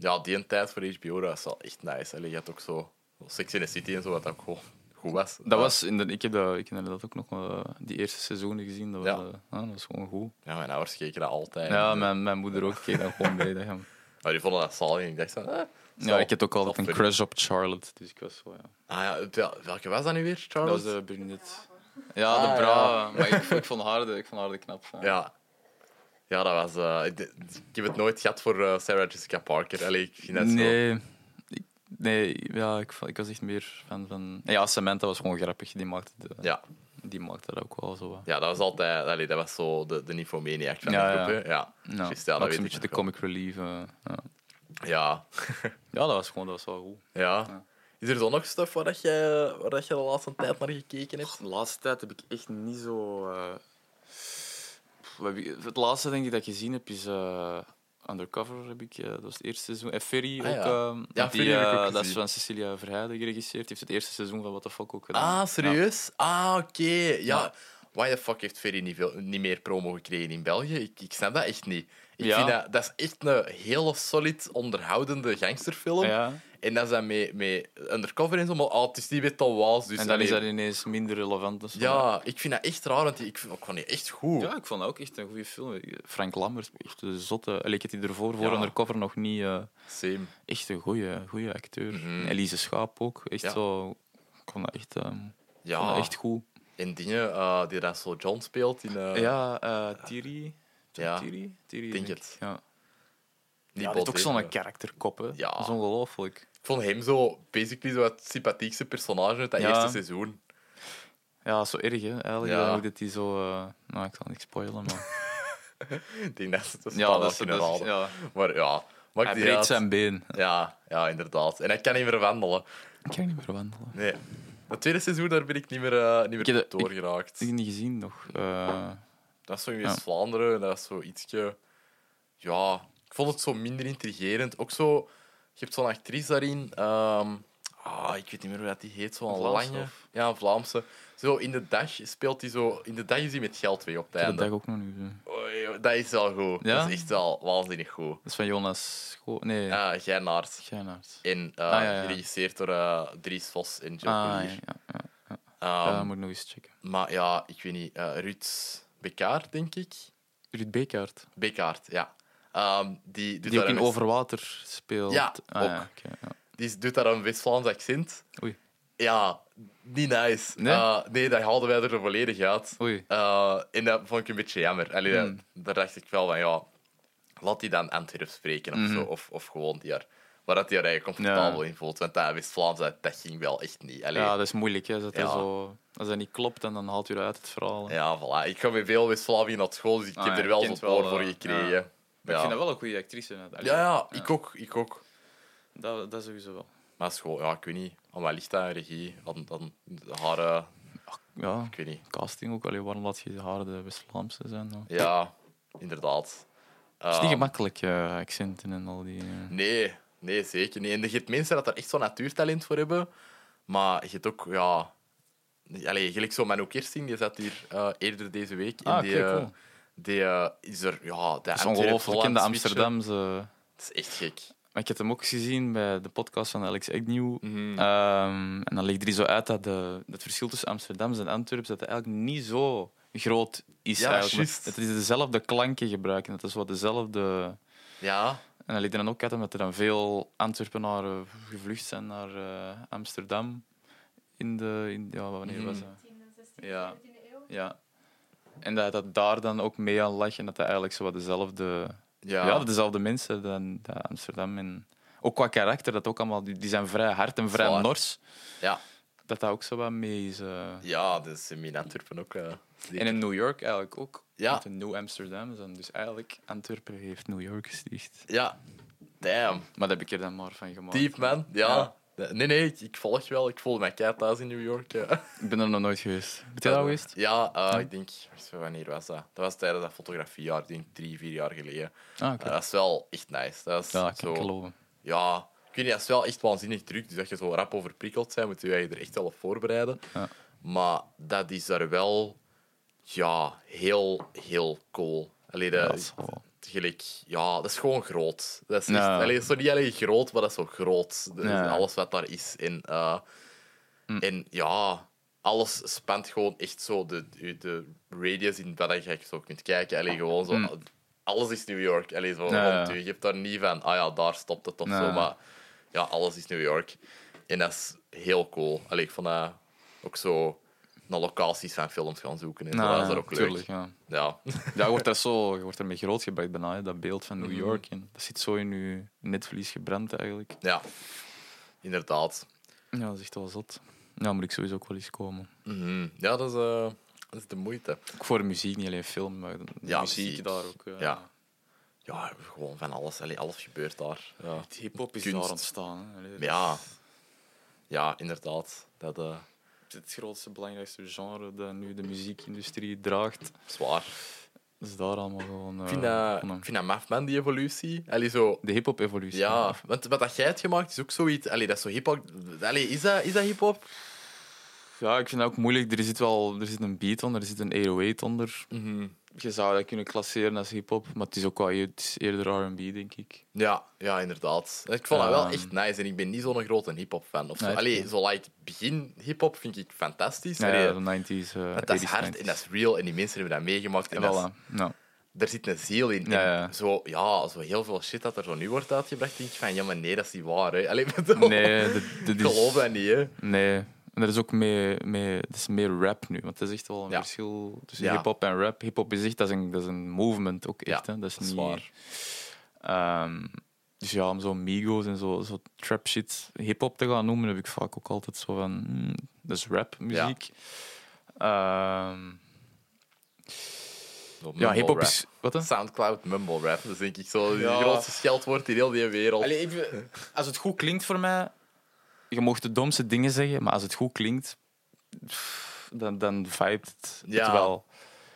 Speaker 1: Ja, die een tijd voor HBO, dat is wel echt nice. Allee, je had ook zo Sex in the City en zo, wat ook gewoon goed was.
Speaker 2: Dat was in de, ik, heb dat, ik heb inderdaad ook nog eh, die eerste seizoenen gezien. Dat was,
Speaker 1: Ja. eh,
Speaker 2: eh, ah, dat was gewoon goed.
Speaker 1: Ja, mijn ouders keken dat altijd.
Speaker 2: Ja, mijn, mijn moeder ook keek daar gewoon mee. Dat
Speaker 1: *laughs*
Speaker 2: hem-
Speaker 1: Maar die vonden dat zalig en ik dacht zo... eh,
Speaker 2: ja,
Speaker 1: zal-
Speaker 2: ik heb ook
Speaker 1: zal
Speaker 2: altijd een
Speaker 1: verder.
Speaker 2: crush op Charlotte, dus ik was zo, ja.
Speaker 1: Ah ja, wel- welke was dat nu weer,
Speaker 2: Dat
Speaker 1: sånn Charles?
Speaker 2: was de brunette. Ja, de
Speaker 1: Ah,
Speaker 2: bra.
Speaker 1: ja.
Speaker 2: Maar ik, ik, vond haar de, ik vond haar de knap. Ja.
Speaker 1: Ja. Ja, dat was... eh, ik, ik heb het nooit gehad voor eh, Sarah Jessica Parker. Allee, ik vind dat zo...
Speaker 2: nee, ik, nee ja, ik, vo- ik was echt meer fan van... Ja, Samantha was gewoon grappig. Die maakte, de,
Speaker 1: Ja.
Speaker 2: die maakte dat ook wel zo. wat.
Speaker 1: ja, dat was altijd... Allee, dat was zo de, de nymphomaniac van
Speaker 2: Ja,
Speaker 1: de groep,
Speaker 2: ja.
Speaker 1: hè. Ja, Juist, ja,
Speaker 2: Ja, maar
Speaker 1: dat
Speaker 2: ook
Speaker 1: weet
Speaker 2: zo'n
Speaker 1: ik
Speaker 2: beetje de
Speaker 1: nog wel.
Speaker 2: comic relief. eh, ja.
Speaker 1: Ja.
Speaker 2: ja, dat was gewoon dat was wel goed.
Speaker 1: ja.
Speaker 2: Ja.
Speaker 1: Is er zo nog stuff waar, dat je, waar dat je de laatste tijd naar gekeken hebt?
Speaker 2: De laatste tijd heb ik echt niet zo. eh, pff, wat heb ik- Het laatste denk ik dat ik gezien heb is eh, Undercover. Heb ik, eh, dat was het eerste seizoen. En Ferry
Speaker 1: Ah,
Speaker 2: ook.
Speaker 1: ja.
Speaker 2: ehm, want
Speaker 1: Ja,
Speaker 2: die,
Speaker 1: Ferry heb ik
Speaker 2: eh,
Speaker 1: ook
Speaker 2: dat is
Speaker 1: gezien.
Speaker 2: van Cecilia Verheijden geregisseerd. Die heeft het eerste seizoen van What the Fuck ook gedaan.
Speaker 1: Ah, serieus? Ah, oké. Ja.
Speaker 2: Ja.
Speaker 1: Why the fuck heeft Ferry niet, veel, niet meer promo gekregen in België? Ik, ik snap dat echt niet. Ik
Speaker 2: Ja.
Speaker 1: vind dat, dat is echt een hele solid, onderhoudende gangsterfilm.
Speaker 2: Ah, Ja.
Speaker 1: En dat is dan met, met undercover en zo, maar oh, het is niet met Tom Waals. Dus
Speaker 2: En dan is
Speaker 1: allee,
Speaker 2: dat ineens minder relevant. dus van-
Speaker 1: Ja, ik vind dat echt raar, want ik vind ook gewoon niet echt goed.
Speaker 2: Ja, ik vond dat ook echt een goede film. Frank Lammers, echt een zotte. Allee, Ik had die ervoor voor
Speaker 1: Ja.
Speaker 2: Undercover nog niet. eh,
Speaker 1: Same.
Speaker 2: echt een goede, goede acteur.
Speaker 1: Mhm.
Speaker 2: En Elise Schaap ook. Echt
Speaker 1: Ja.
Speaker 2: zo. Ik vond dat echt, ehm, ik vond
Speaker 1: Ja,
Speaker 2: dat echt goed.
Speaker 1: en dingen eh, die Russell John speelt in eh
Speaker 2: ja, eh Thierry.
Speaker 1: ja.
Speaker 2: Thierry? Thierry,
Speaker 1: Denk
Speaker 2: ik.
Speaker 1: het.
Speaker 2: Ja.
Speaker 1: die
Speaker 2: ja, die
Speaker 1: Bolt
Speaker 2: heeft ook
Speaker 1: Disney.
Speaker 2: zo'n karakterkop, hè.
Speaker 1: Ja.
Speaker 2: Dat is ongelooflijk.
Speaker 1: Ik vond hem zo basically zo het sympathiekste personage uit dat
Speaker 2: Ja.
Speaker 1: eerste seizoen.
Speaker 2: Ja, zo erg, hè. Eigenlijk
Speaker 1: Ja.
Speaker 2: eh, hoe dat die zo... eh, Nou, ik zal niks
Speaker 1: *laughs*
Speaker 2: spoilen, maar...
Speaker 1: Ik denk dat ze het
Speaker 2: ja, dat is...
Speaker 1: is
Speaker 2: Dat is ja.
Speaker 1: Maar ja, maakt
Speaker 2: Hij
Speaker 1: niet
Speaker 2: breekt
Speaker 1: uit.
Speaker 2: zijn been.
Speaker 1: Ja, ja, inderdaad. En hij kan niet meer wandelen.
Speaker 2: Ik kan niet meer wandelen.
Speaker 1: Nee. Het tweede seizoen, daar ben ik niet meer, eh, niet
Speaker 2: Ik
Speaker 1: meer
Speaker 2: heb dat- Ik
Speaker 1: doorgeraakt.
Speaker 2: heb die niet gezien nog. Eh,
Speaker 1: Dat is zo in
Speaker 2: Ja.
Speaker 1: West-Vlaanderen, en dat is zo ietsje... Ja, ik vond het zo minder intrigerend. Ook zo... Je hebt zo'n actrice daarin... ehm, ah, ik weet niet meer hoe dat die heet, zo'n
Speaker 2: Vlaamse,
Speaker 1: lange...
Speaker 2: of?
Speaker 1: Ja, een Vlaamse. Zo, in de dag speelt hij zo... In de dag is hij met geld weg op het
Speaker 2: ik heb
Speaker 1: einde.
Speaker 2: dat dag ook nog niet gezien.
Speaker 1: Oei, dat is wel goed.
Speaker 2: Ja?
Speaker 1: Dat is echt wel waanzinnig goed.
Speaker 2: Dat is van Jonas Scho... Nee, ja.
Speaker 1: Ja, Geinaert.
Speaker 2: Geinaert.
Speaker 1: En eh,
Speaker 2: Ah, ja, ja.
Speaker 1: geregisseerd door eh, Dries Vos en Joe
Speaker 2: Ah, ja,
Speaker 1: Clear.
Speaker 2: ja, ja.
Speaker 1: Ehm,
Speaker 2: Ja, dat moet ik nog eens checken.
Speaker 1: Maar ja, ik weet niet. eh Ruud Bekaert, denk ik.
Speaker 2: Ruud Bekaert.
Speaker 1: Bekaert, ja. Ehm, die doet
Speaker 2: Die ook
Speaker 1: daar
Speaker 2: in
Speaker 1: een West-
Speaker 2: Overwater speelt.
Speaker 1: Ja,
Speaker 2: Ah, ja,
Speaker 1: ook.
Speaker 2: oké, ja.
Speaker 1: die doet daar een West-Vlaams accent.
Speaker 2: Oei.
Speaker 1: Ja, niet nice.
Speaker 2: Nee?
Speaker 1: Eh, nee, dat haalden wij er volledig uit.
Speaker 2: Oei.
Speaker 1: Eh, en dat vond ik een beetje jammer. Allee, dat-
Speaker 2: Hmm.
Speaker 1: Daar dacht ik wel van, ja, laat die dan Antwerp spreken of
Speaker 2: Mhm.
Speaker 1: zo. Of, of gewoon die er. Maar dat die er eigenlijk comfortabel in voelt. Want dat West-Vlaams, dat dat ging wel echt niet. Allee,
Speaker 2: Ja,
Speaker 1: ja,
Speaker 2: dat is moeilijk. Hè. Dat hij
Speaker 1: Ja.
Speaker 2: zo, als dat niet klopt, dan, dan haalt u eruit het verhaal. hè.
Speaker 1: voilà. Ik ga met veel West-Vlamingen naar school, dus ik
Speaker 2: Ah,
Speaker 1: heb
Speaker 2: ja,
Speaker 1: er wel
Speaker 2: je
Speaker 1: zo'n
Speaker 2: kent wel,
Speaker 1: oor voor
Speaker 2: eh,
Speaker 1: gekregen.
Speaker 2: ja. Maar
Speaker 1: Ja.
Speaker 2: Ik vind dat wel een goede actrice. net. Allee,
Speaker 1: Ja, ja, ik ook. Ik ook.
Speaker 2: Dat, dat sowieso wel.
Speaker 1: Maar school, ja, ik weet niet. Aan wat ligt dat, een regie? Aan, aan haar, eh,
Speaker 2: Ja,
Speaker 1: ik weet niet.
Speaker 2: casting ook. Allee, waarom laat je haar de West-Vlaamse zijn? dan?
Speaker 1: Ja, inderdaad.
Speaker 2: Het is niet
Speaker 1: Ehm,
Speaker 2: gemakkelijk, eh, accenten en al die... eh.
Speaker 1: Nee, nee, zeker niet. En je hebt mensen dat er echt zo'n natuurtalent voor hebben. Maar je hebt ook, ja... Allee, gelijk zo Manu Kersting, die zat hier eh, eerder deze week.
Speaker 2: Ah,
Speaker 1: en die,
Speaker 2: oké,
Speaker 1: eh,
Speaker 2: cool.
Speaker 1: die eh, is er... Ja, dat
Speaker 2: Dat is ongelooflijk. In de Amsterdamse...
Speaker 1: Het is echt gek.
Speaker 2: Maar ik heb hem ook eens gezien bij de podcast van Alex Agnew.
Speaker 1: Mhm.
Speaker 2: Ehm, en dan ligt er zo uit dat de, het verschil tussen Amsterdams en Antwerps dat dat eigenlijk niet zo groot is.
Speaker 1: Ja,
Speaker 2: eigenlijk.
Speaker 1: juist.
Speaker 2: Dat is dezelfde klanken gebruiken. Dat is wat dezelfde...
Speaker 1: Ja,
Speaker 2: En dat liet er dan ook uit omdat er dan veel Antwerpenaren gevlucht zijn naar eh, Amsterdam. In de... In, ja, wanneer was dat?
Speaker 3: 15e, 16e,
Speaker 2: Ja.
Speaker 3: 17e eeuw.
Speaker 2: Ja. En dat dat daar dan ook mee aan lag en dat dat eigenlijk zo wat dezelfde...
Speaker 1: ja.
Speaker 2: Ja, dezelfde mensen dan dan Amsterdam. En ook qua karakter, dat ook allemaal... Die die zijn vrij hard en vrij
Speaker 1: Zwaar.
Speaker 2: nors.
Speaker 1: Ja.
Speaker 2: Dat dat ook zo wat mee is... eh.
Speaker 1: Ja, dat is in mijn Antwerpen ook... eh,
Speaker 2: En in New York eigenlijk ook.
Speaker 1: Ja.
Speaker 2: Want in New Amsterdam is dan dus eigenlijk Antwerpen heeft New York gesticht.
Speaker 1: Ja, damn.
Speaker 2: Maar daar heb ik er dan maar van gemaakt.
Speaker 1: Diep, man. Ja.
Speaker 2: Ja.
Speaker 1: Nee, nee, ik, ik volg wel. Ik voel mijn kei thuis in New York. eh. ja.
Speaker 2: Ik ben er nog nooit geweest. Ben jij daar al geweest?
Speaker 1: Ja, eh, ik denk... wacht even, Wanneer was dat? Dat was tijdens dat fotografiejaar. Ik denk drie, vier jaar geleden.
Speaker 2: Ah,
Speaker 1: Ja,
Speaker 2: oké.
Speaker 1: dat is wel echt nice. Dat is
Speaker 2: Ja, ik kan
Speaker 1: zo,
Speaker 2: ik geloven.
Speaker 1: ja, ik weet niet, dat is wel echt waanzinnig druk. Dus dat je zo rap overprikkeld bent, moet je je er echt wel op voorbereiden.
Speaker 2: Ja.
Speaker 1: Maar dat is daar wel, ja, heel, heel cool. Allee,
Speaker 2: Ja,
Speaker 1: dat,
Speaker 2: dat is wel-
Speaker 1: gelijk, ja, dat is gewoon groot. Dat is, echt,
Speaker 2: Ja.
Speaker 1: allee, dat is zo niet alleen groot, maar dat is zo groot. Dat is
Speaker 2: Ja. Hm.
Speaker 1: Alles wat daar is. En, eh, en ja, alles spant gewoon echt zo de, de, de radius in wat je zo kunt kijken. Allee, gewoon zo, Alles is New York. Allee, zo
Speaker 2: Hm. Ja.
Speaker 1: rond u. Je hebt daar niet van, ah ja, daar stopt het of
Speaker 2: Ja.
Speaker 1: zo. Maar ja, alles is New York. En dat is heel cool. Allee, ik vond dat ook zo naar locaties van films gaan zoeken. En zo.
Speaker 2: Nou,
Speaker 1: dat is daar ook
Speaker 2: tuurlijk,
Speaker 1: leuk.
Speaker 2: Ja.
Speaker 1: Ja. *laughs*
Speaker 2: Ja, je wordt daar zo, je wordt ermee grootgebracht bijna, hè, dat beeld van New York. En dat zit zo in je netvlies gebrand eigenlijk.
Speaker 1: ja, inderdaad.
Speaker 2: Ja, dat is echt wel zot. Ja, moet ik sowieso ook wel eens komen.
Speaker 1: Mhm. Ja, dat is, eh, dat is de moeite.
Speaker 2: Ook voor muziek, niet alleen film, maar de
Speaker 1: Ja,
Speaker 2: muziek,
Speaker 1: muziek.
Speaker 2: daar ook. eh,
Speaker 1: Ja. Ja, gewoon van alles. Allee, alles gebeurt daar. Ja,
Speaker 2: Het hip-hop is
Speaker 1: Kunst.
Speaker 2: daar ontstaan. Hè. Allee, dat
Speaker 1: Ja.
Speaker 2: is-
Speaker 1: ja inderdaad. Dat eh, is
Speaker 2: het grootste, belangrijkste genre dat nu de muziekindustrie draagt.
Speaker 1: zwaar.
Speaker 2: Dat is daar allemaal gewoon... eh,
Speaker 1: Ik vind, dat,
Speaker 2: van een-
Speaker 1: ik vind dat maf, man, die evolutie. Allee, zo...
Speaker 2: De hip-hop evolutie.
Speaker 1: Ja, want wat dat jij hebt gemaakt is ook zoiets... Allee, dat is zo hiphop... Allee, is dat, is dat hiphop?
Speaker 2: Ja, ik vind dat ook moeilijk. Er zit wel er zit een beat onder, er zit een 808 onder.
Speaker 1: Mhm.
Speaker 2: Je zou dat kunnen klasseren als hip-hop, maar het is ook wel het is eerder RB, denk ik.
Speaker 1: Ja, ja, inderdaad. Ik vond dat wel
Speaker 2: Ehm.
Speaker 1: echt nice en ik ben niet zo'n grote hip-hop fan. Of zo.
Speaker 2: Nee, dat is
Speaker 1: Allee, zo like begin hip-hop vind ik fantastisch.
Speaker 2: Ja,
Speaker 1: Allee,
Speaker 2: ja, de 90s. eh
Speaker 1: want dat is
Speaker 2: 80s,
Speaker 1: hard
Speaker 2: 90s.
Speaker 1: en dat is real en die mensen hebben dat meegemaakt. En
Speaker 2: En
Speaker 1: dat is-
Speaker 2: voilà.
Speaker 1: *laughs*
Speaker 2: Ja.
Speaker 1: daar zit een ziel in. En
Speaker 2: Ja, ja.
Speaker 1: Zo, ja, zo heel veel shit dat er zo nu wordt uitgebracht, denk ik van ja, maar nee, dat is niet waar. Hè. Allee, *laughs* bedoel,
Speaker 2: Nee, dus- dat, dat
Speaker 1: ik
Speaker 2: is...
Speaker 1: geloof dat niet. Hè.
Speaker 2: Nee. En er is ook meer, meer, dat is meer rap nu, want dat is echt wel een
Speaker 1: Ja.
Speaker 2: verschil tussen
Speaker 1: Ja.
Speaker 2: hip-hop en rap. Hip-hop is echt dat is een, dat is een movement ook
Speaker 1: Ja,
Speaker 2: echt. hè. Dat is
Speaker 1: dat is
Speaker 2: niet.
Speaker 1: waar.
Speaker 2: Ehm, dus ja, om zo Migos en zo, zo trap shit hip-hop te gaan noemen, heb ik vaak ook altijd zo van. hmm, dat is rap muziek. Ja,
Speaker 1: Zo
Speaker 2: ja
Speaker 1: mumble
Speaker 2: hip-hop
Speaker 1: rap.
Speaker 2: is. Wat dan?
Speaker 1: Soundcloud mumble rap, dat is denk ik zo het
Speaker 2: Ja.
Speaker 1: grootste scheldwoord in heel die wereld.
Speaker 2: Allee, ik be- als het goed klinkt voor mij, je mocht de domste dingen zeggen, maar als het goed klinkt, pff, dan, dan vibet het
Speaker 1: Ja.
Speaker 2: wel.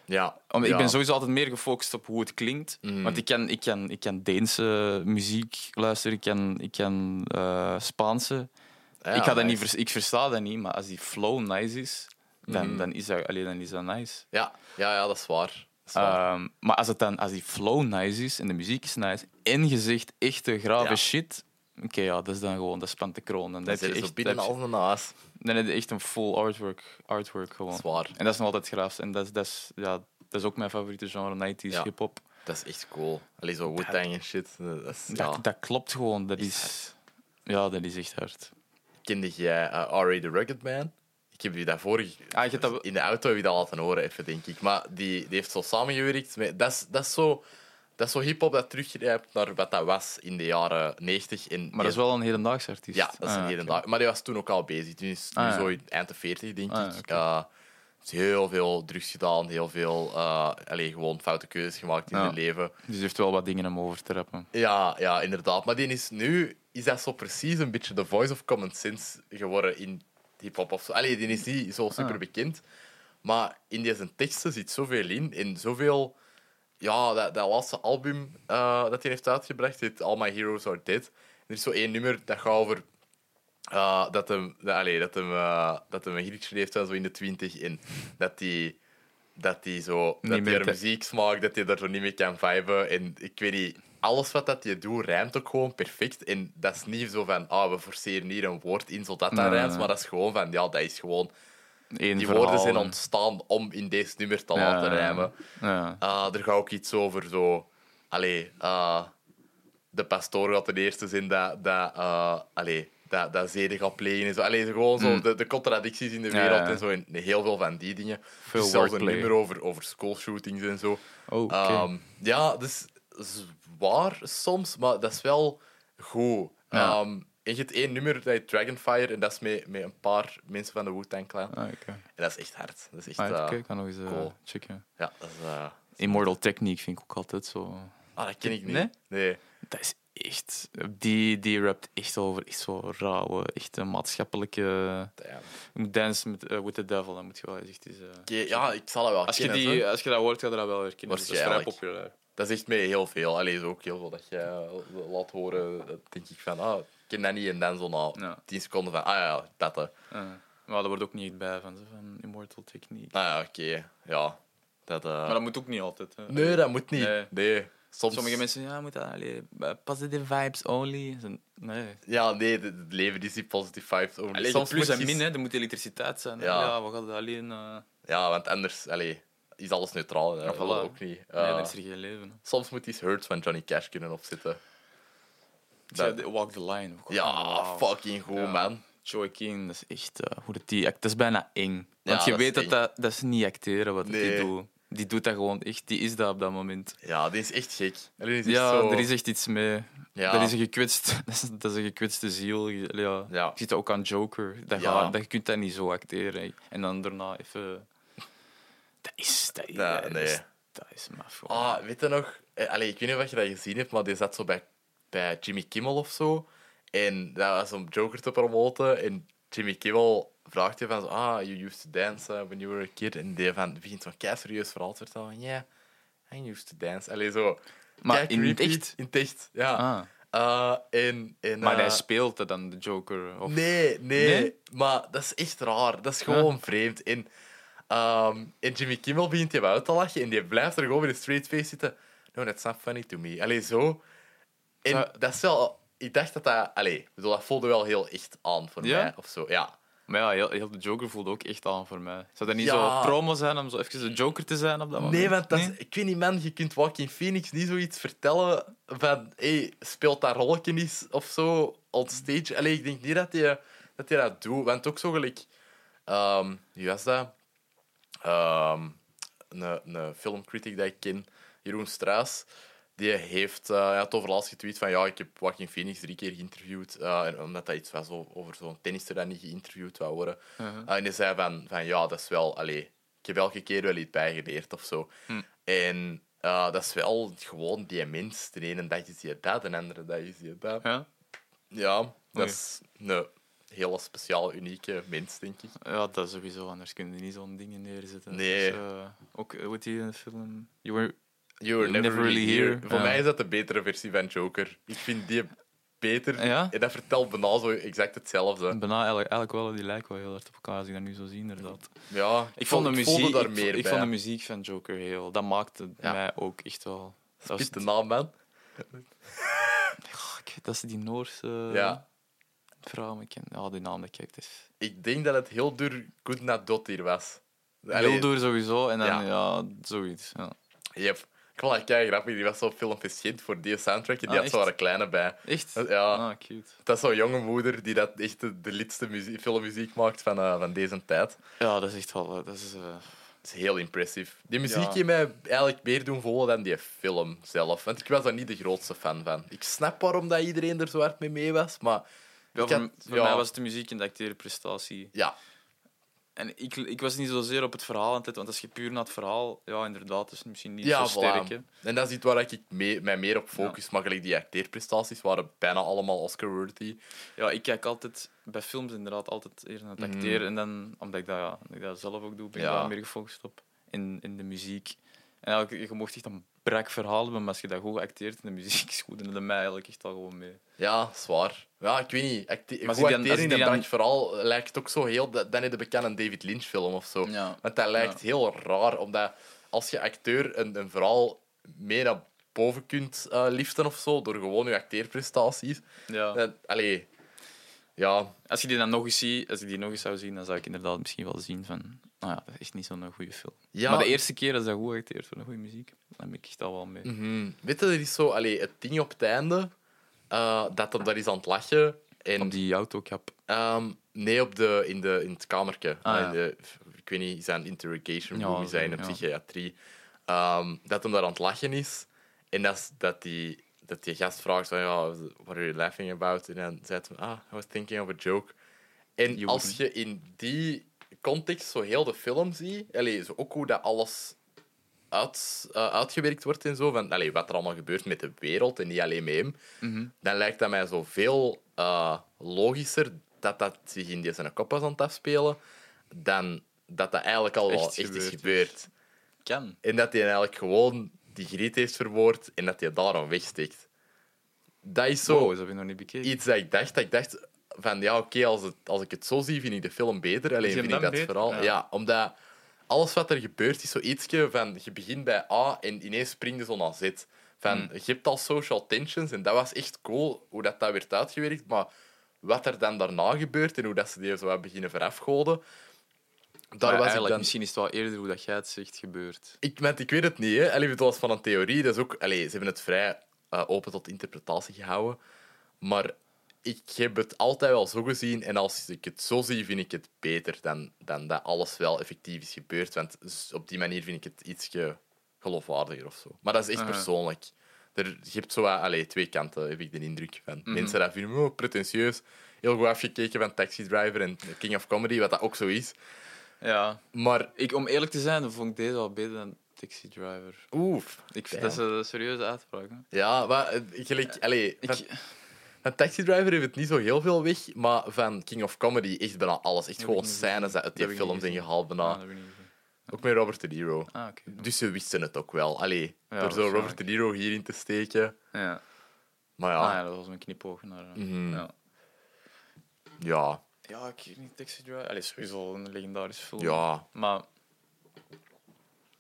Speaker 1: ja,
Speaker 2: Om,
Speaker 1: ja.
Speaker 2: Ik ben sowieso altijd meer gefocust op hoe het klinkt.
Speaker 1: Mm.
Speaker 2: Want ik kan, ik, kan, ik kan Deense muziek luisteren, ik kan, ik kan eh, Spaanse.
Speaker 1: Ja,
Speaker 2: ik, ga dat
Speaker 1: nice.
Speaker 2: niet vers- ik versta dat niet, maar als die flow nice is, dan,
Speaker 1: Mm.
Speaker 2: dan, is, dat, allee, dan is dat nice.
Speaker 1: Ja, ja, ja, dat is waar. Dat is waar.
Speaker 2: Ehm, maar als, het dan, als die flow nice is en de muziek is nice en je zegt echte grave
Speaker 1: Ja.
Speaker 2: shit, oké, ja, dat is dan gewoon, dat is pantekroon. Dan,
Speaker 1: Dan
Speaker 2: heb je
Speaker 1: zitten ze
Speaker 2: echt-
Speaker 1: binnen
Speaker 2: dan heb
Speaker 1: als een naas.
Speaker 2: je- dan heb je echt een full artwork, artwork gewoon.
Speaker 1: Zwaar.
Speaker 2: En dat is nog altijd graaf. En dat is, dat is, ja, dat is ook mijn favoriete genre, 90s
Speaker 1: Ja.
Speaker 2: hip-hop.
Speaker 1: Dat is echt cool. Allee, zo Wu-Tang en shit. Eh, Dat is, ja.
Speaker 2: Dat, dat klopt gewoon, dat
Speaker 1: Is
Speaker 2: is. Ja, dat is echt hard.
Speaker 1: Kende jij eh, R.A. the Rugged Man? Ik heb je dat vorig...
Speaker 2: Ah, je hebt dat-
Speaker 1: In de auto heb je dat laten horen, even, denk ik. Maar die, die heeft zo samengewerkt met... Dat is, dat is zo... Dat is zo hip-hop dat teruggrijpt naar wat dat was in de jaren 90. En
Speaker 2: Maar dat is wel een hedendaagse artiest.
Speaker 1: Ja, dat is een
Speaker 2: Ah,
Speaker 1: hele dag. Maar die was toen ook al bezig. Toen is nu
Speaker 2: Ah, ja.
Speaker 1: zo in- eind de 40, denk
Speaker 2: Ah, ja,
Speaker 1: ik.
Speaker 2: oké.
Speaker 1: Eh, heeft heel veel drugs gedaan, heel veel eh, allee, gewoon foute keuzes gemaakt in
Speaker 2: Ja.
Speaker 1: zijn leven.
Speaker 2: Dus hij heeft wel wat dingen om over te rappen.
Speaker 1: Ja, ja, inderdaad. Maar die is nu is dat zo precies een beetje de voice of common sense geworden in hip-hop of zo. Allee, die is niet zo super bekend. Maar in deze teksten zit zoveel in. En zoveel. Ja, dat, dat laatste album eh, dat hij heeft uitgebracht, heet All My Heroes Are Dead. Er is zo één nummer dat gaat over. eh, dat hem, dat, allee, dat hem, eh, dat hem een grietje heeft, zo in de twintig. En dat hij dat die zo
Speaker 2: Niet
Speaker 1: dat die
Speaker 2: meer
Speaker 1: haar
Speaker 2: te-
Speaker 1: muziek smaakt, dat hij daar zo niet mee kan viben. En ik weet niet, alles wat dat je doet, rijmt ook gewoon perfect. En dat is niet zo van, ah, we forceren hier een woord in zodat dat
Speaker 2: Nee, nee,
Speaker 1: rijmt.
Speaker 2: nee.
Speaker 1: Maar dat is gewoon van, ja, dat is gewoon...
Speaker 2: Eén
Speaker 1: Die
Speaker 2: verhaal.
Speaker 1: woorden zijn ontstaan om in deze nummer te laten rijmen.
Speaker 2: Ja.
Speaker 1: Ah, er gaat ook iets over zo... Allee, ah, de pastoor gaat de eerste zijn dat... dat eh, allee, dat, dat zeden gaat plegen en zo. Allee, zo gewoon zo de, de contradicties in de
Speaker 2: Hmm. Ja,
Speaker 1: wereld
Speaker 2: ja.
Speaker 1: en zo. En heel veel van die dingen.
Speaker 2: Veel
Speaker 1: Dus zelfs een
Speaker 2: wordplay.
Speaker 1: nummer over, over schoolshootings en zo.
Speaker 2: Oh, oké.
Speaker 1: Ehm, ja, dus zwaar soms, maar dat is wel goed.
Speaker 2: Ja.
Speaker 1: Ehm, en je hebt één nummer, dat heet Dragonfire, en dat is met, met een paar mensen van de Wu-Tang Clan.
Speaker 2: Ah, oké.
Speaker 1: En dat is echt hard. Dat is echt...
Speaker 2: Ah,
Speaker 1: eh,
Speaker 2: oké, ik kan nog eens eh,
Speaker 1: cool.
Speaker 2: checken.
Speaker 1: ja, dat is... eh,
Speaker 2: Immortal Technique vind ik ook altijd zo.
Speaker 1: Ah, dat ken ik niet.
Speaker 2: Nee?
Speaker 1: Nee.
Speaker 2: Dat is echt. Die, die rapt echt over echt zo rauwe, echt een maatschappelijke.
Speaker 1: Damn.
Speaker 2: Je moet Dance met, eh, with the Devil, dan moet je wel eens echt eens. eh,
Speaker 1: Oké, ja, ik zal dat wel
Speaker 2: Als je,
Speaker 1: kennen,
Speaker 2: die, eh,
Speaker 1: zo.
Speaker 2: als je dat hoort, ga je dat wel weer kennen. Dus Dat is vrij
Speaker 1: Waarschijnlijk.
Speaker 2: populair.
Speaker 1: Dat zegt mij heel veel. Allee, is ook heel veel dat je eh, laat horen. Dat denk ik van, ah, ik ken dat niet. En dan zo na
Speaker 2: Ja.
Speaker 1: 10 seconden van, ah ja, dat. hè.
Speaker 2: Eh, maar daar wordt ook niet echt bij van, zo van Immortal Technique.
Speaker 1: Ah ja, oké. Ja. Dat, eh,
Speaker 2: Maar dat moet ook niet altijd. Hè.
Speaker 1: Nee, dat moet niet. Nee.
Speaker 2: Nee.
Speaker 1: Soms...
Speaker 2: Sommige mensen ja, moet dat, allee, eh, positive vibes only. Zo- Nee.
Speaker 1: Ja, nee, het het leven is niet positive vibes only.
Speaker 2: Allee,
Speaker 1: Soms
Speaker 2: de plus
Speaker 1: moet
Speaker 2: en
Speaker 1: je-
Speaker 2: min, hè, er moet elektriciteit zijn. hè.
Speaker 1: Ja.
Speaker 2: Ja, we gaan dat alleen. eh,
Speaker 1: Ja, want anders allee, is alles neutraal. hè.
Speaker 2: Ja, voilà.
Speaker 1: Dat ook niet.
Speaker 2: nee,
Speaker 1: Eh,
Speaker 2: dan is er geen leven. hè.
Speaker 1: Soms moet iets Hurts van Johnny Cash kunnen opzitten.
Speaker 2: Tja,
Speaker 1: Dat-
Speaker 2: de- Walk the line. ook.
Speaker 1: Oh,
Speaker 2: Oh,
Speaker 1: Ja,
Speaker 2: Wauw.
Speaker 1: fucking goed,
Speaker 2: Ja.
Speaker 1: man.
Speaker 2: Joey King, dat is echt. eh, hoe dat die act- dat is bijna eng. Want
Speaker 1: Ja,
Speaker 2: je
Speaker 1: dat is
Speaker 2: weet dat,
Speaker 1: eng.
Speaker 2: dat dat is niet acteren wat
Speaker 1: Nee.
Speaker 2: die doet. Die doet dat gewoon echt. Die is dat op dat moment.
Speaker 1: Ja, die is echt gek. Allee, die is
Speaker 2: Ja,
Speaker 1: zo-
Speaker 2: er is echt iets mee.
Speaker 1: Ja.
Speaker 2: Dat, is een gekwetst, *laughs* dat, is, dat is een gekwetste ziel. Je- Ja.
Speaker 1: Ja.
Speaker 2: Je ziet dat ook aan Joker. Dat
Speaker 1: Ja.
Speaker 2: gaat- dat, je kunt dat niet zo acteren. hè. En dan daarna even. Dat is. Dat, is-
Speaker 1: Ja,
Speaker 2: dat
Speaker 1: nee.
Speaker 2: is, dat is maf. gewoon.
Speaker 1: Ah, weet je nog? Eh, Allee, ik weet niet of je dat gezien hebt, maar die zat zo bij, bij Jimmy Kimmel of zo. En dat was om Joker te promoten. En Jimmy Kimmel vraagt je van zo, ah, you used to dance eh, when you were a kid. En die van, begint zo'n kei serieus verhaal te vertellen. Ja, yeah, I used to dance. Allee, zo.
Speaker 2: Maar
Speaker 1: kei
Speaker 2: in het
Speaker 1: creepy,
Speaker 2: echt?
Speaker 1: In het echt, ja.
Speaker 2: Ah.
Speaker 1: Eh, en, en,
Speaker 2: Maar hij
Speaker 1: eh,
Speaker 2: speelt het dan de Joker. Of...
Speaker 1: Nee, nee,
Speaker 2: Nee?
Speaker 1: Maar dat is echt raar. Dat is gewoon vreemd. En, ehm, en Jimmy Kimmel begint je uit te lachen en die blijft er gewoon met een straight face zitten. No, that's not funny to me. Allee, zo. En
Speaker 2: Zou-
Speaker 1: dat is wel... Ik dacht dat dat... Allee, ik bedoel, dat voelde wel heel echt aan voor
Speaker 2: Ja?
Speaker 1: mij. Of zo, ja.
Speaker 2: Maar ja, heel, heel de Joker voelde ook echt aan voor mij. Zou dat niet
Speaker 1: Ja.
Speaker 2: zo promo zijn om zo even de Joker te zijn op dat moment?
Speaker 1: Nee, want dat is-
Speaker 2: Nee?
Speaker 1: ik weet niet, man. Je kunt Joaquin Phoenix niet zoiets vertellen van... Hey, speelt dat rolletje eens of zo on stage? Allee, ik denk niet dat hij dat, hij dat doet. Want ook zo gelijk... ehm, wie was dat? Ehm, een, een filmcritic dat ik ken, Jeroen Struis, die heeft eh, hij had overlast getweet van ja, ik heb Joaquin Phoenix drie keer geïnterviewd, eh, en omdat dat iets was o- over zo'n tennister dat niet geïnterviewd wou worden. Eh, en die zei van, van ja, dat is wel, allee, ik heb elke keer wel iets bijgeleerd of zo. En eh, dat is wel gewoon die mens. De ene dag is je dat, de andere dag is je dat.
Speaker 2: Ja?
Speaker 1: Ja, dat
Speaker 2: Oei.
Speaker 1: is een hele speciaal, unieke mens, denk ik.
Speaker 2: ja, dat is sowieso. Anders kun je niet zo'n dingen neerzetten.
Speaker 1: Nee.
Speaker 2: Dus, eh, ook, eh, hoe heet die in de film? You were...
Speaker 1: You were never, really here. Voor
Speaker 2: Ja.
Speaker 1: mij is dat de betere versie van Joker. Ik vind die beter.
Speaker 2: Ja?
Speaker 1: En dat vertelt bijna zo exact hetzelfde.
Speaker 2: Bijna eigenlijk, eigenlijk wel, die lijken wel heel hard op elkaar als ik dat nu zo zie, inderdaad.
Speaker 1: Ja,
Speaker 2: Ik vond de
Speaker 1: ik
Speaker 2: muziek,
Speaker 1: voelde daar
Speaker 2: ik,
Speaker 1: meer
Speaker 2: ik
Speaker 1: bij.
Speaker 2: vond de muziek van Joker heel. Dat maakte
Speaker 1: Ja.
Speaker 2: mij ook echt wel. Dat was,
Speaker 1: Spit de naam, man.
Speaker 2: Fuck, dat is die Noorse
Speaker 1: Ja.
Speaker 2: vrouw, maar ik ken ja, die naam dat kijkt. Dus.
Speaker 1: Ik denk dat het heel duur goed naar Dot hier was.
Speaker 2: Heel door sowieso en dan
Speaker 1: Ja.
Speaker 2: ja, zoiets. Ja.
Speaker 1: Yep. Ik vond dat kei grappig. Die was zo filmpjes shit voor die soundtrack. En die
Speaker 2: Ah,
Speaker 1: had zo
Speaker 2: echt?
Speaker 1: haar kleine bij.
Speaker 2: Echt?
Speaker 1: Ja.
Speaker 2: Ah, cute.
Speaker 1: Dat is zo'n jonge moeder die dat echt de, de lidste muzie- filmmuziek maakt van, eh, van deze tijd.
Speaker 2: Ja, dat is echt wel. eh, Dat is, eh,
Speaker 1: Dat is heel impressief. Die muziek
Speaker 2: Ja.
Speaker 1: heeft mij eigenlijk meer doen voelen dan die film zelf. Want ik was daar niet de grootste fan van. Ik snap waarom dat iedereen er zo hard mee mee was, maar...
Speaker 2: ja,
Speaker 1: ik
Speaker 2: voor
Speaker 1: had-
Speaker 2: voor
Speaker 1: ja,
Speaker 2: mij was de muziek en de acteerprestatie.
Speaker 1: Ja,
Speaker 2: En ik, ik was niet zozeer op het verhaal aan het letten, want als je puur naar het verhaal, ja, inderdaad, is het misschien niet
Speaker 1: ja
Speaker 2: zo sterk. hè.
Speaker 1: voilà. En dat is iets waar ik mee, mij meer op focus. Maar gelijk die acteerprestaties waren bijna allemaal Oscar-worthy.
Speaker 2: Ja, ik kijk altijd bij films inderdaad altijd eerder naar het acteren. En dan, omdat ik dat, ja, omdat ik dat zelf ook doe, ben ik
Speaker 1: Ja.
Speaker 2: daar meer gefocust op. In, in de muziek. En eigenlijk, je mocht echt een brak verhaal hebben, maar als je dat goed acteert en de muziek *laughs* is goed, dan doet mij eigenlijk echt al gewoon mee.
Speaker 1: Ja, zwaar. Ja, ik weet niet. Acte
Speaker 2: Maar
Speaker 1: goed
Speaker 2: zie die dan-
Speaker 1: acteren
Speaker 2: als
Speaker 1: in
Speaker 2: die
Speaker 1: een
Speaker 2: dan-
Speaker 1: brak vooral lijkt ook zo heel... dat- Dan in de bekende David Lynch-film of zo.
Speaker 2: Ja.
Speaker 1: Want dat lijkt heel raar, omdat als je acteur een, een verhaal mee naar boven kunt eh, liften of zo, door gewoon je acteerprestaties...
Speaker 2: Ja.
Speaker 1: Dan, allee... Ja,
Speaker 2: Als je die dan nog eens ziet, als ik die nog eens zou zien, dan zou ik inderdaad misschien wel zien van, nou ja, dat is echt niet zo'n goede film.
Speaker 1: Ja.
Speaker 2: Maar de eerste keer als dat goed acteert voor een goede muziek, dan ben ik echt al wel mee.
Speaker 1: mhm. weet je, er is zo... Allee, het ding op het einde, eh, dat hem daar is aan het lachen... En
Speaker 2: Op die autocap.
Speaker 1: Ehm, nee, op de, in, de, in het kamertje.
Speaker 2: Ah,
Speaker 1: in
Speaker 2: ja.
Speaker 1: de, ik weet niet, is dat een interrogation
Speaker 2: Ja,
Speaker 1: room, is dat in de
Speaker 2: ja.
Speaker 1: psychiatrie. Ehm, dat hem daar aan het lachen is. En dat, is- dat, die, dat die gast vraagt van, ja, what are you laughing about? En dan zegt hij, ah, I was thinking of a joke. En
Speaker 2: You
Speaker 1: als
Speaker 2: wouldn't.
Speaker 1: je in die context zo heel de film ziet, allee, zo ook hoe dat alles uit, eh, uitgewerkt wordt en zo, van allee, wat er allemaal gebeurt met de wereld en niet alleen met hem,
Speaker 2: Mhm.
Speaker 1: dan lijkt dat mij zo veel eh, logischer dat dat zich in die zijn kop was aan het afspelen, dan dat dat eigenlijk al wel echt,
Speaker 2: Echt
Speaker 1: is
Speaker 2: gebeurd is.
Speaker 1: gebeurd.
Speaker 2: Kan.
Speaker 1: En dat hij eigenlijk gewoon die griet heeft verwoord en dat hij daarom wegsteekt. Dat is zo
Speaker 2: Zo, dat heb ik nog niet bekeken.
Speaker 1: iets dat ik dacht. Dat ik dacht van ja, oké, als, het- als ik het zo zie, vind ik de film beter. Alleen
Speaker 2: Is hem
Speaker 1: vind ik dat
Speaker 2: dan beter?
Speaker 1: vooral. Ja.
Speaker 2: Ja.
Speaker 1: omdat alles wat er gebeurt is zo ietsje van je begint bij A en ineens spring je zo naar Z. Van,
Speaker 2: Hmm.
Speaker 1: Je hebt al social tensions en dat was echt cool hoe dat, dat werd uitgewerkt. Maar wat er dan daarna gebeurt en hoe dat ze die zo wat beginnen verafgoden. Daar
Speaker 2: Maar
Speaker 1: was ik
Speaker 2: eigenlijk,
Speaker 1: dan...
Speaker 2: misschien is het wel eerder hoe dat jij het zegt gebeurd.
Speaker 1: Ik, want ik weet het niet, hè. Allee, het was van een theorie. Dat is ook, allee, ze hebben het vrij eh, open tot interpretatie gehouden. Maar ik heb het altijd wel zo gezien. En als ik het zo zie, vind ik het beter dan, dan dat alles wel effectief is gebeurd. Want s- op die manier vind ik het iets geloofwaardiger of zo. Maar dat is echt
Speaker 2: Ah, ja.
Speaker 1: persoonlijk. Er, je hebt zo wat- allee, twee kanten, heb ik de indruk van.
Speaker 2: Mhm.
Speaker 1: Mensen dat vinden, oh, pretentieus. Heel goed afgekeken van Taxi Driver en King of Comedy, wat dat ook zo is.
Speaker 2: Ja.
Speaker 1: Maar,
Speaker 2: Ik, om eerlijk te zijn, vond ik deze al beter dan Taxi Driver.
Speaker 1: oef.
Speaker 2: Ik
Speaker 1: damn.
Speaker 2: vind, dat is een serieuze uitspraak. hè.
Speaker 1: Ja, maar eh, gelijk, allee,
Speaker 2: Ik,
Speaker 1: van- Van Taxi Driver heeft het niet zo heel veel weg, maar van King of Comedy echt bijna alles. Echt gewoon
Speaker 2: ik niet
Speaker 1: scènes dat uit die
Speaker 2: Heb ik niet
Speaker 1: film zijn
Speaker 2: gezien.
Speaker 1: gehaald bijna.
Speaker 2: Ah, dat heb ik niet gezien.
Speaker 1: Ook met Robert De Niro.
Speaker 2: Ah, oké.
Speaker 1: Dus ze wisten het ook wel. Allee, door zo
Speaker 2: waarschijnlijk.
Speaker 1: Robert De Niro hierin te steken.
Speaker 2: Ja.
Speaker 1: Maar
Speaker 2: Ah,
Speaker 1: ja,
Speaker 2: ja, dat was mijn knipoog naar... eh,
Speaker 1: Mhm.
Speaker 2: ja.
Speaker 1: ja,
Speaker 2: ja, ik weet niet, Taxi Driver... Allee, sowieso al een legendarische film.
Speaker 1: ja,
Speaker 2: Maar...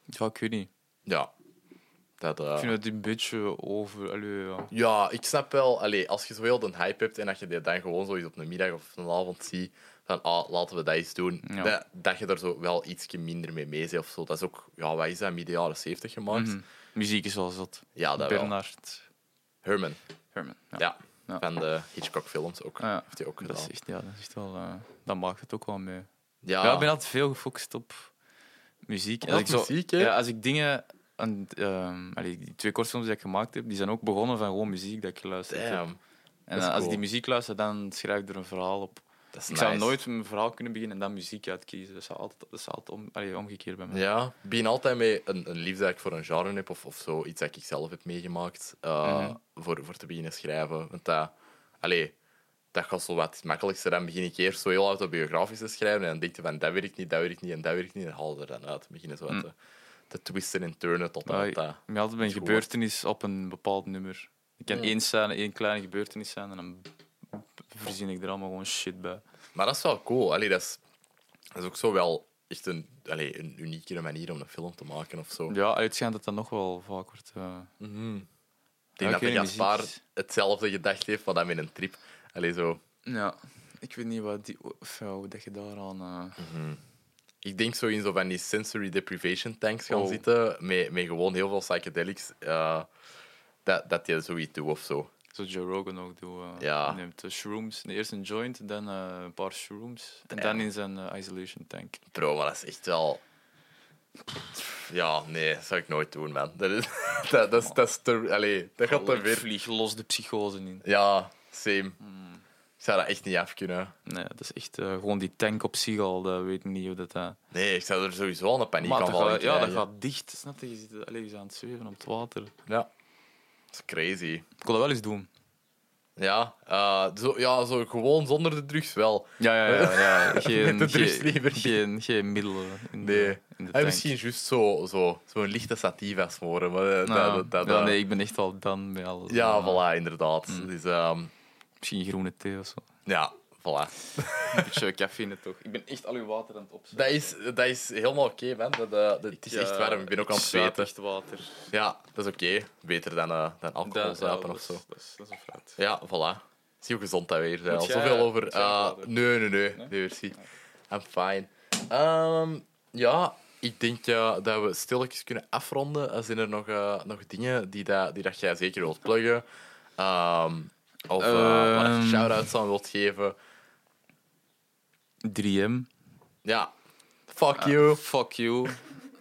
Speaker 2: Ja, ik weet niet.
Speaker 1: ja. Dat, eh,
Speaker 2: Ik vind het een beetje over... Allee, ja.
Speaker 1: Ja, ik snap wel. Allee, als je zo heel de hype hebt en dat je dit dan gewoon zoiets op een middag of een avond ziet, van ah, laten we dat eens doen,
Speaker 2: Ja.
Speaker 1: dat, dat je er zo wel iets minder mee mee bent of zo. Dat is ook, ja, wat is dat, midden jaren 70 gemaakt?
Speaker 2: Mhm. Muziek is wel zat.
Speaker 1: Ja, Ah, dat wel.
Speaker 2: Bernard
Speaker 1: Herman,
Speaker 2: Herman. Ja.
Speaker 1: ja.
Speaker 2: Ja.
Speaker 1: Van de Hitchcock-films ook.
Speaker 2: Ah, ja.
Speaker 1: Heeft hij ook
Speaker 2: Dat
Speaker 1: gedaan.
Speaker 2: is echt, ja, dat is echt wel... eh, dat maakt het ook wel mee.
Speaker 1: Ja,
Speaker 2: Ja, ik ben altijd veel gefocust op muziek.
Speaker 1: Op
Speaker 2: ik zo-
Speaker 1: muziek, hè?
Speaker 2: ja, als ik dingen... En, ehm, allee, die twee kortfilms die ik gemaakt heb, die zijn ook begonnen van gewoon muziek dat ik geluisterd heb.
Speaker 1: damn.
Speaker 2: En
Speaker 1: dat is
Speaker 2: als ik
Speaker 1: cool.
Speaker 2: die muziek luister, dan schrijf ik er een verhaal op.
Speaker 1: Dat is
Speaker 2: Ik zou
Speaker 1: nice.
Speaker 2: nooit mijn verhaal kunnen beginnen en dan muziek uitkiezen. Dat zou altijd, dat zou altijd om, allee, omgekeerd bij mij.
Speaker 1: Ja, ik begin altijd met een, een liefde dat ik voor een genre heb of, of zo, iets dat ik zelf heb meegemaakt, eh,
Speaker 2: Mhm.
Speaker 1: voor, voor te beginnen schrijven. Want dat, allee, dat gaat zo wat makkelijkster. Dan begin ik eerst zo heel autobiografisch te schrijven en dan denk je van dat werkt niet, dat werkt niet en dat werkt niet. En dan haal je er dan uit. Dan beginnen zo wat
Speaker 2: Mm.
Speaker 1: te, te twisten en turnen tot
Speaker 2: Maar
Speaker 1: dat.
Speaker 2: ik
Speaker 1: dat-
Speaker 2: ik heb altijd een
Speaker 1: Is goed.
Speaker 2: gebeurtenis op een bepaald nummer. Ik kan
Speaker 1: Ja.
Speaker 2: één scène, één kleine gebeurtenis zijn en dan verzin ik er allemaal gewoon shit bij.
Speaker 1: Maar dat is wel cool. Allee, dat, is, dat is ook zo wel echt een, allee, een uniekere manier om een film te maken of zo.
Speaker 2: Ja, allee, het schijnt dat dat nog wel vaak wordt. eh,
Speaker 1: Mhm. Ik
Speaker 2: Ja,
Speaker 1: denk
Speaker 2: ik weet
Speaker 1: dat
Speaker 2: niet,
Speaker 1: Gaspar
Speaker 2: muziek is-
Speaker 1: hetzelfde gedacht heeft, maar dan met een trip. Allee, zo...
Speaker 2: Ja, ik weet niet wat die, of, ja, hoe dat je daaraan. eh,
Speaker 1: Ik denk zo in zo van die sensory deprivation tanks gaan
Speaker 2: Oh.
Speaker 1: zitten, met, met gewoon heel veel psychedelics, eh, dat, dat je zoiets doet of zo.
Speaker 2: Zo Joe Rogan ook doet. eh,
Speaker 1: Ja.
Speaker 2: die neemt eh, shrooms, eerst een joint, dan eh, een paar shrooms. En
Speaker 1: Ja.
Speaker 2: dan in zijn eh, isolation tank.
Speaker 1: Bro, maar dat is echt wel... Ja, nee, dat zou ik nooit doen, man. Dat, is, *laughs* dat, dat, is, dat, is te, allee, dat gaat te
Speaker 2: Ik
Speaker 1: ver.
Speaker 2: vlieg los de psychose in.
Speaker 1: Ja, same. Ik zou dat echt niet af kunnen.
Speaker 2: Nee, dat is echt eh, gewoon die tank op zich al. Dat weet ik niet hoe dat. eh,
Speaker 1: Nee, ik zou er sowieso al een paniek
Speaker 2: Maar
Speaker 1: aan
Speaker 2: dat
Speaker 1: vallen.
Speaker 2: gaat, ja, dat
Speaker 1: krijgen.
Speaker 2: gaat dicht. Snap je? Je zit allee, je bent aan het zweven op het water.
Speaker 1: Ja. Dat is crazy.
Speaker 2: Ik wil dat wel eens doen.
Speaker 1: Ja, eh, zo, ja zo gewoon zonder de drugs wel.
Speaker 2: Ja, ja, ja. *laughs* ja.
Speaker 1: Met
Speaker 2: Geen,
Speaker 1: de drugs
Speaker 2: geen,
Speaker 1: liever.
Speaker 2: geen, geen middelen in de,
Speaker 1: Nee.
Speaker 2: in de
Speaker 1: Hij
Speaker 2: tank.
Speaker 1: misschien juist zo, zo, zo'n lichte sativa smoren. Maar eh,
Speaker 2: Nou,
Speaker 1: dat, dat, dat,
Speaker 2: ja,
Speaker 1: eh,
Speaker 2: nee, ik ben echt al dan bij alles.
Speaker 1: ja,
Speaker 2: Eh,
Speaker 1: voilà, inderdaad. Dus, ehm,
Speaker 2: Misschien groene thee of zo.
Speaker 1: ja, voilà.
Speaker 2: Een beetje cafeïne toch? Ik ben echt al uw water aan het opzetten.
Speaker 1: Dat is, dat is helemaal oké, man. Dat, eh, dat, het is echt warm. Ik ben ook aan het zweten.
Speaker 2: echt water.
Speaker 1: Ja, dat is oké. Beter dan, eh dan alcohol zuipen of zo.
Speaker 2: Dat is, dat is een fruit.
Speaker 1: Ja, voilà. Zie hoe gezond dat weer zijn.
Speaker 2: Moet jij-
Speaker 1: Zoveel over...
Speaker 2: moet jij
Speaker 1: eh,
Speaker 2: bladeren?
Speaker 1: nee, nee, nee. Nee, merci. I'm fine. Ehm, ja, ik denk eh, dat we stilletjes kunnen afronden. Eh, Zijn er nog, eh, nog dingen die, dat, die dat jij zeker wilt pluggen? Ehm, of eh waar je
Speaker 2: Ehm.
Speaker 1: shout-outs aan wilt geven?
Speaker 2: 3M.
Speaker 1: Ja.
Speaker 2: Ah.
Speaker 1: Fuck you.
Speaker 2: Fuck you.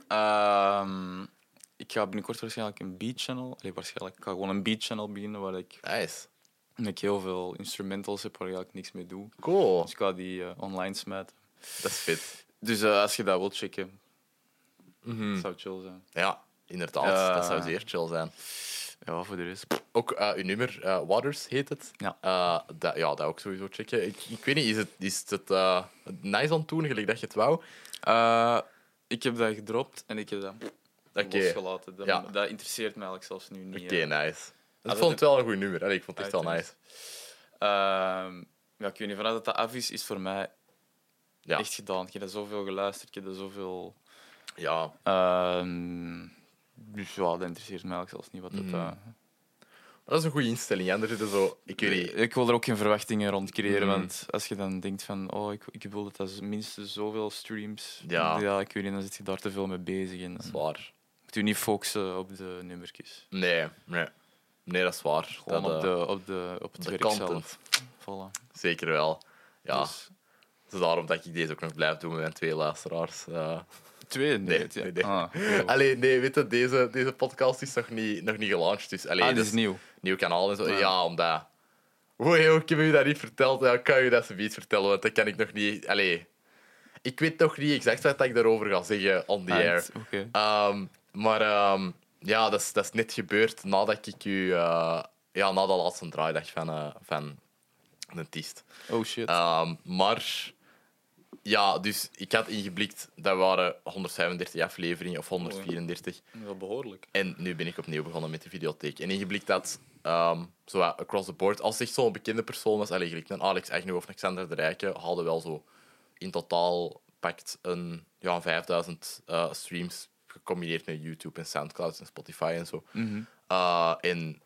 Speaker 2: Ehm, ik ga binnenkort waarschijnlijk een beat-channel... Nee, waarschijnlijk. Ik ga gewoon een beat-channel beginnen waar ik,
Speaker 1: Nice.
Speaker 2: waar ik heel veel instrumentals heb waar ik eigenlijk niks mee doe.
Speaker 1: Cool.
Speaker 2: Dus ik ga die eh, online smijten.
Speaker 1: Dat is fit.
Speaker 2: Dus eh, als je dat wilt checken,
Speaker 1: Mhm.
Speaker 2: zou chill zijn.
Speaker 1: Ja, inderdaad.
Speaker 2: Eh.
Speaker 1: Dat zou zeer chill zijn.
Speaker 2: Ja, voor de rest...
Speaker 1: Ook eh, uw nummer, eh, Waters heet het.
Speaker 2: Ja.
Speaker 1: Eh, dat, ja, dat ook sowieso checken. Ik, ik weet niet, is het, is het eh, nice aan het doen, gelijk dat je het wou?
Speaker 2: Eh, ik heb dat gedropt en ik heb dat
Speaker 1: Oké.
Speaker 2: losgelaten. Dat,
Speaker 1: Ja.
Speaker 2: dat interesseert me eigenlijk zelfs nu
Speaker 1: Oké,
Speaker 2: niet.
Speaker 1: nice.
Speaker 2: Ah, dat
Speaker 1: ik vond
Speaker 2: heb-
Speaker 1: het wel een goed nummer. Allee, ik vond het echt wel
Speaker 2: Uiteraard.
Speaker 1: nice.
Speaker 2: Ehm, ja, ik weet niet, vanuit dat dat af is, is voor mij
Speaker 1: Ja.
Speaker 2: echt gedaan. Ik heb dat zoveel geluisterd, ik heb dat zoveel...
Speaker 1: Ja,
Speaker 2: Ehm, dus ja, dat interesseert mij eigenlijk zelfs niet wat dat...
Speaker 1: Mm.
Speaker 2: eh,
Speaker 1: dat is een goede instelling. hè. Er zitten zo, ik weet niet,
Speaker 2: Eh, Ik wil er ook geen verwachtingen rond creëren,
Speaker 1: Mm.
Speaker 2: want als je dan denkt van oh, ik, ik wil dat dat minstens zoveel streams...
Speaker 1: Ja.
Speaker 2: ik weet niet, dan zit je daar te veel mee bezig. En dan
Speaker 1: zwaar.
Speaker 2: moet je niet focussen op de nummertjes.
Speaker 1: Nee, nee. Nee, dat is waar.
Speaker 2: Gewoon
Speaker 1: dat,
Speaker 2: op,
Speaker 1: eh,
Speaker 2: de, op, de, op het
Speaker 1: de
Speaker 2: werk
Speaker 1: content.
Speaker 2: zelf. Voilà.
Speaker 1: Zeker wel. Ja,
Speaker 2: Dus
Speaker 1: het is daarom dat ik deze ook nog blijf doen met mijn twee luisteraars. eh.
Speaker 2: twee? Nee.
Speaker 1: Nee,
Speaker 2: ja.
Speaker 1: nee, nee. *laughs*
Speaker 2: Ah, nee. Ah,
Speaker 1: Allee, nee, weet je, deze, deze podcast is nog niet, nog niet gelaunched. Dus, allee,
Speaker 2: dit
Speaker 1: dat
Speaker 2: is
Speaker 1: is-
Speaker 2: nieuw.
Speaker 1: nieuw kanaal en zo.
Speaker 2: Ja.
Speaker 1: Ja, omdat. Oei, ik heb u dat niet verteld. Ja, ik kan je dat zoiets vertellen, want dat kan ik nog niet. Allee, ik weet nog niet exact wat ik daarover ga zeggen on the
Speaker 2: Ah,
Speaker 1: air.
Speaker 2: het- Oké.
Speaker 1: Ehm, maar ehm, ja, dat is, dat is net gebeurd nadat ik u. eh, ja, na de laatste draaidag van, eh van een tiest.
Speaker 2: Oh shit.
Speaker 1: Ehm, maar Ja, dus ik had ingeblikt, dat waren 135 afleveringen of 134.
Speaker 2: Wel behoorlijk.
Speaker 1: En nu ben ik opnieuw begonnen met de videotheek. En ingeblikt dat, ehm zo wat across the board, als echt zo'n bekende persoon was, allee, gelijk een Alex Agnew of een Xander de Rijken, hadden wel zo in totaal pakt een ja, 5000 eh, streams, gecombineerd met YouTube en Soundcloud en Spotify en zo.
Speaker 2: Mhm.
Speaker 1: Eh, en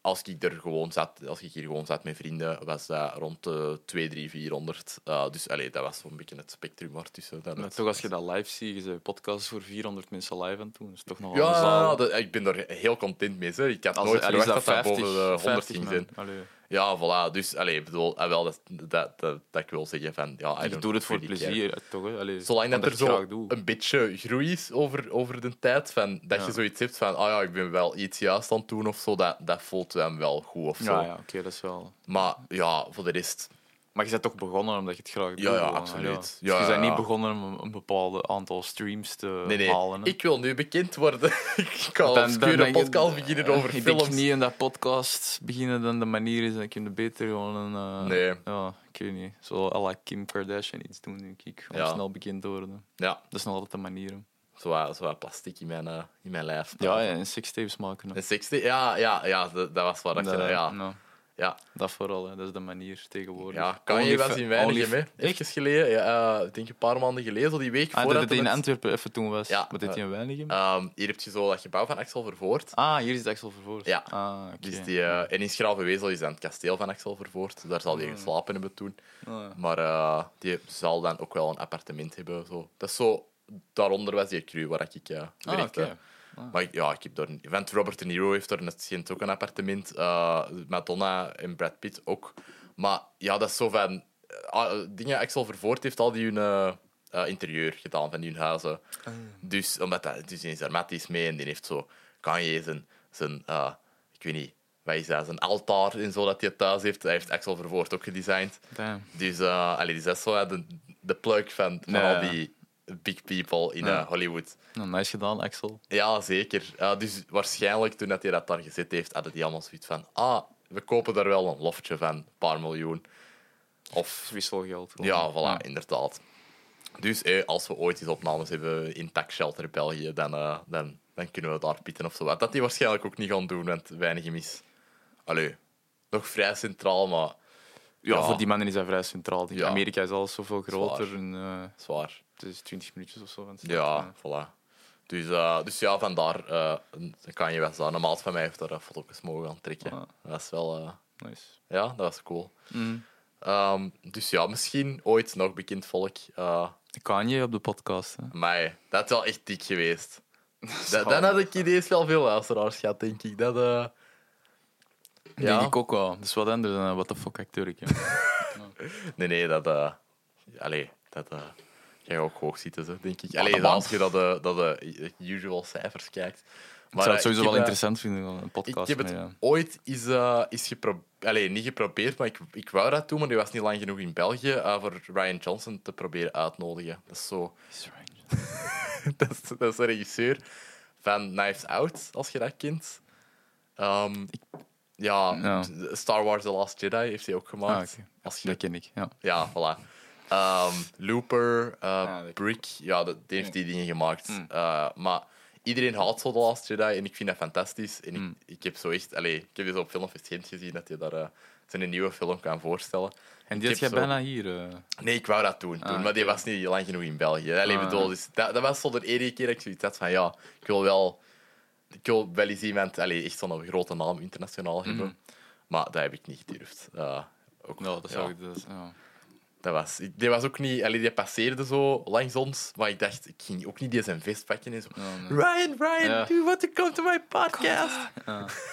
Speaker 1: als ik, er gewoon zat, als ik hier gewoon zat met vrienden, was dat rond de 2, 3, 400. Eh, dus allee, dat was zo'n beetje het spectrum waartussen. dat
Speaker 2: Maar
Speaker 1: het-
Speaker 2: toch, als je dat live ziet, je bent je podcast voor 400 mensen live aan het doen. Dat is toch nog wel een
Speaker 1: Ja,
Speaker 2: zaal.
Speaker 1: dat- ik ben daar heel content mee. Hè. Ik had
Speaker 2: Als
Speaker 1: nooit
Speaker 2: al is
Speaker 1: verwacht dat dat
Speaker 2: 50,
Speaker 1: boven de 100
Speaker 2: 50
Speaker 1: ging
Speaker 2: man.
Speaker 1: zijn.
Speaker 2: Allee.
Speaker 1: Ja, voilà. Dus, allee, ik bedoel, ah, wel, dat, dat, dat, dat ik wil zeggen van... Ja, I
Speaker 2: Ik
Speaker 1: don't
Speaker 2: Dus doe het voor
Speaker 1: really care.
Speaker 2: plezier, eh, toch? hè? Allee,
Speaker 1: Zolang dat
Speaker 2: omdat
Speaker 1: er
Speaker 2: ik het
Speaker 1: zo
Speaker 2: graag doe.
Speaker 1: een beetje groei is over, over de tijd, van, dat
Speaker 2: Ja.
Speaker 1: je zoiets hebt van, ah ja, ik ben wel iets juist aan het doen of zo, dat, dat voelt hem wel goed of zo.
Speaker 2: Ja, ja oké, dat is wel...
Speaker 1: Maar ja, voor de rest...
Speaker 2: Maar je bent toch begonnen omdat je het graag doet?
Speaker 1: Ja, ja,
Speaker 2: gewoon,
Speaker 1: absoluut.
Speaker 2: hè,
Speaker 1: Ja,
Speaker 2: Dus je bent
Speaker 1: ja, ja.
Speaker 2: niet begonnen om een- een bepaald aantal streams te
Speaker 1: Nee, nee,
Speaker 2: halen. hè?
Speaker 1: ik wil nu bekend worden. *laughs* ik kan
Speaker 2: Dan-
Speaker 1: een
Speaker 2: dan
Speaker 1: obscure
Speaker 2: denk ik- eh,
Speaker 1: podcast beginnen over
Speaker 2: ik
Speaker 1: films.
Speaker 2: denk niet in dat podcast beginnen dan de manier is, dan kun je beter gewoon een... eh,
Speaker 1: Nee.
Speaker 2: Ja, ik weet niet. Zo à la Kim Kardashian iets doen, denk ik. Om
Speaker 1: Ja.
Speaker 2: snel bekend te worden.
Speaker 1: Ja,
Speaker 2: Dat is nog altijd de manier. hè.
Speaker 1: zo wat- zo wat plastic in mijn, eh, in mijn lijf.
Speaker 2: Ja, ja, en sextapes maken. hè.
Speaker 1: Een 60? Ja, ja, ja dat, dat was waar dat je...
Speaker 2: Dat-
Speaker 1: ja,
Speaker 2: nou,
Speaker 1: ja,
Speaker 2: dat vooral, hè. dat is de manier tegenwoordig.
Speaker 1: ja, kan je
Speaker 2: Only
Speaker 1: wel
Speaker 2: fa-
Speaker 1: zien weinig
Speaker 2: only-
Speaker 1: mee. Even geleden, ja, eh, ik denk een paar maanden geleden, zo die week
Speaker 2: Ah, dat
Speaker 1: voordat
Speaker 2: het in
Speaker 1: het-
Speaker 2: Antwerpen even toen was.
Speaker 1: Ja,
Speaker 2: maar dit
Speaker 1: eh,
Speaker 2: in Weinigem?
Speaker 1: Ehm, hier heb je zo dat gebouw van Axel Vervoort.
Speaker 2: ah, hier is het Axel Vervoort.
Speaker 1: ja.
Speaker 2: Ah, oké.
Speaker 1: Dus die, eh, en in Schravenwezel is dan het kasteel van Axel Vervoort. Dus Daar zal hij geslapen hebben toen.
Speaker 2: Ah,
Speaker 1: Maar eh, die zal dan ook wel een appartement hebben. Zo. Dat is zo... Daaronder was die crew waar ik eh
Speaker 2: ah,
Speaker 1: werkte.
Speaker 2: oké.
Speaker 1: Maar ik- ja, ik heb daar... Want Robert De Niro heeft daar net schijnt ook een appartement. eh, Madonna en Brad Pitt ook. Maar ja, dat is zo van... ah, eh, dingen, Axel Vervoort heeft al die hun eh, eh, interieur gedaan van hun huizen.
Speaker 2: Ah,
Speaker 1: Dus, omdat dat, dus die is daar matties mee en die heeft zo... Kanye zijn... zijn eh, ik weet niet... Wat is dat? Zijn altaar en zo dat hij thuis heeft. Hij heeft Axel Vervoort ook gedesigned.
Speaker 2: Damn.
Speaker 1: Dus, eh allee, dus dat is zo eh, de, de plug van, van
Speaker 2: Ja,
Speaker 1: al
Speaker 2: ja.
Speaker 1: die big people in
Speaker 2: Ja.
Speaker 1: eh, Hollywood.
Speaker 2: Nou, nice gedaan, Axel.
Speaker 1: Ja, zeker. Eh, dus waarschijnlijk toen dat hij dat daar gezet heeft, hadden die allemaal zoiets van: ah, we kopen daar wel een loftje van, een paar miljoen. Of
Speaker 2: Wisselgeld. gewoon.
Speaker 1: ja, voilà, inderdaad. Dus eh, als we ooit eens opnames hebben in Tax Shelter België, dan, eh, dan, dan kunnen we daar pieten of zo. wat. Dat die waarschijnlijk ook niet gaan doen, want weinig mis. Allee, nog vrij centraal, maar
Speaker 2: Ja,
Speaker 1: Ja.
Speaker 2: voor die mannen is dat vrij centraal. In
Speaker 1: Ja.
Speaker 2: Amerika is alles zoveel groter.
Speaker 1: waar.
Speaker 2: En, eh,
Speaker 1: zwaar.
Speaker 2: het is 20 minuutjes of zo. Van de stad,
Speaker 1: Ja,
Speaker 2: eh.
Speaker 1: voilà. Dus, eh, dus ja, vandaar eh, een- dan kan je wel staan. Een maat van mij heeft daar eh, foto's mogen aan trekken.
Speaker 2: Ah.
Speaker 1: Dat is wel... eh,
Speaker 2: Nice.
Speaker 1: ja, dat was cool.
Speaker 2: Mm.
Speaker 1: Ehm, dus ja, misschien ooit nog bekend volk. eh
Speaker 2: Kanye op de podcast. Hè.
Speaker 1: maar dat is wel echt dik
Speaker 2: *laughs*
Speaker 1: geweest. Da-
Speaker 2: Zalig.
Speaker 1: dan had ik ineens wel veel luisteraars gehad, denk ik. Dat, eh, ja.
Speaker 2: Denk ik ook wel. Dat is wat anders dan een what the fuck
Speaker 1: *laughs*
Speaker 2: acteur ik. hè.
Speaker 1: Nee, nee, dat... eh allee, dat... eh jij gaat ook hoog zitten, zo, denk ik.
Speaker 2: de
Speaker 1: Allee,
Speaker 2: man.
Speaker 1: als je dat, eh, dat de usual cijfers kijkt.
Speaker 2: ik zou
Speaker 1: eh,
Speaker 2: het sowieso
Speaker 1: ik heb,
Speaker 2: wel
Speaker 1: eh,
Speaker 2: interessant vinden, wel, een
Speaker 1: Ik
Speaker 2: podcast.
Speaker 1: heb het
Speaker 2: met, ja.
Speaker 1: ooit eens, eh, eens geprobeerd. Allee, niet geprobeerd, maar ik, ik wou dat doen, maar die was niet lang genoeg in België eh, voor Ryan Johnson te proberen uitnodigen. Dat is zo. dat, is, dat is de regisseur van Knives Out, als je dat kent. Ehm, ja,
Speaker 2: Ja.
Speaker 1: Star Wars The Last Jedi heeft hij ook gemaakt.
Speaker 2: Ah, oké.
Speaker 1: Als je
Speaker 2: Dat ken ik. Ja.
Speaker 1: ja, voilà. Ehm, Looper, eh,
Speaker 2: Ah, dat Mm. klopt.
Speaker 1: Brick, ja, dat, die heeft die dingen gemaakt. Eh, maar iedereen haalt zo The Last Jedi en ik vind dat fantastisch. En ik,
Speaker 2: Mm.
Speaker 1: ik heb zo echt, allee, ik heb dus op Filmfest gezien dat je daar eh, zijn nieuwe film kan voorstellen.
Speaker 2: En
Speaker 1: Ik heb
Speaker 2: die had jij
Speaker 1: zo-
Speaker 2: bijna hier. eh.
Speaker 1: Nee, ik wou dat doen, toen, maar die
Speaker 2: oké.
Speaker 1: was niet lang genoeg in België. Allee,
Speaker 2: Ah.
Speaker 1: bedoel, dus dat, dat was zo de enige keer dat ik zoiets had van, ja, ik wil wel, ik wil wel eens iemand, allee, echt zo'n grote naam
Speaker 2: Mm.
Speaker 1: internationaal hebben. Maar dat heb ik niet gedurfd. Eh, ook,
Speaker 2: Nou, dat
Speaker 1: ja.
Speaker 2: zou ik dus. Ja.
Speaker 1: Dat was, ik- die was ook niet... Allee, die passeerde zo langs ons, maar ik dacht, ik ging ook niet die zijn vest pakken en zo.
Speaker 2: nee.
Speaker 1: Ryan, Ryan,
Speaker 2: Ja.
Speaker 1: do you want to come to my podcast? *laughs*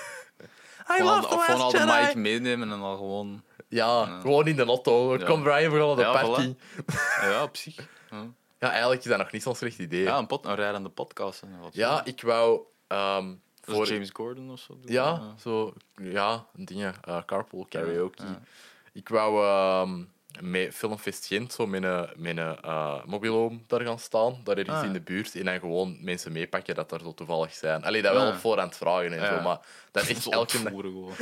Speaker 1: I
Speaker 2: Gewoon
Speaker 1: love
Speaker 2: al-
Speaker 1: The
Speaker 2: gewoon
Speaker 1: Last
Speaker 2: al de mic
Speaker 1: Jedi.
Speaker 2: meenemen en dan gewoon.
Speaker 1: Ja, gewoon in de auto.
Speaker 2: Ja.
Speaker 1: Kom Ryan, we gaan naar de
Speaker 2: Ja,
Speaker 1: party.
Speaker 2: Ah, Ja, op zich. Ja.
Speaker 1: Ja, eigenlijk is dat nog niet zo'n slecht idee.
Speaker 2: Ja,
Speaker 1: Ja,
Speaker 2: een, pot, een rijdende podcast. En wat.
Speaker 1: ik wou... ehm,
Speaker 2: Voor
Speaker 1: voor-
Speaker 2: James Gordon of zo. doen.
Speaker 1: Ja, zo, ja, dingen. eh, carpool karaoke.
Speaker 2: Ja.
Speaker 1: Ik wou ehm met Filmfest Gent zo met een, met een eh, mobielhome daar gaan staan, daar ergens
Speaker 2: Ah.
Speaker 1: in de buurt, en dan gewoon mensen meepakken dat er zo toevallig zijn. Allee, dat wel
Speaker 2: Ah.
Speaker 1: op voorhand vragen en
Speaker 2: *laughs* Ja.
Speaker 1: zo, maar dat
Speaker 2: Echt
Speaker 1: is
Speaker 2: elke
Speaker 1: elke dag
Speaker 2: voeren gewoon.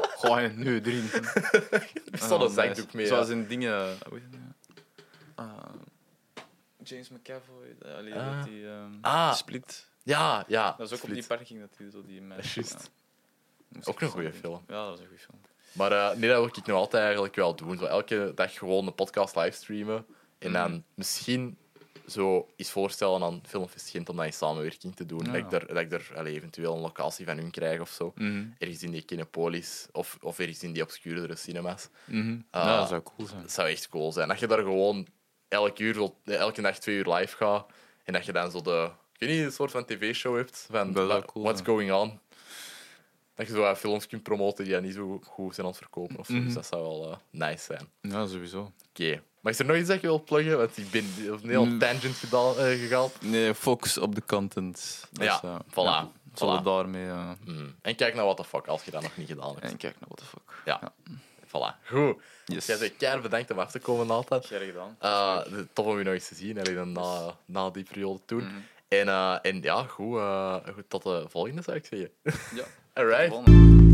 Speaker 2: *laughs* Gooi het nu drinken.
Speaker 1: zo'n zakdoek mee.
Speaker 2: Ah, Zoals
Speaker 1: ja.
Speaker 2: in dingen. hoe heet dat? eh, James McAvoy, eh, allee,
Speaker 1: Ah.
Speaker 2: dat die ehm,
Speaker 1: Ah.
Speaker 2: Split.
Speaker 1: Ja, ja.
Speaker 2: Dat is ook
Speaker 1: split.
Speaker 2: op die parking dat hij zo die meisje...
Speaker 1: Juist.
Speaker 2: Moest
Speaker 1: Ook
Speaker 2: ik
Speaker 1: een
Speaker 2: zo
Speaker 1: goeie
Speaker 2: denken.
Speaker 1: film.
Speaker 2: Ja, dat is een goede film.
Speaker 1: Maar eh, nee, dat wil ik nog altijd eigenlijk wel doen. Zo elke dag gewoon een podcast livestreamen. En
Speaker 2: Mm.
Speaker 1: dan misschien zo iets voorstellen aan Filmfest Gent om dat in samenwerking te doen.
Speaker 2: Ja.
Speaker 1: Dat ik er, dat ik er allee, eventueel een locatie van hun krijg of zo.
Speaker 2: Mhm.
Speaker 1: Ergens in die Kinepolis of, of ergens in die obscuurdere cinema's. Ah.
Speaker 2: Mhm. ja, dat zou cool zijn.
Speaker 1: Dat zou echt cool zijn. Dat je daar gewoon elk uur, wilt- eh, elke dag twee uur live gaat. En dat je dan zo de... Ik weet niet, een soort van tv-show hebt. Van
Speaker 2: Dat zou
Speaker 1: wa-
Speaker 2: cool
Speaker 1: What's
Speaker 2: zijn.
Speaker 1: going on? Dat je zo wat films kunt promoten die dan niet zo goed zijn aan het verkopen. Of zo.
Speaker 2: Mhm.
Speaker 1: Dus dat zou wel eh, nice zijn. Oké.
Speaker 2: Ja, sowieso.
Speaker 1: Maar is er nog iets dat je wilt pluggen? Want ik ben op een heel
Speaker 2: Mm.
Speaker 1: tangent gedaal, eh, gegaan.
Speaker 2: Nee, focus op de content. Dat
Speaker 1: Ja,
Speaker 2: is, eh,
Speaker 1: voilà.
Speaker 2: ja,
Speaker 1: voilà.
Speaker 2: Zullen we daarmee... eh,
Speaker 1: Mm. En kijk naar What the Fuck, als je dat nog niet gedaan hebt.
Speaker 2: en kijk naar what the fuck.
Speaker 1: Ja. Voilà. Goed.
Speaker 2: Yes.
Speaker 1: Jij zegt keihard bedankt om af te komen altijd.
Speaker 2: Jij gedaan.
Speaker 1: Eh, tof om je nog eens te zien, allee, dan na, na die periode toen. ah, En, eh, en ja, goed, eh, goed, tot de volgende zou ik zeggen.
Speaker 2: Ja.
Speaker 1: Alright.
Speaker 2: Gewonnen.